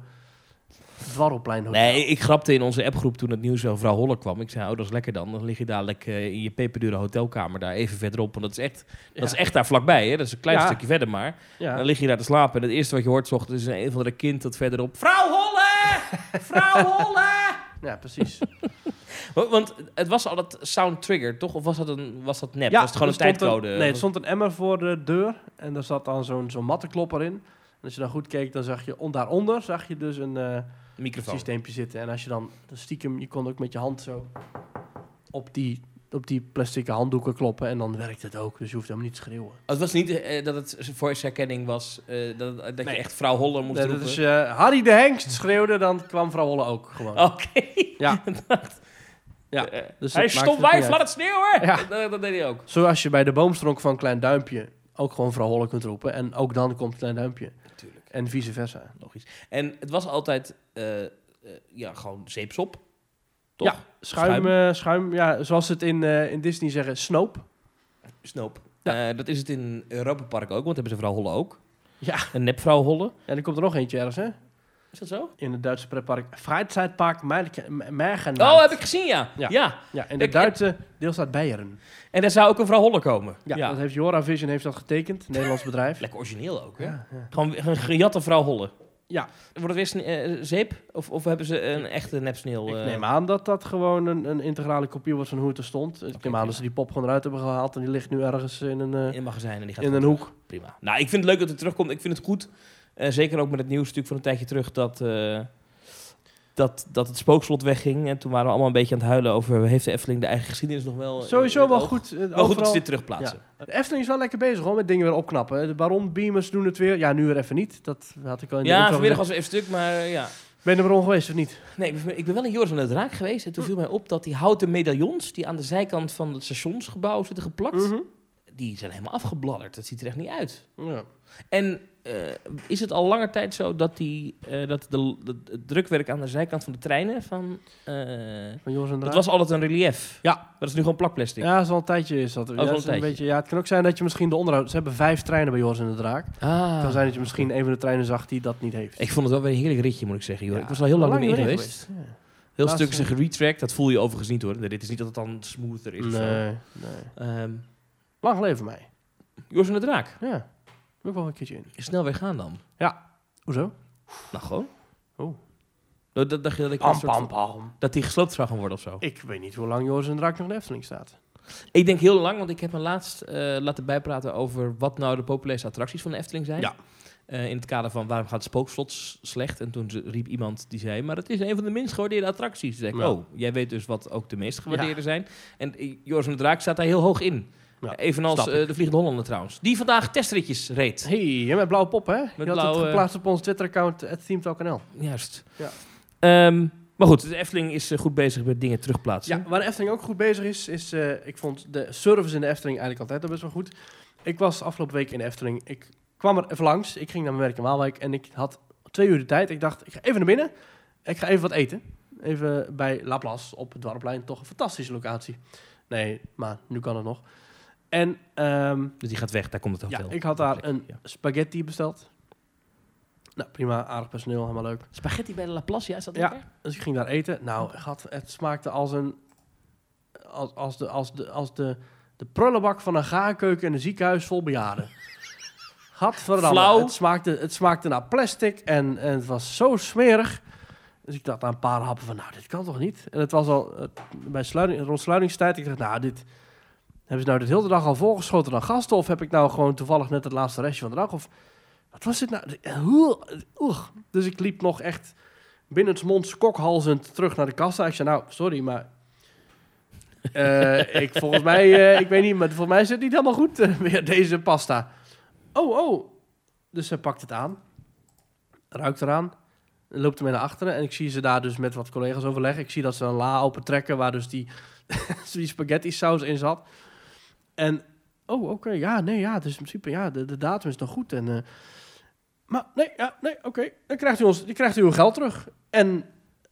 B: Dwarrelplein Hotel.
C: Nee, ik grapte in onze appgroep toen het nieuws over vrouw Holler kwam. Ik zei, oh, dat is lekker dan. Dan lig je dadelijk eh, in je peperdure hotelkamer daar even verderop. Want dat is echt,
B: Ja.
C: dat is echt daar vlakbij. Hè? Dat is een klein
B: Ja.
C: stukje verder maar. Dan
B: Ja.
C: lig je daar te slapen en het eerste wat je hoort 's ochtends is een een van de kind dat verderop...
D: Vrouw Holle!
C: *laughs*
D: Vrouw Holle!
B: ja, precies.
C: Wa- Want het was al dat sound trigger, toch? Of was dat, een, was dat nep?
B: ja,
C: was het gewoon
B: er
C: een
B: stond
C: tijdcode?
B: nee, er stond een emmer voor de deur en daar zat dan zo'n zo'n mattenklopper in. En als je dan goed keek, dan zag je on, daaronder zag je dus een eh,
C: microfoon.
B: systeempje zitten. En als je dan dan stiekem, je kon ook met je hand zo op die, op die plastic handdoeken kloppen en dan werkt het ook. Dus je hoeft helemaal niet te schreeuwen.
C: Oh, het was niet eh, dat het voice herkenning was, eh, dat, dat
B: Nee.
C: je echt vrouw Holler moest
B: Nee, dat
C: roepen.
B: is, eh, Harry de Hengst schreeuwde, dan kwam vrouw Holle ook gewoon.
C: Oké.
B: eh,
C: *laughs*
B: Ja. Ja,
C: Eh,
B: dus
C: hij
B: dat maakt
C: stond
B: het niet
C: wijf,
B: uit.
C: laat het sneeuwen!
B: Ja.
C: Dat, dat deed hij ook.
B: Zoals je bij de boomstronk van Klein Duimpje ook gewoon vrouw Holle kunt roepen. En ook dan komt Klein Duimpje.
C: Natuurlijk.
B: En vice versa.
C: Logisch. En het was altijd, eh, eh, ja, gewoon zeepsop. Toch?
B: Ja. Schuim, schuim. schuim ja, zoals ze het in, eh, in Disney zeggen, snoop.
C: Snoop. Eh, dat is het in Europa Park ook, want hebben ze vrouw Holle ook.
B: Ja.
C: Een nepvrouw Holle.
B: En er komt er nog eentje ergens, hè?
C: Is dat zo?
B: In het Duitse pretpark Freizeitpark Mergen.
C: Oh, heb ik gezien, ja.
B: Ja.
C: ja.
B: Ja, in de
C: Ik-
B: Duitse deelstaat Beieren.
C: En daar zou ook een vrouw Holler komen.
B: Ja, dat heeft Jora Vision heeft dat getekend, een Nederlands bedrijf.
C: *laughs* Lekker origineel ook, hè?
B: Ja, ja.
C: Gewoon een gejatte vrouw Holle.
B: Ja.
C: Wordt het weer sne- eh, zeep? Of, of hebben ze een echte nepsneeuw?
B: Ik
C: eh,
B: neem aan dat dat gewoon een, een integrale kopie wordt van hoe het er stond. Ik neem aan dat ze die pop gewoon eruit hebben gehaald en die ligt nu ergens in een, eh,
C: in een magazijn en die gaat
B: in
C: gewoon
B: een hoek.
C: Prima. Nou, ik vind het leuk dat het terugkomt. Ik vind het goed. Eh, zeker ook met het nieuws natuurlijk van een tijdje terug dat, eh, dat, dat het spookslot wegging. En toen waren we allemaal een beetje aan het huilen over... heeft de Efteling de eigen geschiedenis nog wel... in- in
B: Sowieso
C: het
B: wel
C: oog?
B: goed. eh,
C: Wel goed dat
B: overal.
C: ze dit terugplaatsen.
B: De Efteling is wel lekker bezig hoor, met dingen weer opknappen. De Baron Beamers doen het weer. Ja, nu weer even niet. Dat had ik al in
C: Ja,
B: de intro
C: vanmiddag
B: gezegd.
C: was er even stuk, maar eh, ja.
B: Ben je er Baron geweest of niet?
C: Nee, ik ben, ik ben wel in Joris van het Raak geweest. En toen viel mij op dat die houten medaillons... die aan de zijkant van het stationsgebouw zitten geplakt...
B: Mhm.
C: die zijn helemaal afgebladderd. Dat ziet er echt niet uit.
B: Ja.
C: En eh, is het al langer tijd zo dat, die, eh, dat de, de- het drukwerk aan de zijkant van de treinen van... eh,
B: Van Joris en de
C: dat
B: Raak.
C: was altijd een relief.
B: Ja.
C: Maar dat is nu gewoon plakplastic.
B: Ja, dat is al een tijdje. Is dat. Ja,
C: al
B: dat
C: een
B: is een
C: tijdje.
B: beetje, ja, het kan ook zijn dat je misschien de onderhoud... Ze hebben vijf treinen bij Joris en de Draak. Het
C: Ah.
B: kan zijn dat je misschien een van de treinen zag die dat niet heeft.
C: Ik vond het wel weer een heerlijk ritje, moet ik zeggen. Joh.
B: Ja,
C: ik was al heel lang, niet meer in
B: weer
C: geweest. Heel
B: Laatst,
C: stuk is geretracked. Dat voel je overigens niet hoor. De rit is niet dat het dan smoother is. of zo.
B: Nee, nee.
C: Ehm,
B: Lang leven mij.
C: Joris en de Draak.
B: Ja. Wil ik wel een keertje in.
C: Snel weer gaan dan.
B: Hoezo?
C: Nou, gewoon. Oh,
B: Oeh.
C: Dat, dat, dat, dat, ik een
B: Oh. Pam,
C: soort
B: pam,
C: van-
B: pam.
C: dat die gesloopt zou gaan worden of zo.
B: Ik weet niet hoe lang Joris en de Draak nog in de Efteling staat.
C: Ik denk heel lang, want ik heb me laatst eh, laten bijpraten over wat nou de populairste attracties van de Efteling zijn.
B: Ja.
C: Eh, in het kader van waarom gaat het spookslot s- slecht? En toen ze- riep iemand die zei, maar het is een van de minst gewaardeerde attracties. Toen zei ik,
B: Ja.
C: oh, jij weet dus wat ook de meest gewaardeerde
B: Ja.
C: zijn. En eh, Joris van de Draak staat daar heel hoog in.
B: Ja,
C: Evenals
B: snap
C: eh, de Vliegende Hollander trouwens. Die vandaag testritjes reed.
B: hey, en met blauwe pop, hè? Je had
C: blauwe-
B: het geplaatst op ons Twitter-account, at themetalk.nl.
C: Juist.
B: Ja.
C: Ehm, maar goed, de Efteling is eh, goed bezig met dingen terugplaatsen.
B: Ja, waar de Efteling ook goed bezig is, is eh, ik vond de service in de Efteling eigenlijk altijd al best wel goed. Ik was afgelopen week in de Efteling. Ik kwam er even langs. Ik ging naar mijn werk in Waalwijk en ik had twee uur de tijd. Ik dacht, ik ga even naar binnen. Ik ga even wat eten. Even bij Laplace op het Dwarplein. Toch een fantastische locatie. Nee, maar nu kan het nog. En ehm,
C: Dus die gaat weg, daar komt het hotel.
B: ja, ik had daar
C: Lekker,
B: een
C: ja.
B: spaghetti besteld. Nou, prima. Aardig personeel, helemaal leuk.
C: Spaghetti bij de Laplace, ja, is dat
B: Ja.
C: lekker?
B: Dus ik ging daar eten. Nou, gat, het smaakte als een. Als, als de, als de, als de, de prullenbak van een gaarkeuken in een ziekenhuis vol bejaarden.
C: Flauw.
B: Gadverdamme. Het smaakte, het smaakte naar plastic en, en het was zo smerig. Dus ik dacht na een paar happen van, nou, dit kan toch niet? En het was al eh, bij sluiting, rond sluitingstijd. Ik dacht, nou, dit... Hebben ze nou dit hele dag al volgeschoten aan gasten? Of heb ik nou gewoon toevallig net het laatste restje van de dag? Of wat was dit nou? Oeh, oeh. Dus ik liep nog echt binnensmonds kokhalzend terug naar de kassa. Ik zei, nou, sorry, maar... eh, ik, volgens mij, eh, ik weet niet, maar volgens mij zit het niet helemaal goed eh, *laughs* weer deze pasta. Oh, oh. Dus ze pakt het aan. Ruikt eraan. Loopt ermee naar achteren. En ik zie ze daar dus met wat collega's overleggen. Ik zie dat ze een la open trekken waar dus die, *laughs* die spaghetti saus in zat. En, oh, oké, ja, nee, ja, dus in principe, ja, de, de datum is nog goed. En, eh, maar nee, ja, nee, oké. Dan krijgt u ons, dan krijgt u uw geld terug. En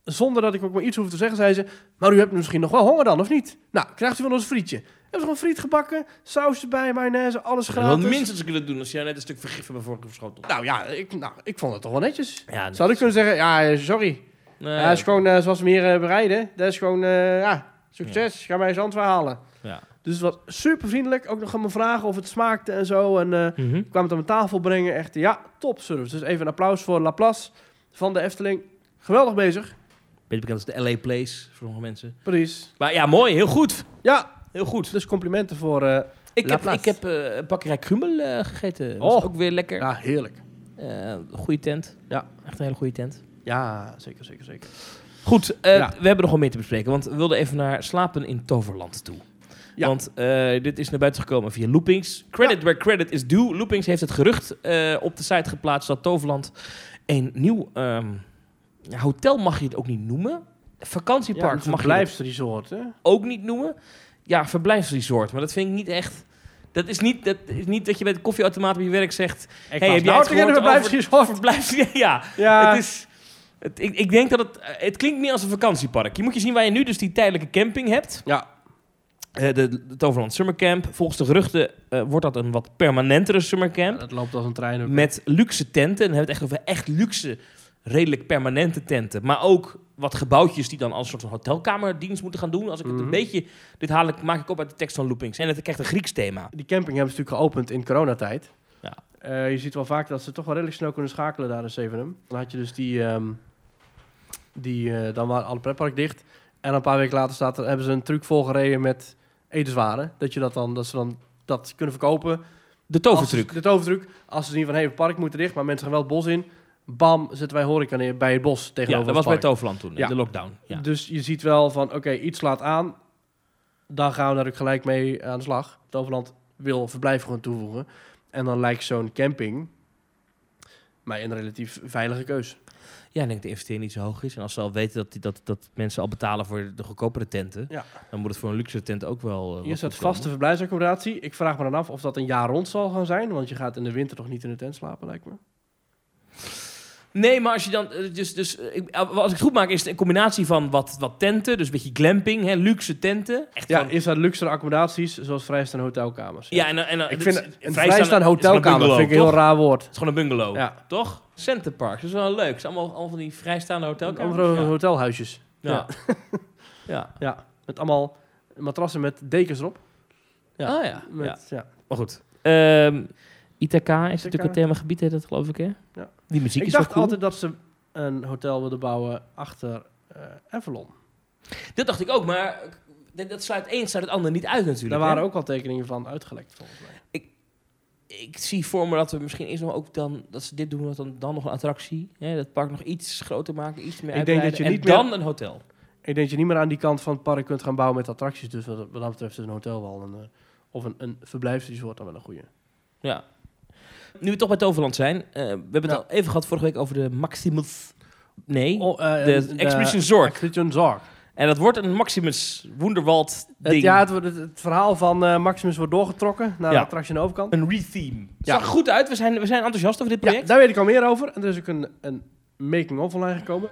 B: zonder dat ik ook maar iets hoef te zeggen, zei ze... Maar u hebt misschien nog wel honger dan, of niet? Nou, krijgt u van ons frietje. Hebben ze gewoon friet gebakken, saus erbij, mayonaise, alles
C: Dat had
B: gratis.
C: minstens kunnen doen als jij net een stuk vergif van voor geschoten.
B: Nou ja, ik, nou, ik vond het toch wel netjes.
C: Ja, nee.
B: Zou ik kunnen zeggen, ja, eh, sorry.
C: Nee,
B: Ja, is gewoon eh, zoals we hem hier eh, bereiden. Dat is gewoon, eh, ja, succes. Ga mij eens antwoord halen.
C: Ja.
B: Dus het was super vriendelijk. Ook nog aan me vragen of het smaakte en zo. En eh
C: Mhm.
B: kwam het aan mijn tafel brengen. Echt, ja, top service. Dus even een applaus voor Laplace van de Efteling. Geweldig bezig.
C: Beter bekend als de LA Place voor sommige mensen.
B: Precies.
C: Maar ja, mooi. Heel goed.
B: Ja,
C: Heel goed.
B: dus complimenten voor... eh,
C: Ik heb, ik
B: Laplace.
C: heb eh, bakkerij Krummel eh, gegeten. Was
B: Oh.
C: ook weer lekker.
B: ja, heerlijk.
C: Eh, goeie tent.
B: Ja.
C: Echt een hele goede tent.
B: Ja, zeker, zeker, zeker.
C: Goed, eh,
B: Ja.
C: we hebben nog wel meer te bespreken. Want we wilden even naar slapen in Toverland toe.
B: Ja.
C: Want eh, dit is naar buiten gekomen via Loopings. Credit where credit is due. Loopings heeft het gerucht eh, op de site geplaatst dat Toverland een nieuw ehm, ja, hotel mag je het ook niet noemen.
B: Ja,
C: Vakantiepark
B: een
C: mag je het
B: verblijfsresort, hè?
C: ook niet noemen. Ja, verblijfsresort. Maar dat vind ik niet echt. Dat is niet dat, is niet dat je bij de koffieautomaat op je werk zegt.
B: Ik
C: heb
B: was
C: jij
B: nou
C: het
B: tegen een
C: gehoord
B: verblijfsresort.
C: Verblijf, ja,
B: Ja,
C: *laughs* het is. Het, ik, ik denk dat het. eh, Het klinkt meer als een vakantiepark. Je moet je zien waar je nu dus die tijdelijke camping hebt.
B: ja.
C: Eh, de, de Toverland Summercamp. Volgens de geruchten eh, wordt dat een wat permanentere summercamp.
B: dat loopt als een trein. ook.
C: Met luxe tenten. En dan hebben we het echt over echt luxe, redelijk permanente tenten. Maar ook wat gebouwtjes die dan als soort van hotelkamerdienst moeten gaan doen. Als ik het een
B: Mhm.
C: beetje... Dit haal ik, maak ik op uit de tekst van Loopings. En het krijgt een Grieks thema.
B: die camping hebben ze natuurlijk geopend in coronatijd.
C: Ja.
B: Eh, je ziet wel vaak dat ze toch wel redelijk snel kunnen schakelen daar in Zevenum. Dan had je dus die, ehm, die eh, dan waren alle pretpark dicht. En een paar weken later staat er, hebben ze een truc volgereden met etenswaren. Dat, je dat, dan, dat ze dan dat kunnen verkopen.
C: De tovertruc.
B: Als, de tovertruc. Als ze zien van, hé, het park moet dicht, maar mensen gaan wel het bos in. Bam, zetten wij horeca neer bij het bos
C: Ja,
B: tegenover
C: dat
B: het
C: was bij
B: park.
C: Toverland toen. in
B: Ja.
C: De lockdown. Ja.
B: Dus je ziet wel van, oké, iets slaat aan. Dan gaan we daar ook gelijk mee aan de slag. Toverland wil verblijf gewoon toevoegen. En dan lijkt zo'n camping mij een relatief veilige keus.
C: Ja, ik denk dat de investering niet zo hoog is. En als ze al weten dat, die, dat, dat mensen al betalen voor de goedkopere tenten,
B: Ja.
C: dan moet het voor een luxe tent ook wel. eh, wat
B: Hier staat
C: goedkomer.
B: vaste verblijfsaccommodatie. Ik vraag me dan af of dat een jaar rond zal gaan zijn. Want je gaat in de winter toch niet in de tent slapen, lijkt me.
C: Nee, maar als je dan. eh, Dus, dus, eh, ik- als ik het goed maak, is het een combinatie van wat, wat tenten, dus een beetje glamping, hè, luxe tenten. Echt
B: Ja,
C: gewoon-
B: is dat luxere accommodaties, zoals vrijstaande hotelkamers.
C: ja, en, en,
B: ik
C: het
B: vind
C: is-
B: een
C: vrijstaande- het is gewoon
B: vrijstaande hotelkamer
C: bungalow,
B: vind ik een heel
C: toch?
B: raar woord.
C: Het is gewoon een bungalow,
B: Ja,
C: toch? Centerpark, dat is wel leuk. Het zijn allemaal, allemaal van die vrijstaande hotelkamers.
B: andere
C: Ja.
B: hotelhuisjes.
C: Ja.
B: *laughs*
C: Ja.
B: Met allemaal matrassen met dekens erop.
C: Ja. Ah ja. ja.
B: Met, ja.
C: Maar goed. Ehm, Ithaca is natuurlijk
B: Ithaca.
C: een themagebied, heet dat geloof ik, hè?
B: Ja.
C: Die muziek
B: Ik
C: is wel
B: dacht
C: cool.
B: altijd dat ze een hotel wilden bouwen achter eh Avalon.
C: Dat dacht ik ook, maar dat, dat sluit één sluit het ander niet uit natuurlijk.
B: Daar
C: hè?
B: waren ook al tekeningen van uitgelekt, volgens mij.
C: Ik zie voor me dat we misschien eerst nog ook dan... dat ze dit doen, dat dan, dan nog een attractie. Hè, dat park nog iets groter maken, iets meer
B: Ik denk
C: uitbreiden.
B: dat je niet
C: en
B: meer-
C: dan een hotel.
B: Ik denk dat je niet meer aan die kant van het park kunt gaan bouwen met attracties. Dus wat, wat dat betreft is een hotel wel een... eh, of een, een verblijfsresort dan wel een goede.
C: Ja. Nu we toch bij Toverland zijn. eh, we hebben het
B: Ja.
C: al even gehad vorige week over de Maximus... Nee,
B: Oh, eh,
C: de Expedition Zorg.
B: Expedition Zorg.
C: En dat wordt een Maximus Wonderwald
B: Het,
C: ding.
B: ja, het, wordt- het- het verhaal van eh, Maximus wordt doorgetrokken naar
C: Ja.
B: de attractie aan de overkant.
C: Een retheme.
B: Ja.
C: Zag er goed uit. We zijn, we zijn enthousiast over dit
B: Ja,
C: project.
B: daar weet ik al meer over. En er is ook een, een making-of online gekomen.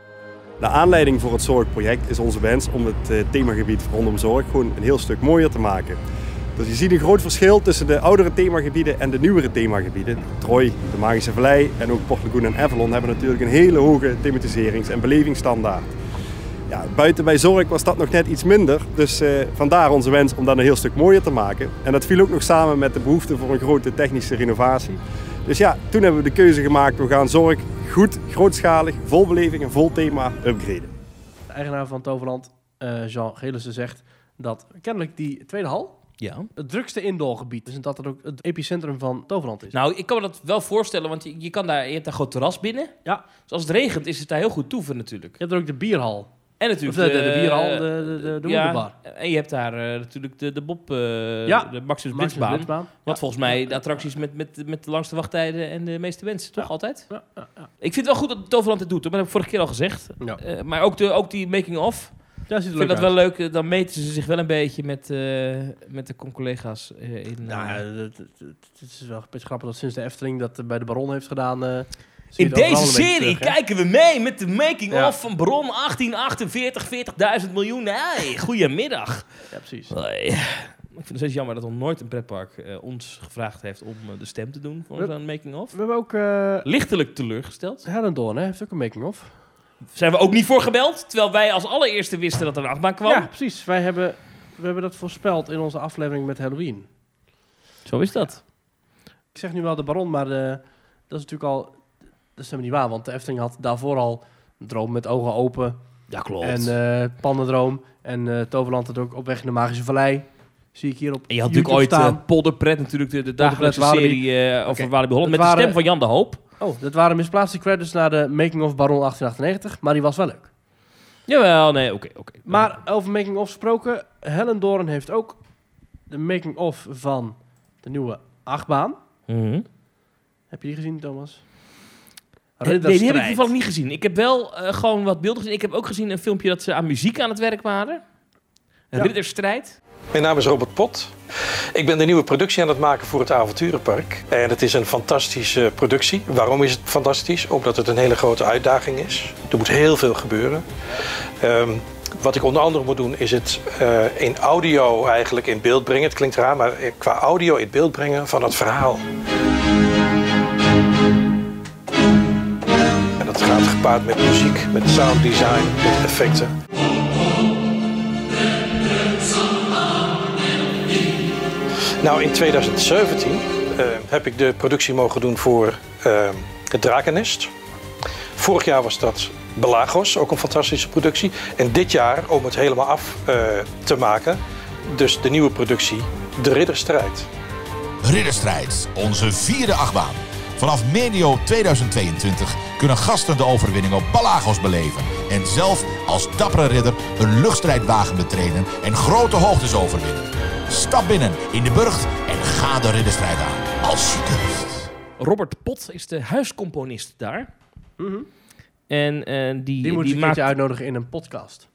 E: De aanleiding voor het zorgproject is onze wens om het eh, themagebied rondom zorg gewoon een heel stuk mooier te maken. Dus je ziet een groot verschil tussen de oudere themagebieden en de nieuwere themagebieden. Troy, de Magische Vallei en ook Port Lagoon en Avalon hebben natuurlijk een hele hoge thematiserings- en belevingsstandaard. Ja, buiten bij zorg was dat nog net iets minder, dus eh, vandaar onze wens om dat een heel stuk mooier te maken. En dat viel ook nog samen met de behoefte voor een grote technische renovatie. Dus ja, toen hebben we de keuze gemaakt, we gaan zorg goed, grootschalig, vol beleving en vol thema upgraden.
B: De eigenaar van Toverland, eh, Jean Gelissen, zegt dat kennelijk die tweede hal
C: Ja.
B: het drukste indoorgebied is. En dat het ook het epicentrum van Toverland is.
C: Nou, ik kan me dat wel voorstellen, want je, je, kan daar, je hebt daar een groot terras binnen.
B: Ja.
C: Dus als het regent is het daar heel goed toeven natuurlijk.
B: Je hebt er ook de bierhal.
C: En
B: Of
C: natuurlijk
B: de, de, de bierhal,
C: eh,
B: de, de, de, de
C: ja,
B: wonderbar.
C: en je hebt daar eh, natuurlijk de, de Bob, eh,
B: Ja.
C: de Maximus
B: Maximus
C: Blitzbaan.
B: Blitzbaan.
C: Wat volgens mij de attracties met, met, met de langste wachttijden en de meeste mensen, toch
B: Ja.
C: altijd?
B: Ja, ja, ja.
C: Ik vind het wel goed dat Toverland dit doet, hoor, maar dat heb ik vorige keer al gezegd.
B: Ja.
C: Eh, maar ook, de, ook die making-of,
B: Ja, ziet
C: ik
B: er
C: vind
B: leuk
C: dat
B: uit.
C: wel leuk. eh, Dan meten ze zich wel een beetje met, eh, met de collega's eh, in...
B: Nou,
C: eh,
B: ja, het, het- het- het is wel een beetje grappig dat sinds de Efteling dat eh, bij de Baron heeft gedaan... eh, zie je
C: In
B: het overal
C: deze
B: een beetje
C: serie
B: terug, hè?
C: kijken we mee met de making
B: Ja.
C: of van Bron 1848, 40.000 miljoen. Hey, goedemiddag.
B: Ja, precies.
C: Hey. Ik vind het steeds jammer dat nog nooit een pretpark eh, ons gevraagd heeft om eh, de stem te doen voor
B: Hup.
C: zo'n making of.
B: We hebben ook... eh
C: Lichtelijk teleurgesteld.
B: Hellendoorn, hè, heeft ook een making-of.
C: Zijn we ook niet voor gebeld, terwijl wij als allereerste wisten dat er een achtbaan kwam.
B: Ja, precies. Wij hebben, we hebben dat voorspeld in onze aflevering met Halloween.
C: Zo is dat.
B: Ik zeg nu wel de Baron, maar eh, dat is natuurlijk al... Dat is helemaal niet waar, want de Efteling had daarvoor al een droom met ogen open.
C: Ja, klopt.
B: En
C: En,
B: eh Pannendroom. En eh, Toverland had ook op weg in de Magische Vallei. Zie ik hier op
C: je had
B: YouTube
C: natuurlijk ooit eh,
B: staan.
C: Polderpret, natuurlijk de, de dagelijkse
B: Walibi.
C: serie eh, over
B: Oké.
C: Walibi Holland,
B: Dat
C: met de stem
B: waren-
C: van Jan de Hoop.
B: Oh, dat waren misplaatste credits naar de Making of Baron 1898. Maar die was wel leuk.
C: Jawel, nee, oké, oké.
B: Maar over Making of gesproken. Helen Doorn heeft ook de Making of van de nieuwe achtbaan.
C: Mhm.
B: Heb je die gezien, Thomas?
C: Nee, die heb ik
B: Ridderstrijd.
C: toevallig niet gezien. Ik heb wel eh, gewoon wat beelden gezien. Ik heb ook gezien een filmpje dat ze aan muziek aan het werk waren. Een
B: Ja.
C: ridderstrijd.
F: Mijn naam is Robert Pot. Ik ben de nieuwe productie aan het maken voor het Avonturenpark. En het is een fantastische productie. Waarom is het fantastisch? Omdat het een hele grote uitdaging is. Er moet heel veel gebeuren. Ehm, wat ik onder andere moet doen is het eh, in audio eigenlijk in beeld brengen. Het klinkt raar, maar eh, qua audio in beeld brengen van het verhaal. En dat gaat gepaard met muziek, met sound design, met effecten. Nou, in 2017 eh, heb ik de productie mogen doen voor eh, het Drakennest. Vorig jaar was dat Belagos, ook een fantastische productie. En dit jaar, om het helemaal af eh, te maken, dus de nieuwe productie De Ridderstrijd.
G: Ridderstrijd, onze vierde achtbaan. Vanaf medio 2022 kunnen gasten de overwinning op Balagos beleven. En zelf als dappere ridder een luchtstrijdwagen betreden en grote hoogtes overwinnen. Stap binnen in de burcht en ga de ridderstrijd aan, als je durft.
C: Robert Pot is de huiscomponist daar.
B: Mhm.
C: En eh, die,
B: Die
C: die,
B: moet je een
C: maakt...
B: keertje uitnodigen in een podcast.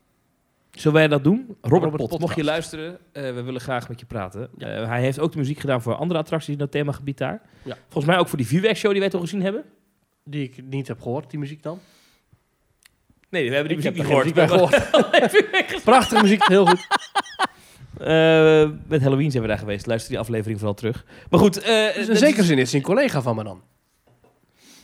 C: Zullen wij dat doen? Robert,
B: Robert
C: Pot,
B: Podcast.
C: mocht je luisteren, eh, we willen graag met je praten. Eh, hij heeft ook de muziek gedaan voor andere attracties in dat themagebied daar.
B: Ja.
C: Volgens mij ook voor die vuurwerkshow die wij toch gezien hebben?
B: Die ik niet heb gehoord, die muziek dan.
C: Nee, we hebben die
B: Ik heb
C: muziek niet
B: er geen
C: gehoord.
B: muziek bij
C: *laughs*
B: gehoord. Prachtige muziek, heel goed.
C: Eh, met Halloween zijn we daar geweest. Luister die aflevering vooral terug. Maar goed, eh,
B: Dus
C: dat
B: in
C: is-
B: zekere zin is hij een collega van me dan.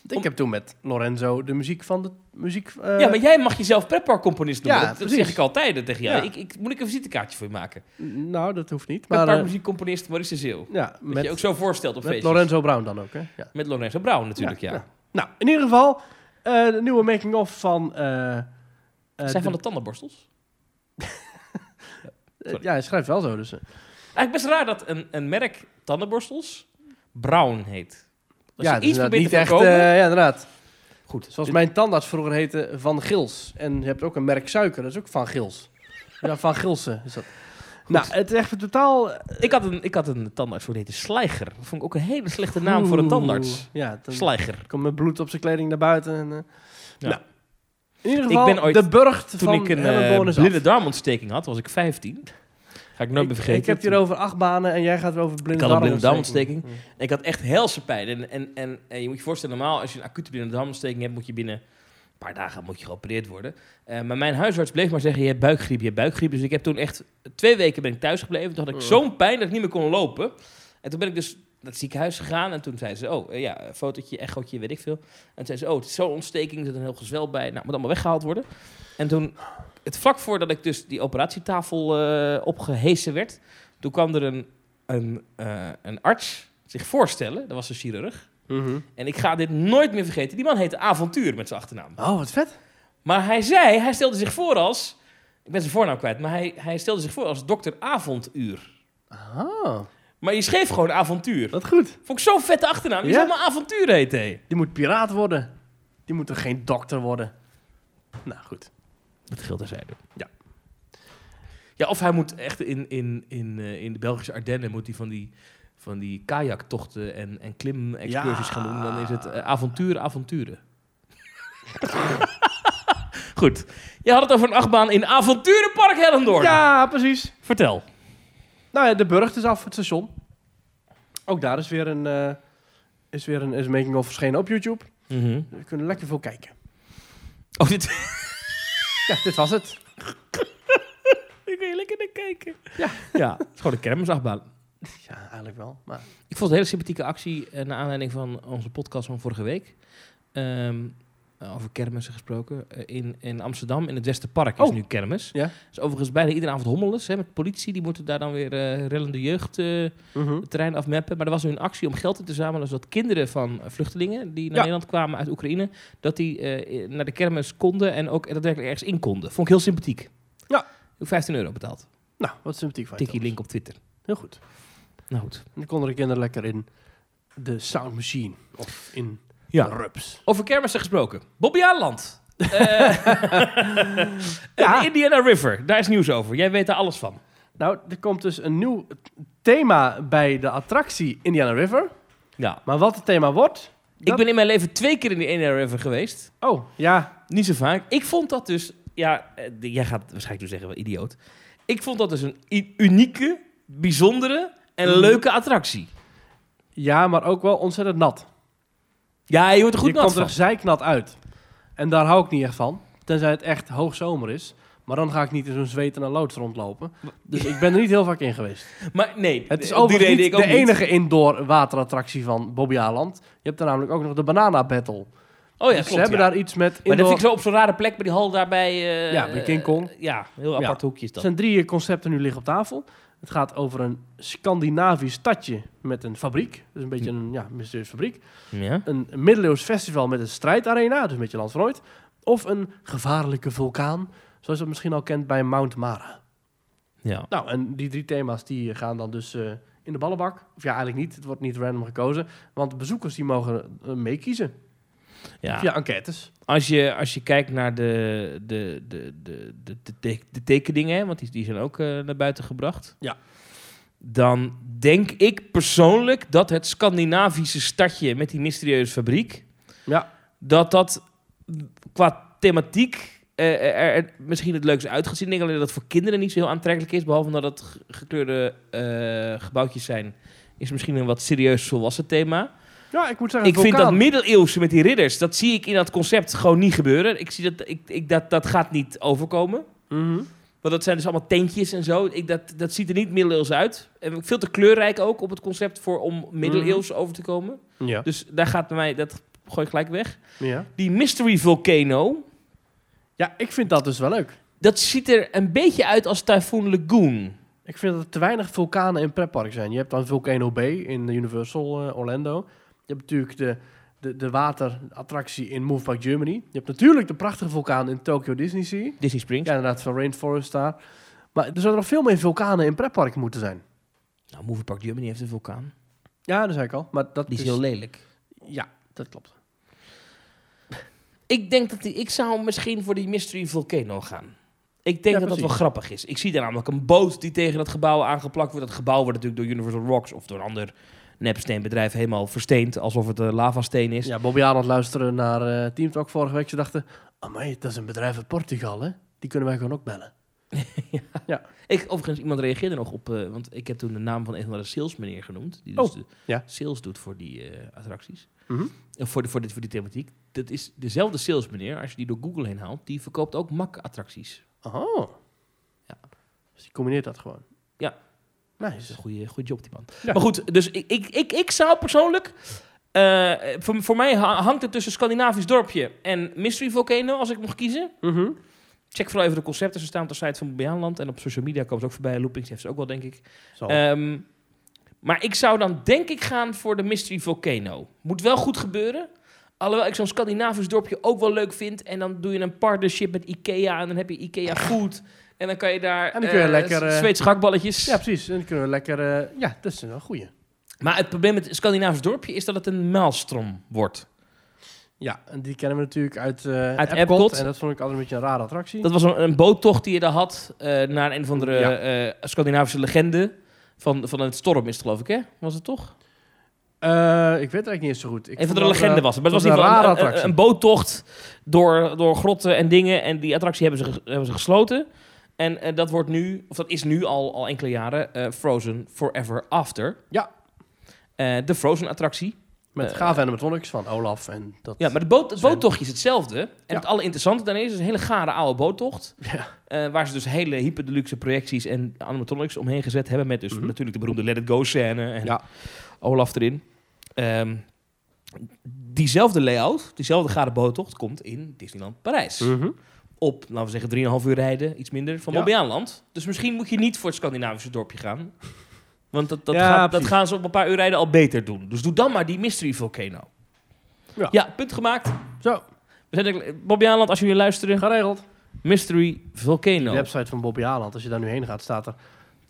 B: Ik heb toen met Lorenzo de muziek van de muziek. eh,
C: ja, maar jij mag jezelf pretparkcomponist noemen.
B: Ja,
C: dat, dat
B: precies.
C: zeg ik altijd eh, tegen jou.
B: Ja.
C: Ik, ik, moet ik een visitekaartje voor je maken?
B: Nou, dat hoeft niet. Maar eh,
C: Pretparkmuziekcomponist Maurice de Zeeuw.
B: ja,
C: Dat
B: met,
C: je ook zo voorstelt op
B: met
C: feestjes.
B: Lorenzo Brown dan ook. Hè? Ja.
C: Met Lorenzo Brown natuurlijk, ja.
B: Ja, Nou, in ieder geval, eh, de nieuwe making-of van... eh, eh,
C: Zijn van de tandenborstels. sorry.
B: Ja, hij schrijft wel zo. Dus, eh.
C: Eigenlijk best raar dat een, een merk tandenborstels Brown heet. Als
B: ja,
C: je
B: dus
C: iets
B: inderdaad
C: probeert
B: niet
C: te
B: echt...
C: verkopen...
B: eh, ja, inderdaad.
C: goed,
B: Zoals mijn tandarts vroeger heette Van Gils. En je hebt ook een merk suiker, dat is ook Van Gils. Ja, Van Gilsen is dat. Nou, het is echt totaal...
C: Ik had een, ik had een tandarts, hoe die heette Slijger. Dat vond ik ook een hele slechte naam voor een tandarts.
B: Ja, dan
C: Slijger.
B: komt met bloed op zijn kleding naar buiten. En, eh,
C: Ja.
B: nou, in ieder
C: Ik
B: geval,
C: ben ooit-
B: de burcht
C: Toen
B: van
C: ik een
B: Ellen
C: eh
B: Born is af.
C: blinde darmontsteking had, was ik 15. Ga ik nooit meer vergeten.
B: Ik heb hier over acht banen en jij gaat weer over blinde
C: Ik had een blinde Mm.
B: darmontsteking.
C: Ik had echt helse pijn. En, en, en, en je moet je voorstellen, normaal als je een acute blinde darmontsteking hebt, moet je binnen een paar dagen moet je geopereerd worden. Eh, maar mijn huisarts bleef maar zeggen, je hebt buikgriep, je hebt buikgriep. Dus ik heb toen echt twee weken ben ik thuis gebleven. Toen had
B: Mm.
C: ik zo'n pijn dat ik niet meer kon lopen. En toen ben ik dus naar het ziekenhuis gegaan. En toen zeiden ze, oh eh, ja, fotootje, echootje, weet ik veel. En toen zeiden ze, oh, het is zo'n ontsteking, er zit een heel gezwel bij. Nou, moet allemaal weggehaald worden. En toen, het vlak voordat ik dus die operatietafel eh, opgehesen werd... toen kwam er een, een, eh, een arts zich voorstellen. Dat was een chirurg.
B: Mhm.
C: En ik ga dit nooit meer vergeten. Die man heette Avontuur met zijn achternaam.
B: Oh, wat vet.
C: Maar hij zei, hij stelde zich voor als... Ik ben zijn voornaam kwijt, maar hij, hij stelde zich voor als dokter Avontuur.
B: Ah,
C: Maar je schreef gewoon Avontuur.
B: wat goed.
C: Vond ik zo'n vette achternaam. Die
B: Ja?
C: zou maar Avontuur heten. hé.
B: Die moet piraat worden. Die moet er geen dokter worden. Nou goed.
C: Dat geldt terzijde.
B: Ja.
C: Ja, of hij moet echt in, in, in, eh, in de Belgische Ardennen moet hij van die, van die kajaktochten en, en klimexcursies
B: Ja.
C: gaan doen. Dan is het eh, avonturen, avonturen. *laughs* Goed. Je had het over een achtbaan in Avonturenpark Hellendoorn.
B: Ja, precies.
C: Vertel.
B: Nou ja, de burcht is af, het station. Ook daar is weer een, eh, is weer een, is een making of verschenen op YouTube.
C: Mhm.
B: We kunnen lekker veel kijken.
C: Oh, dit...
B: Ja, dit was het.
C: *laughs* Ik wil je lekker naar kijken.
B: Ja.
C: ja, het is gewoon een kermisachtbaan.
B: Ja, eigenlijk wel. Maar
C: Ik vond het een hele sympathieke actie eh, naar aanleiding van onze podcast van vorige week. Ehm, eh, over kermissen gesproken. Eh, in, in Amsterdam, in het Westerpark, is
B: Oh.
C: nu kermis.
B: Ja.
C: Dus overigens bijna iedere avond hommeles. Hè, met politie, die moeten daar dan weer eh, rellende jeugd eh, het terrein afmappen. Maar er was nu een actie om geld in te zamelen... zodat kinderen van eh, vluchtelingen die naar
B: Ja.
C: Nederland kwamen uit Oekraïne... dat die eh, eh, naar de kermis konden en ook daadwerkelijk ergens in konden. Vond ik heel sympathiek.
B: Ja.
C: Ik heb 15 euro betaald.
B: nou, wat sympathiek van je.
C: Tikkie link op Twitter.
B: Heel goed.
C: Nou goed.
B: En dan konden de kinderen lekker in de sound machine. Of in
C: Ja.
B: de rups.
C: Over kermissen gesproken. Bobby Aland. Eh,
B: *laughs*
C: De Indiana River. Daar is nieuws over. Jij weet daar alles van.
B: Nou, er komt dus een nieuw thema bij de attractie Indiana River.
C: Ja.
B: Maar wat het thema wordt...
C: Nou, Ik ben in mijn leven twee keer in de Indiana River geweest.
B: Oh, ja.
C: Niet zo vaak. Ik vond dat dus... Ja, eh, d- jij gaat waarschijnlijk nu zeggen, wel idioot. Ik vond dat dus een i- unieke, bijzondere
B: Mm.
C: en leuke attractie.
B: Ja, maar ook wel ontzettend nat.
C: Ja, je wordt er goed
B: je
C: nat
B: komt
C: van.
B: er zeiknat uit. En daar hou ik niet echt van. Tenzij het echt hoogzomer is. Maar dan ga ik niet in zo'n zweet en een loods rondlopen. Dus ik ben er niet heel vaak in geweest.
C: Maar nee,
B: Het is
C: eh, die
B: overigens
C: reden
B: niet
C: ik
B: de
C: ook niet.
B: enige indoor waterattractie van Bobby Aland. Je hebt er namelijk ook nog de Banana Battle.
C: Oh
B: Dus
C: ja,
B: ze
C: klopt,
B: hebben
C: ja.
B: daar iets met
C: Maar
B: indoor...
C: dat vind ik zo op zo'n rare plek bij die hal daarbij... eh,
B: Ja, bij King Kong.
C: eh, Ja, heel apart hoekje is
B: Er
C: dat.
B: zijn drie concepten nu liggen op tafel. Het gaat over een Scandinavisch stadje met een fabriek. Dus een
C: Hm.
B: beetje een ja, mysterieuze fabriek.
C: Ja.
B: Een middeleeuws festival met een strijdarena. Dus een beetje land van ooit. Of een gevaarlijke vulkaan. Zoals je dat misschien al kent bij Mount Mara.
C: ja.
B: Nou, en die drie thema's die gaan dan dus eh, in de ballenbak. Of ja, eigenlijk niet. Het wordt niet random gekozen. Want bezoekers die mogen eh, meekiezen
C: Ja.
B: via enquêtes.
C: Als je, als je kijkt naar de, de, de, de, de, de, te- de tekeningen, hè, want die, die zijn ook eh, naar buiten gebracht.
B: Ja.
C: Dan denk ik persoonlijk dat het Scandinavische stadje met die mysterieuze fabriek,
B: Ja.
C: dat dat qua thematiek eh, er, er misschien het leukste uit gaat zien. Ik denk alleen dat het voor kinderen niet zo heel aantrekkelijk is, behalve omdat het ge- gekleurde eh, gebouwtjes zijn. Is misschien een wat serieus volwassen thema.
B: Ja, ik moet zeggen,
C: Ik vind dat
B: vulkaan.
C: middeleeuwse met die ridders, dat zie ik in dat concept gewoon niet gebeuren. Ik zie dat, ik, ik, dat, dat gaat niet overkomen.
B: Mhm.
C: Want dat zijn dus allemaal tentjes en zo. Ik, dat, dat ziet er niet middeleeuws uit. En
B: Mhm.
C: veel te kleurrijk ook op het concept voor, om middeleeuws over te komen.
B: Ja.
C: Dus daar gaat bij mij, dat gooi ik gelijk weg.
B: Ja.
C: Die Mystery Volcano,
B: ja, ik vind dat dus wel leuk.
C: dat ziet er een beetje uit als Typhoon Lagoon.
B: Ik vind dat er te weinig vulkanen in pretpark zijn. Je hebt dan Volcano Bay in Universal eh, Orlando. Je hebt natuurlijk de, de, de waterattractie in Move Park Germany. Je hebt natuurlijk de prachtige vulkaan in Tokyo Disney Sea.
C: Disney Springs.
B: Ja, inderdaad, van Rainforest daar. Maar er zouden nog veel meer vulkanen in pretparken moeten zijn.
C: Nou, Movie Park Germany heeft een vulkaan.
B: Ja, dat zei ik al. Maar dat
C: Die is
B: is-
C: heel lelijk.
B: Ja, dat klopt.
C: Ik denk dat die, ik zou misschien voor die Mystery Volcano gaan. Ik denk
B: Ja,
C: dat dat wel
B: precies.
C: grappig is. Ik zie daar namelijk een boot die tegen dat gebouw aangeplakt wordt. Dat gebouw wordt natuurlijk door Universal Rocks of door een ander nepsteenbedrijf helemaal versteend. Alsof het eh, lavasteen is.
B: Ja, Bobby Arnold luisteren naar eh Team Talk vorige week. Ze dachten, amai, dat is een bedrijf uit Portugal, hè? Die kunnen wij gewoon ook
C: *laughs*
B: bellen.
C: Ik, overigens, iemand reageerde nog op, eh, want ik heb toen de naam van een van de salesmeneer genoemd. Die dus
B: Oh,
C: de
B: ja.
C: sales doet voor die eh, attracties.
B: Mhm.
C: Eh, voor, de, voor, dit voor die thematiek. Dat is dezelfde salesmeneer, als je die door Google heen haalt, die verkoopt ook mak-attracties.
B: Oh.
C: Ja.
B: Dus die combineert dat gewoon.
C: Ja. Dat
B: Nice.
C: is een goede, goede job, die man.
B: Ja.
C: Maar goed, dus ik, ik, ik, ik zou persoonlijk... eh, voor, voor mij ha- hangt het tussen Scandinavisch dorpje en Mystery Volcano, als ik mocht kiezen.
B: Mhm.
C: Check vooral even de concepten. Ze staan op de site van Bejaanland. En op social media komen ze ook voorbij. Loopings heeft ze ook wel, denk ik.
B: Zal.
C: Ehm, maar ik zou dan denk ik gaan voor de Mystery Volcano. Moet wel goed gebeuren. Alhoewel ik zo'n Scandinavisch dorpje ook wel leuk vind. En dan doe je een partnership met Ikea. En dan heb je Ikea Food. En dan kan je daar...
B: En dan kun je
C: eh,
B: lekker, eh,
C: Zweedse gakballetjes.
B: ja, precies. En dan kunnen we lekker... eh, ja, dat is een goeie.
C: Maar het probleem met het Scandinavisch dorpje is dat het een maalstrom wordt.
B: Ja, en die kennen we natuurlijk uit, eh
C: Uit
B: uit
C: Epcot.
B: Epcot, En dat vond ik altijd een beetje een rare attractie.
C: Dat was een, een boottocht die je daar had eh, naar een van de
B: Ja.
C: Scandinavische legende. Van, van een storm is het geloof ik, hè? Was het toch?
B: Eh, ik weet het eigenlijk niet eens zo goed. Ik
C: een van
B: vond
C: de
B: dat,
C: legende
B: eh,
C: was het. Maar het was
B: dat
C: in
B: een
C: ieder
B: rare
C: geval een, een,
B: attractie.
C: een boottocht door, door grotten en dingen. En die attractie hebben ze, ge- hebben ze gesloten. En eh, dat wordt nu, of dat is nu al, al enkele jaren, eh, Frozen Forever After.
B: Ja.
C: Eh, de Frozen attractie.
B: Met
C: eh,
B: gave animatronics van Olaf. En dat...
C: Ja, maar de boot, het
B: Zijn-
C: boottochtje is hetzelfde. En
B: Ja.
C: het allerinteressante daarin is, het is een hele gare oude boottocht.
B: Ja.
C: Eh, waar ze dus hele hyperdeluxe projecties en animatronics omheen gezet hebben. Met dus
B: Mhm.
C: natuurlijk de beroemde Let It Go scène en
B: Ja.
C: Olaf erin. Ehm, diezelfde layout, diezelfde gare boottocht komt in Disneyland Parijs.
B: Mhm.
C: Op, laten we zeggen, 3,5 uur rijden, iets minder, van
B: Ja.
C: Bobbejaanland. Dus misschien moet je niet voor het Scandinavische dorpje gaan. Want dat, dat,
B: Ja,
C: gaat, dat
B: precies.
C: gaan ze op een paar uur rijden al beter doen. Dus doe dan maar die Mystery Volcano.
B: Ja.
C: ja punt gemaakt.
B: Zo,
C: We zijn er- Bobby Haaland, als jullie luisteren.
B: geregeld.
C: Mystery
B: De
C: Volcano.
B: website van Bobby Haaland, als je daar nu heen gaat, staat er...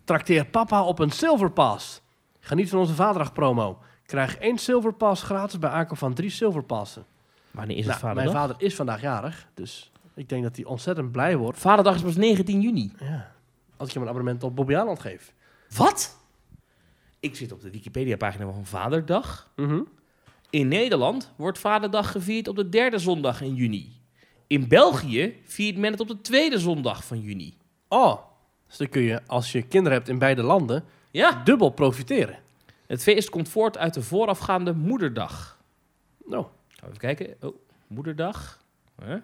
B: Trakteer papa op een Silver Pass. Geniet van onze Vaderdag promo. Krijg één Silver Pass gratis bij aankoop van drie Silver Passen.
C: Wanneer is
B: Nou,
C: het vaderdag?
B: mijn vader is vandaag jarig, dus ik denk dat hij ontzettend blij wordt
C: Vaderdag is pas 19 juni.
B: ja, als ik hem een abonnement op Bobby Haaland geef.
C: Wat? Ik zit op de Wikipedia-pagina van Vaderdag.
B: Mhm.
C: In Nederland wordt Vaderdag gevierd op de derde zondag in juni. In België viert men het op de tweede zondag van juni.
B: Oh, dus dan kun je, als je kinderen hebt in beide landen,
C: Ja,
B: dubbel profiteren.
C: het feest komt voort uit de voorafgaande Moederdag.
B: Nou,
C: Gaan we Even kijken. Oh, Moederdag. Huh?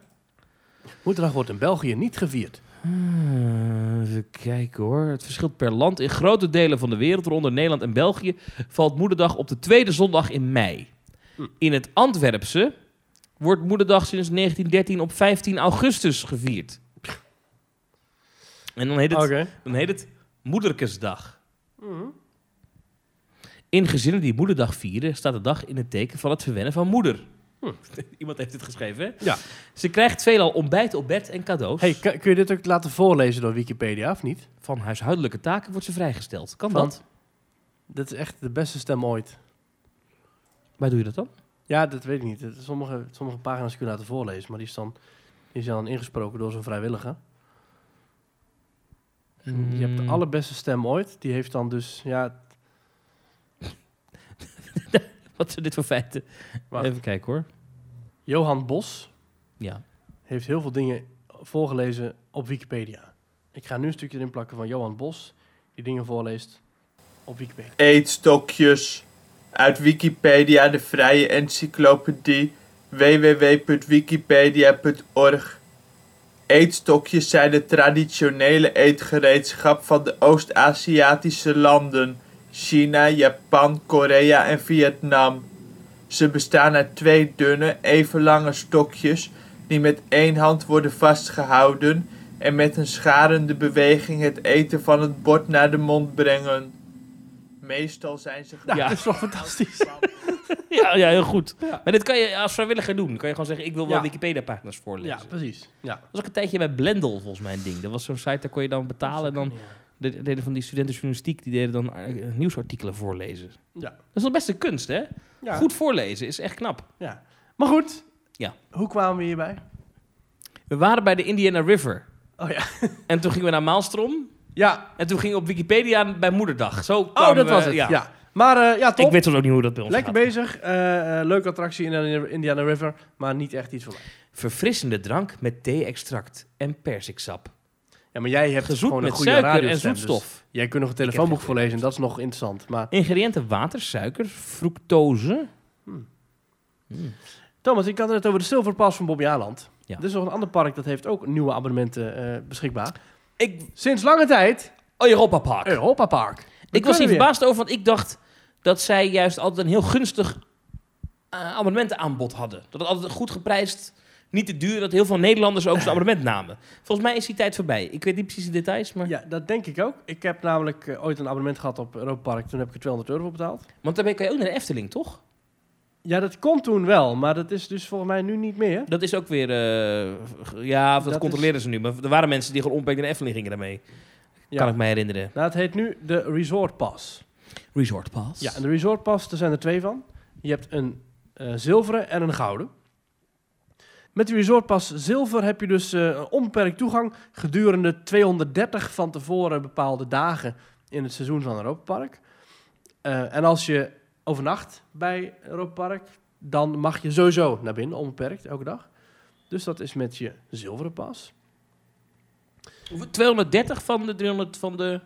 B: Moederdag wordt in België niet gevierd.
C: Hmm, Even kijken hoor. Het verschilt per land. In grote delen van de wereld, waaronder Nederland en België, valt Moederdag op de tweede zondag in mei.
B: Hm.
C: In het Antwerpse wordt Moederdag sinds 1913 op 15 augustus gevierd. En dan heet het, dan heet het Moederkesdag.
B: Mhm.
C: In gezinnen die Moederdag vieren, staat de dag in het teken van het verwennen van moeder. *laughs* Iemand heeft dit geschreven, hè?
B: Hm. Ja.
C: Ze krijgt veelal ontbijt op bed en cadeaus.
B: Hey, k- kun je dit ook laten voorlezen door Wikipedia, of niet?
C: Van huishoudelijke taken wordt ze vrijgesteld. Kan
B: Van-
C: dat?
B: Dit is echt de beste stem ooit.
C: Waar doe je dat dan?
B: Ja, dat weet ik niet. Het- Sommige, sommige pagina's kun je laten voorlezen, maar die is dan, die is dan ingesproken door zo'n vrijwilliger. Je hebt de allerbeste stem ooit. Die heeft dan dus, ja,
C: Wat zijn dit voor feiten?
B: Wacht.
C: Even kijken hoor.
B: Johan Bos
C: Ja.
B: heeft heel veel dingen voorgelezen op Wikipedia. Ik ga nu een stukje erin plakken van Johan Bos, die dingen voorleest op Wikipedia.
H: eetstokjes. Uit Wikipedia, de vrije encyclopedie, www.wikipedia.org. Eetstokjes zijn het traditionele eetgereedschap van de Oost-Aziatische landen: China, Japan, Korea en Vietnam. Ze bestaan uit twee dunne, even lange stokjes die met één hand worden vastgehouden en met een scharende beweging het eten van het bord naar de mond brengen. Meestal zijn ze
C: Ja.
B: Dat is toch fantastisch.
C: *laughs* Ja, ja, heel goed. Maar dit kan je als vrijwilliger doen. Dan kan je gewoon zeggen, ik wil wel
B: Ja.
C: Wikipedia-pagina's
B: *laughs* Ja,
C: voorlezen. Dat
B: precies. Ja.
C: was ook een tijdje bij Blendel, volgens mij, een ding. Dat was zo'n site, daar kon je dan betalen. En dan de- deden van die studenten journalistiek, die deden dan eh, nieuwsartikelen voorlezen.
B: Ja.
C: Dat is nog best een kunst, hè?
B: Ja.
C: Goed voorlezen is echt knap.
B: Ja. Maar goed.
C: Ja.
B: Hoe kwamen we hierbij?
C: We waren bij de Indiana River.
B: Oh ja.
C: En toen gingen we naar Maalstrom.
B: Ja.
C: En toen gingen we op Wikipedia bij Moederdag. Zo
B: Oh,
C: kwamen
B: dat
C: we-
B: was het. Ja. Maar eh, ja, top.
C: Ik weet toch ook niet hoe dat bij ons
B: Lekker
C: gaat.
B: bezig. Eh, eh, leuke attractie in de Indiana River. Maar niet echt iets voor mij.
C: Verfrissende drank met thee-extract en persiksap.
B: Ja, maar jij hebt
C: Gezoet
B: gewoon een
C: met
B: goede
C: suiker en
B: radiostem, dus
C: zoetstof.
B: jij kunt nog een
C: Ik
B: telefoonboek
C: heb
B: voorlezen. Dat is nog interessant. Maar
C: Ingrediënten water, suiker, fructose.
B: Thomas, ik had het net over de Silverpas van Bobby Aland.
C: Ja.
B: Er is nog een ander park dat heeft ook nieuwe abonnementen eh, beschikbaar.
C: Ik,
B: Sinds lange tijd
C: Europa Park.
B: Europa Park.
C: ik was
B: hier
C: hier verbaasd over, want ik dacht dat zij juist altijd een heel gunstig eh, abonnementenaanbod hadden. Dat het altijd goed geprijsd, niet te duur, dat heel veel
B: *laughs*
C: Nederlanders ook zo'n abonnement namen. Volgens mij is die tijd voorbij. Ik weet niet precies de details, maar...
B: Ja, dat denk ik ook. Ik heb namelijk eh, ooit een abonnement gehad op Europa Park. Toen heb ik er 200 euro voor betaald.
C: Want daarmee kan je ook naar de Efteling, toch?
B: Ja, dat kon toen wel, maar dat is dus volgens mij nu niet meer.
C: Dat is ook weer... eh, g- ja, dat,
B: Dat
C: controleren ze nu. Maar er waren mensen die gewoon onbeperkt naar de Efteling gingen daarmee.
B: Ja.
C: Kan ik mij herinneren.
B: Nou, het heet nu de Resort Pass.
C: Resort Pass.
B: Ja, en de Resort Pass, er zijn er twee van. Je hebt een eh, zilveren en een gouden. Met de Resort Pass zilver heb je dus eh, een onbeperkt toegang gedurende 230 van tevoren bepaalde dagen in het seizoen van Europa Park. Eh, en als je overnacht bij Europa Park, dan mag je sowieso naar binnen, onbeperkt, elke dag. Dus dat is met je zilveren pas.
C: Hoeveel- 230 van de 300 van de...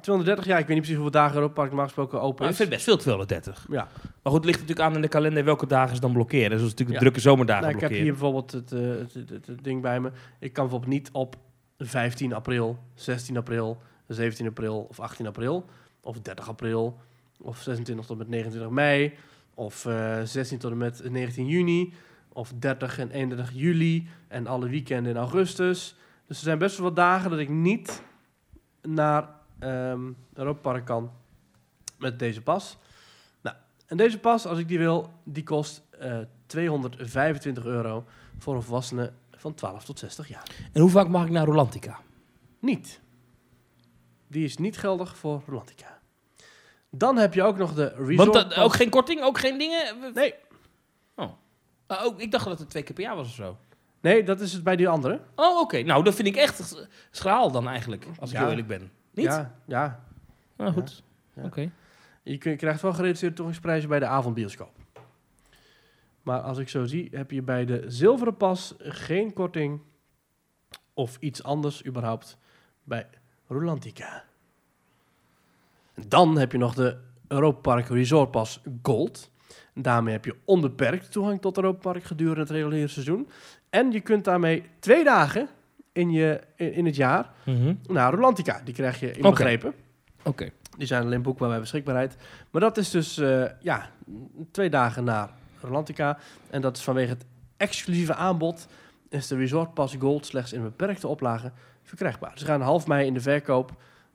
B: 230 jaar, ik weet niet precies hoeveel dagen Europa Park normaal gesproken open
C: Maar ik
B: is.
C: vind best veel 230.
B: Ja.
C: Maar goed, het ligt natuurlijk aan in de kalender welke dagen ze dan blokkeren. Dus dat is natuurlijk de
B: Ja.
C: drukke zomerdagen
B: Nou, ik heb
C: blokkeren.
B: hier bijvoorbeeld het, eh, het, het- het- het ding bij me. Ik kan bijvoorbeeld niet op 15 april, 16 april, 17 april of 18 april. Of 30 april. Of 26 tot en met 29 mei. Of eh, 16 tot en met 19 juni. Of 30 en 31 juli. En alle weekenden in augustus. Dus er zijn best wel wat dagen dat ik niet naar ehm Europa Park kan met deze pas. Nou, en deze pas, als ik die wil, die kost eh, 225 euro voor een volwassene van 12 tot 60 jaar.
C: En hoe vaak mag ik naar Rolantica?
B: Niet. Die is niet geldig voor Rolantica. Dan heb je ook nog de resort.
C: Want dat,
B: pas.
C: ook geen korting, ook geen dingen? We-
B: Nee.
C: Oh. Ah, ook, ik dacht dat het twee keer per jaar was of zo.
B: Nee, dat is het bij die andere.
C: Oh, oké. Nou, dat vind ik echt schraal dan eigenlijk, als ik
B: Ja.
C: heel eerlijk ben. Niet?
B: Ja, ja.
C: Nou, goed.
B: Ja.
C: Oké.
B: Je kun- je krijgt wel gereduceerde toegangsprijzen bij de avondbioscoop. Maar als ik zo zie, heb je bij de zilveren pas geen korting of iets anders überhaupt bij Rolantica. Dan heb je nog de Europa Park Resort Pas Gold. Daarmee heb je onbeperkt toegang tot Europa Park gedurende het reguliere seizoen. En je kunt daarmee twee dagen in, je, in, in het jaar
C: Mhm.
B: naar Rolantica. Die krijg je
C: Oké.
B: inbegrepen.
C: Oké.
B: Die zijn alleen boekbaar bij beschikbaarheid. Maar dat is dus eh, ja, twee dagen naar Rolantica. En dat is vanwege het exclusieve aanbod. Is de Resort Pass Gold slechts in beperkte oplagen verkrijgbaar. Ze gaan half mei in de verkoop.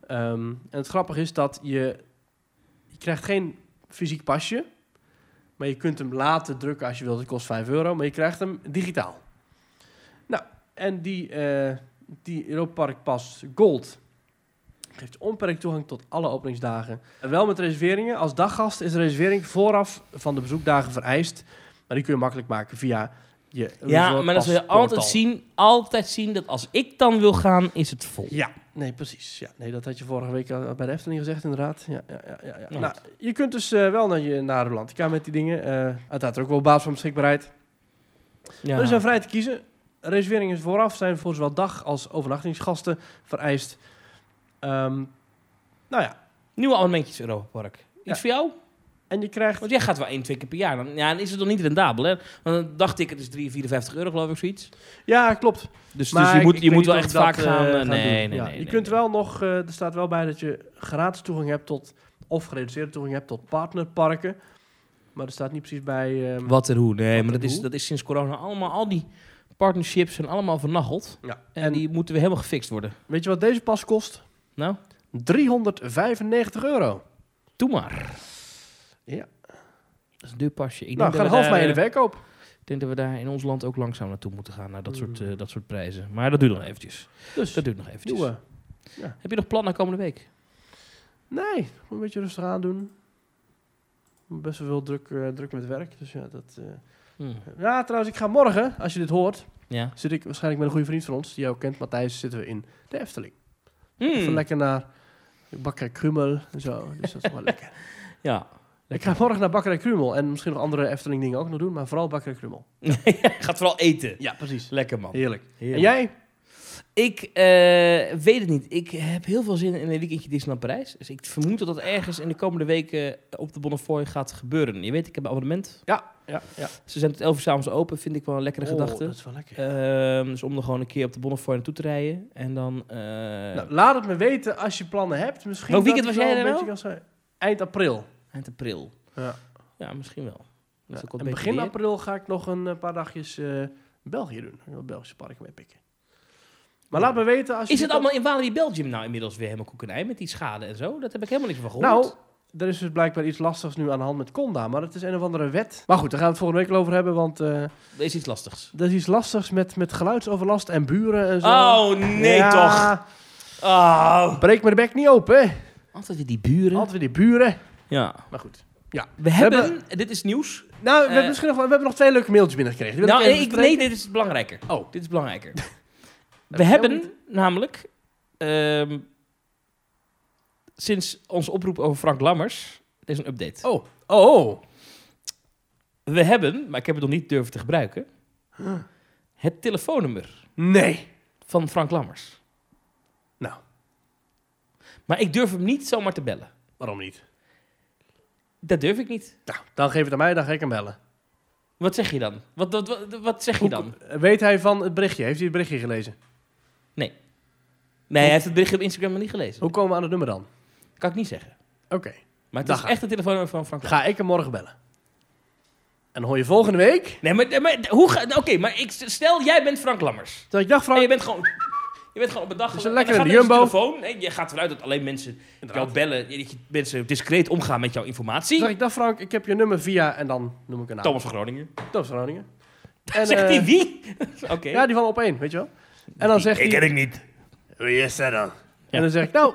B: Ehm, en het grappige is dat je, je krijgt geen fysiek pasje. Maar je kunt hem laten drukken als je wilt. Het kost 5 euro. Maar je krijgt hem digitaal. Nou, en die, eh die Europa Park Pass Gold geeft onbeperkt toegang tot alle openingsdagen. En wel met reserveringen. Als daggast is de reservering vooraf van de bezoekdagen vereist. Maar die kun je makkelijk maken via je
C: Ja, maar dan zul je altijd
B: zien.
C: zien, altijd zien dat als ik dan wil gaan, is het vol.
B: Ja, nee, precies. Ja, nee, dat had je vorige week al bij de Efteling gezegd, inderdaad. Ja, ja, ja, ja, ja.
C: Ja.
B: Nou, je kunt dus eh, wel naar, je, naar Rolantica met die dingen. Eh uiteraard ook wel op basis van beschikbaarheid.
C: Ja.
B: Er zijn vrij te kiezen. Reserveringen vooraf zijn voor zowel dag- als overnachtingsgasten vereist. Ehm, nou ja,
C: Nieuwe abonnementjes Europa Park. Iets
B: Ja.
C: voor jou?
B: en je krijgt...
C: Want jij gaat wel één, twee keer per jaar. Dan, ja, dan is het nog niet rendabel, hè? Want dan dacht ik, het is 3, 54 euro, geloof ik, zoiets.
B: Ja, klopt.
C: Dus,
B: Maar
C: dus je
B: ik-
C: moet,
B: ik
C: je
B: weet
C: moet wel
B: niet
C: echt
B: of ik
C: vaak
B: dat,
C: gaan.
B: eh,
C: eh,
B: ga
C: nee,
B: doen.
C: nee,
B: Ja,
C: nee,
B: Je
C: nee,
B: kunt
C: nee.
B: wel nog, eh, er staat wel bij dat je gratis toegang hebt tot, of gereduceerde toegang hebt tot partnerparken. Maar er staat niet precies bij... ehm,
C: Wat en hoe. Nee,
B: Wat
C: maar
B: en
C: dat is,
B: hoe?
C: dat is sinds corona allemaal, al die partnerships zijn allemaal vernacheld.
B: ja.
C: En,
B: En
C: die moeten we helemaal gefixt worden.
B: weet je wat deze pas kost?
C: Nou,
B: 395 euro.
C: doe maar.
B: Ja.
C: Dat is een duur pasje. Ik
B: nou,
C: denk
B: gaan
C: dat we
B: half
C: daar,
B: mij in de
C: eh,
B: verkoop.
C: Ik denk dat we daar in ons land ook langzaam naartoe moeten gaan. Naar dat, soort,
B: Hmm.
C: eh, dat soort prijzen. Maar dat duurt nog eventjes.
B: Dus,
C: Dat duurt nog eventjes.
B: nieuwe.
C: Heb je nog plannen komende week?
B: Nee, gewoon een beetje rustig aan doen. Best wel veel druk, eh, druk met werk. Dus ja, dat... eh,
C: Hmm.
B: Ja, trouwens, ik ga morgen, als je dit hoort,
C: Ja.
B: zit ik waarschijnlijk met een goede vriend van ons, die jou kent, Matthijs, zitten we in de Efteling. Even
C: Hmm.
B: lekker naar Bakkerij Krummel en zo. Dus dat is *laughs* wel lekker.
C: Ja.
B: Ik ga morgen naar Bakkerij Krummel en misschien nog andere Efteling dingen ook nog doen, maar vooral Bakkerij Krummel.
C: *laughs* Gaat vooral eten.
B: Ja, precies.
C: Lekker man.
B: Heerlijk. En
C: Heerlijk.
B: jij?
C: Ik eh, weet het niet. Ik heb heel veel zin in een weekendje Disneyland Parijs. Dus ik vermoed dat dat ergens in de komende weken op de Bonnefoy gaat gebeuren. Je weet, ik heb een abonnement.
B: Ja, ja, ja.
C: Ze zijn tot 11 uur s'avonds open. Vind ik wel een lekkere
B: Oh,
C: gedachte.
B: Dat is wel lekker.
C: Ehm, dus om er gewoon een keer op de Bonnefoy naartoe te rijden. En dan... eh,
B: nou, laat het me weten als je plannen hebt. Misschien
C: Welk weekend
B: dat
C: was
B: ik wel
C: jij
B: een
C: er
B: beetje kan zijn. Eind april.
C: eind april.
B: Ja.
C: Ja, misschien wel. Dat is ook wel
B: en
C: beter
B: begin
C: weer.
B: april ga ik nog een eh, paar dagjes eh, België doen. Ik wil het Belgische park mee pikken. Maar laat me weten als je...
C: Is het
B: dit-
C: allemaal in Walibi Belgium nou inmiddels weer helemaal koekenij met die schade en zo? Dat heb ik helemaal niks van gehoord.
B: Nou, er is dus blijkbaar iets lastigs nu aan de hand met Conda. Maar het is een of andere wet. Maar goed, daar gaan we het volgende week wel over hebben. Want eh,
C: Er is iets lastigs.
B: er is iets lastigs met, met geluidsoverlast en buren en zo.
C: Oh, nee toch. Oh.
B: Breek me de bek niet open, hè.
C: Altijd weer die buren.
B: Altijd weer die buren.
C: Ja.
B: Maar goed.
C: We hebben, dit is nieuws.
B: Nou, we,
C: Eh.
B: hebben misschien nog, we hebben nog twee leuke mailtjes binnengekregen. Die wil
C: Nou,
B: even
C: nee, ik, nee,
B: bespreken.
C: dit is belangrijker.
B: Oh.
C: Dit is
B: *laughs*
C: belangrijker.
B: ik
C: We
B: jou
C: hebben
B: niet.
C: namelijk ehm, sinds onze oproep over Frank Lammers, dit is een update.
B: Oh, oh, oh.
C: We hebben, maar ik heb het nog niet durven te gebruiken, het telefoonnummer
B: Nee.
C: van Frank Lammers.
B: Nou,
C: Maar ik durf hem niet zomaar te bellen.
B: waarom niet?
C: Dat durf ik niet.
B: Nou, dan geef het aan mij, dan ga ik hem bellen.
C: Wat zeg je dan? Wat, wat, wat, wat zeg je
B: Hoe
C: dan?
B: kom- Weet hij van het berichtje? Heeft hij het berichtje gelezen?
C: Nee, hij heeft het bericht op Instagram nog niet gelezen.
B: Hoe komen we aan het nummer dan?
C: Kan ik niet zeggen.
B: Oké,
C: Maar het
B: Daar
C: is
B: gaat.
C: echt het telefoonnummer van Frank Lammers.
B: ga ik hem morgen bellen. En hoor je volgende week?
C: Nee, maar, maar hoe ga... Oké, maar ik, stel, jij bent Frank Lammers.
B: Dat ik dacht, Frank,
C: En je bent gewoon... Je bent gewoon op een dag...
B: Dus een
C: en
B: lekkere
C: dan gaat er
B: Jumbo.
C: eens telefoon. Nee, je gaat vanuit dat alleen mensen jou bellen. Dat je mensen discreet omgaan met jouw informatie.
B: dat ik dacht, Frank, ik heb je nummer via en dan noem ik een naam.
C: Thomas van Groningen.
B: Thomas van Groningen. En,
C: *laughs* Zegt hij
B: eh,
C: wie? *laughs* Oké.
B: Ja, die van op één, weet je wel. En dan zegt hij...
C: ik niet.
B: Wie is dat dan? En dan zeg ik, nou,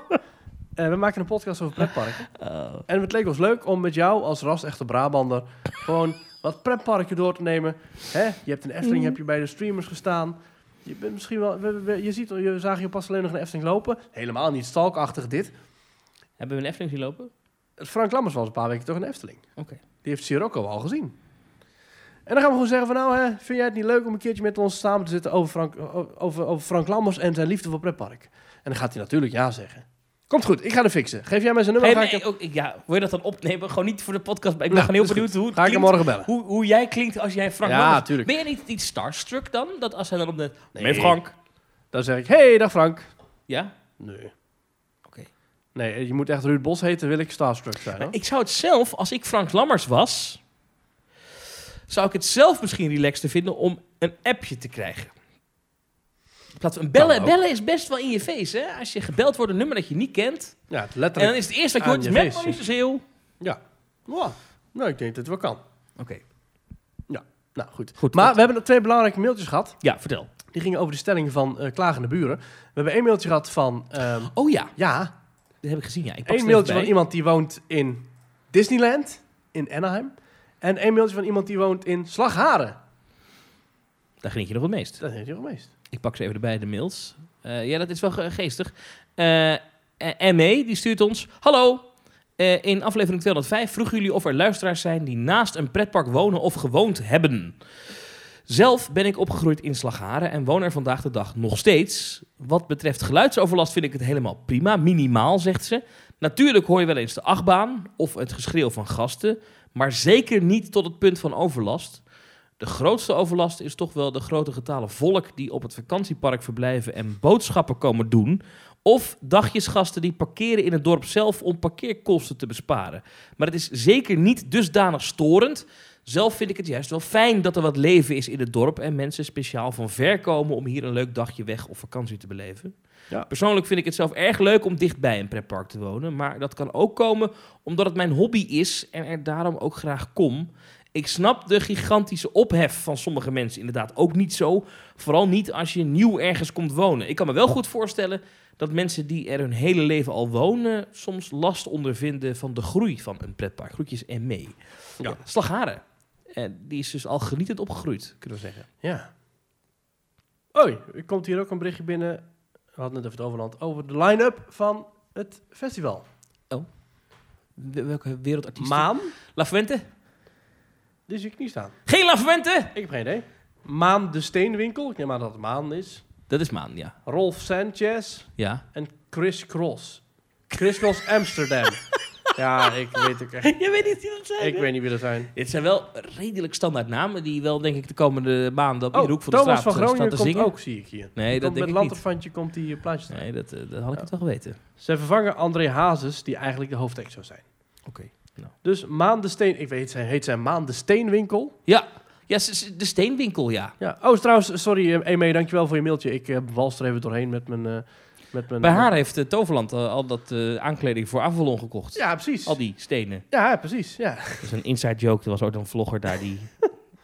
B: eh, we maken een podcast over pretparken. En het leek ons leuk om met jou als ras echte Brabander gewoon wat pretparken door te nemen. Hè? Je hebt een Efteling, heb je bij de streamers gestaan. Je bent misschien wel, we- we- je ziet, je zag je pas alleen nog een Efteling lopen. Helemaal niet stalkachtig dit.
C: Hebben we een Efteling zien lopen?
B: Frank Lammers was een paar weken toch een Efteling.
C: Oké.
B: Die heeft Sirocco al gezien. En dan gaan we gewoon zeggen van nou, hè, vind jij het niet leuk om een keertje met ons samen te zitten over Frank, o- over, over Frank Lammers en zijn liefde voor pretpark? En dan gaat hij natuurlijk ja zeggen. Komt goed, ik ga het fixen. Geef jij mij zijn nummer,
C: Hey,
B: ga
C: nee,
B: ik hem,
C: ook- ik- ja, wil je dat dan opnemen? Gewoon niet voor de podcast, maar ik
B: Nou,
C: ben gewoon heel
B: is goed.
C: benieuwd hoe, het
B: ga ik hem
C: klinkt-
B: morgen bellen.
C: hoe, hoe jij klinkt als jij Frank
B: Ja,
C: Lammers...
B: tuurlijk.
C: Ben je niet iets starstruck dan? Dat als hij dan op de...
B: Nee.
C: Meneer Frank.
B: Dan zeg ik, hey, dag Frank.
C: Ja?
B: Nee.
C: Oké.
B: Nee, je moet echt Ruud Bos heten, wil ik starstruck zijn. Hoor.
C: Ik zou het zelf, als ik Frank Lammers was, zou ik het zelf misschien relaxter vinden om een appje te krijgen. In plaats van
B: Kan
C: bellen,
B: ook.
C: bellen is best wel in je face, hè? Als je gebeld wordt een nummer dat je niet kent.
B: Ja, het
C: En dan
B: letterlijk.
C: is het eerste wat je
B: Aan
C: hoort, is
B: je
C: met
B: face. dus-
C: Maurice Zeeuw. Oké.
B: Ja. Nou, nou, ik denk dat het wel kan. Nou, goed.
C: Goed,
B: maar
C: goed.
B: we hebben nog twee belangrijke mailtjes gehad.
C: Ja, vertel.
B: Die gingen over de stelling van eh, klagende buren. We hebben één mailtje gehad van... ehm,
C: Oh ja,
B: ja,
C: dat heb ik gezien. Ja, ik pak
B: Eén
C: ze
B: mailtje
C: even
B: van
C: bij.
B: iemand die woont in Disneyland, in Anaheim. En één mailtje van iemand die woont in Slagharen.
C: Daar geniet je nog het meest.
B: Dat heeft hij wel meest.
C: Ik pak ze even erbij, de mails. Eh, ja, dat is wel ge- geestig. Eh, eh, ME, die stuurt ons... Hallo, Eh, in aflevering 205 vroegen jullie of er luisteraars zijn... die naast een pretpark wonen of gewoond hebben. Zelf ben ik opgegroeid in Slagharen en woon er vandaag de dag nog steeds. Wat betreft geluidsoverlast vind ik het helemaal prima. Minimaal, zegt ze. Natuurlijk hoor je wel eens de achtbaan of het geschreeuw van gasten... maar zeker niet tot het punt van overlast... De grootste overlast is toch wel de grote getale volk die op het vakantiepark verblijven en boodschappen komen doen. Of dagjesgasten die parkeren in het dorp zelf om parkeerkosten te besparen. Maar het is zeker niet dusdanig storend. Zelf vind ik het juist wel fijn dat er wat leven is in het dorp en mensen speciaal van ver komen om hier een leuk dagje weg of vakantie te beleven.
B: Ja.
C: Persoonlijk vind ik het zelf erg leuk om dichtbij een pretpark te wonen, maar dat kan ook komen omdat het mijn hobby is en er daarom ook graag kom. Ik snap de gigantische ophef van sommige mensen inderdaad ook niet zo. Vooral niet als je nieuw ergens komt wonen. Ik kan me wel goed voorstellen dat mensen die er hun hele leven al wonen... soms last ondervinden van de groei van een pretpark. Groetjes en mee. Ja. Slagharen. En die is dus al genietend opgegroeid, kunnen we zeggen.
B: Ja. Oei, er komt hier ook een berichtje binnen. We hadden het even het overland. Over de line-up van het festival.
C: We- Welke wereldartiest?
B: Maan?
C: La Fuente?
B: Die zie ik niet staan.
C: Geen La Fuente!
B: Ik heb geen idee. Maan de Steenwinkel. Ik neem aan dat het Maan is.
C: Dat is Maan, ja.
B: Rolf Sanchez. *laughs*
C: Ja.
B: En Chris Cross. Chris Cross Amsterdam. ja, ik weet ook echt...
C: Je weet niet wie dat zijn.
B: Ik weet niet wie dat zijn.
C: Dit zijn wel redelijk standaard namen die wel, denk ik, de komende maanden op iedere hoek van de
B: Oh, Thomas
C: straat
B: van
C: eh,
B: Groningen
C: staan
B: komt
C: te zingen.
B: ook, zie ik hier.
C: Nee,
B: Die
C: dat
B: komt
C: denk ik
B: Met lanterfantje komt die eh, plaatje staan.
C: Nee, dat, eh, dat had ik het wel geweten.
B: Ze vervangen André Hazes, die eigenlijk de hoofdact zou zijn.
C: Oké.
B: Dus Maan de Steen... Ik weet, zijn, heet zijn Maan de Steenwinkel.
C: Ja. ja, ze- ze- de steenwinkel, ja.
B: Ja. Oh, is trouwens, sorry eh, Eme, dankjewel voor je mailtje. Ik eh wals er even doorheen met mijn... eh, met mijn
C: Bij haar heeft eh, Toverland eh, al dat eh, aankleding voor Avalon gekocht.
B: Ja, precies.
C: Al die stenen.
B: Ja, precies. Ja.
C: Dat is een inside joke. Er was ooit een vlogger daar die *laughs*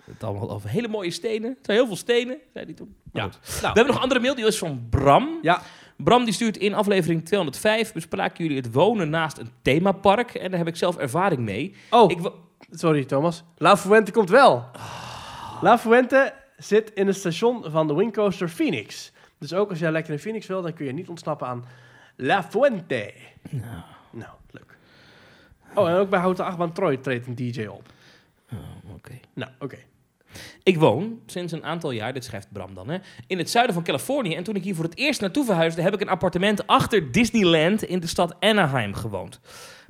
C: het allemaal had over hele mooie stenen. Het zijn heel veel stenen, zei die toen. Maar
B: Ja.
C: goed. We hebben nog een andere mail, die is van Bram.
B: Ja.
C: Bram die stuurt in aflevering 205 bespraken jullie het wonen naast een themapark. En daar heb ik zelf ervaring mee.
B: Oh,
C: Ik wo-
B: sorry Thomas. La Fuente komt wel. La Fuente zit in het station van de windcoaster Phoenix. Dus ook als jij lekker in Phoenix wil, dan kun je niet ontsnappen aan La Fuente. Nou, leuk. Oh, en ook bij Houten Achtbaan Troy treedt een DJ op.
C: oké.
B: Nou, oké.
C: Ik woon sinds een aantal jaar, dit schrijft Bram dan, hè, in het zuiden van Californië. En toen ik hier voor het eerst naartoe verhuisde, heb ik een appartement achter Disneyland in de stad Anaheim gewoond.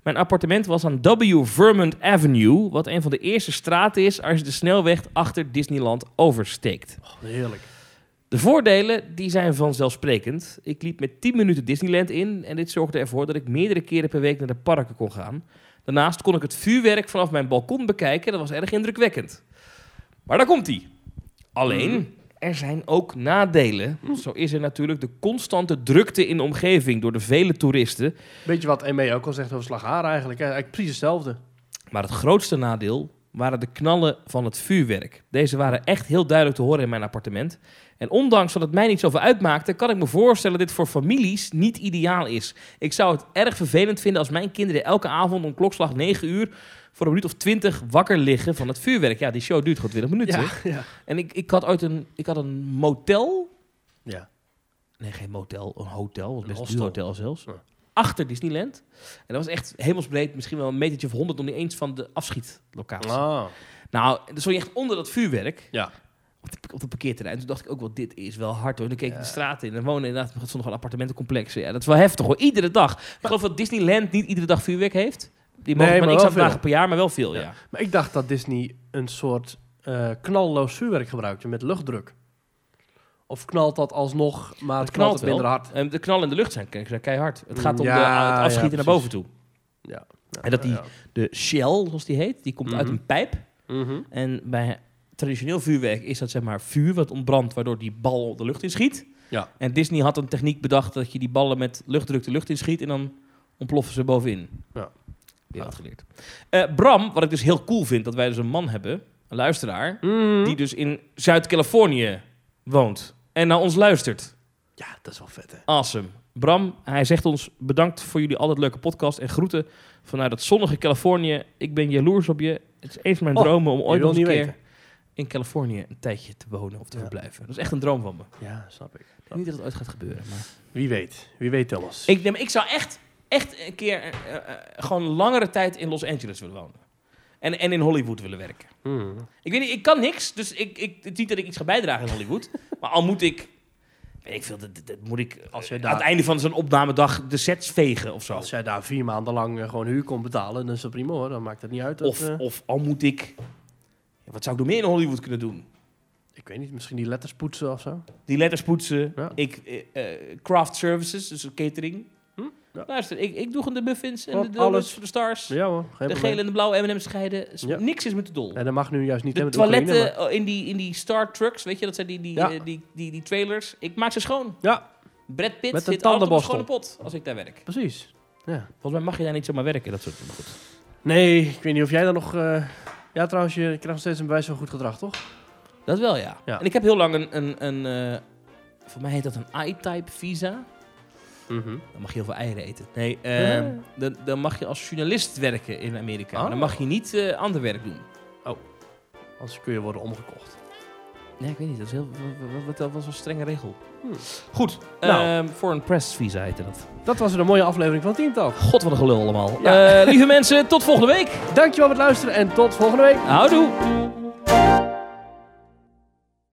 C: Mijn appartement was aan W. Vermont Avenue, wat een van de eerste straten is als je de snelweg achter Disneyland oversteekt.
B: Oh, heerlijk.
C: De voordelen die zijn vanzelfsprekend. Ik liep met 10 minuten Disneyland in en dit zorgde ervoor dat ik meerdere keren per week naar de parken kon gaan. Daarnaast kon ik het vuurwerk vanaf mijn balkon bekijken. Dat was erg indrukwekkend. Maar daar komt ie. Alleen, er zijn ook nadelen. Zo is er natuurlijk de constante drukte in de omgeving door de vele toeristen.
B: Beetje wat Eme ook al zegt over Slagharen eigenlijk. hè. Eigenlijk precies hetzelfde.
C: Maar het grootste nadeel waren de knallen van het vuurwerk. Deze waren echt heel duidelijk te horen in mijn appartement. En ondanks dat het mij niet zoveel uitmaakte, kan ik me voorstellen dat dit voor families niet ideaal is. Ik zou het erg vervelend vinden als mijn kinderen elke avond om klokslag 9 uur voor een minuut of 20 wakker liggen van het vuurwerk. Ja, die show duurt gewoon 20 minuten.
B: ja.
C: En ik, ik had ooit een, ik had een motel.
B: Ja.
C: Nee, geen motel, een hotel. Was
B: Een
C: best een
B: hostel.
C: duur hotel zelfs.
B: Ja.
C: Achter Disneyland. En dat was echt hemelsbreed, misschien wel een metertje of honderd, nog niet eens van de afschietlocatie.
B: Ah.
C: Nou, dan stond je echt onder dat vuurwerk.
B: Ja.
C: Op de, op de parkeerterrein. Toen dacht ik ook wel, dit is wel hard hoor. En dan keek ik de straten in. En wonen inderdaad, er stonden gewoon appartementencomplexen. Ja, dat is wel heftig hoor. Iedere dag. Ik geloof dat Disneyland niet iedere dag vuurwerk heeft. Die mogen
B: Nee,
C: maar
B: maar
C: niks
B: wel
C: aan dagen
B: veel.
C: per jaar, maar wel veel, ja.
B: Maar ik dacht dat Disney een soort eh, knalloos vuurwerk gebruikte met luchtdruk. Of knalt dat alsnog, maar het knalt, het
C: wel.
B: minder hard.
C: En de knallen in de lucht zijn ke- zijn keihard. Het gaat om
B: Ja,
C: de, het
B: ja,
C: afschieten naar
B: precies.
C: boven toe.
B: Ja.
C: En dat die-
B: Ja.
C: De shell, zoals die heet, die komt uit
B: Mhm.
C: een pijp.
B: Mhm.
C: En bij traditioneel vuurwerk is dat zeg maar vuur wat ontbrandt, waardoor die bal de lucht in schiet.
B: Ja.
C: En Disney had een techniek bedacht dat je die ballen met luchtdruk de lucht in schiet en dan ontploffen ze bovenin.
B: Ja.
C: Weer uitgeleerd. Eh, Bram, wat ik dus heel cool vind, dat wij dus een man hebben, een luisteraar,
B: Mhm.
C: die dus in Zuid-Californië woont en naar ons luistert.
B: Ja, dat is wel vet, hè?
C: Awesome. Bram, hij zegt ons bedankt voor jullie altijd leuke podcast en groeten vanuit het zonnige Californië. Ik ben jaloers op je. Het is een van mijn
B: Oh,
C: dromen om
B: wil
C: ooit nog een
B: niet
C: keer
B: weten.
C: in Californië een tijdje te wonen of te
B: Ja.
C: verblijven. Dat is echt een droom van me. Ik
B: Ja, snap ik.
C: denk niet dat het ooit gaat gebeuren. Maar...
B: Wie weet. Wie weet, Thomas.
C: Ik, nee, maar ik zou echt, echt een keer eh, eh, eh, gewoon langere tijd in Los Angeles willen wonen. En, en in Hollywood willen werken.
B: Mhm.
C: Ik weet niet, ik kan niks. Dus ik, ik, het is niet dat ik iets ga bijdragen in Hollywood. *laughs* maar al moet ik... Weet ik veel, dat, dat- dat moet ik
B: Als
C: als
B: jij daar-
C: aan het einde van zo'n opnamedag de sets vegen of zo.
B: Als jij daar vier maanden lang eh, gewoon huur kon betalen, dan is dat prima hoor. Dan maakt het niet uit. dat,
C: Of,
B: eh,
C: of al moet ik... Wat zou ik nog meer in Hollywood kunnen doen?
B: Ik weet niet, misschien die letters poetsen of zo.
C: Die letters poetsen.
B: Ja.
C: Ik, eh, eh, craft services, dus catering.
B: Hm? Ja.
C: Luister, ik, ik doe gewoon de muffins en
B: Op
C: de
B: alles.
C: donuts voor de stars.
B: Ja hoor, geen
C: de
B: probleem.
C: gele en de blauwe M&M's scheiden. S-
B: Ja.
C: Niks is met de dol.
B: En dat mag nu juist niet
C: de
B: hebben met de
C: toiletten
B: Oekraïne,
C: oh, in, die, in die Star Trucks, weet je, dat zijn die, die,
B: Ja.
C: eh, die, die, die trailers. Ik maak ze schoon.
B: maar- Ja,
C: Brad
B: Met een
C: Pitt zit altijd op een
B: tandenborstel.
C: schone pot als ik daar werk.
B: precies. Ja.
C: Volgens mij mag je daar niet zomaar werken, dat soort dingen. Goed.
B: Nee, ik weet niet of jij dan nog... eh, Ja, trouwens, je krijgt nog steeds een bewijs van goed gedrag, toch?
C: Dat wel, ja.
B: Ja.
C: En ik heb heel lang een... een, een eh, voor mij heet dat een I-type visa.
B: Mhm.
C: Dan mag je heel veel eieren eten. Nee, eh,
B: Ja.
C: dan, dan mag je als journalist werken in Amerika.
B: Oh.
C: Dan mag je niet eh, ander werk doen.
B: Anders kun je worden omgekocht.
C: Nee, ik weet niet. Dat, is heel, wat, wat, dat was een strenge regel.
B: Hmm.
C: Goed.
B: Nou.
C: Nou. foreign Press Visa heette dat.
B: Dat was weer een mooie aflevering van Team Talk.
C: God, wat een gelul allemaal.
B: Ja.
C: Eh, lieve mensen, tot volgende week.
B: Dankjewel voor het luisteren en tot volgende week.
C: Houdoe.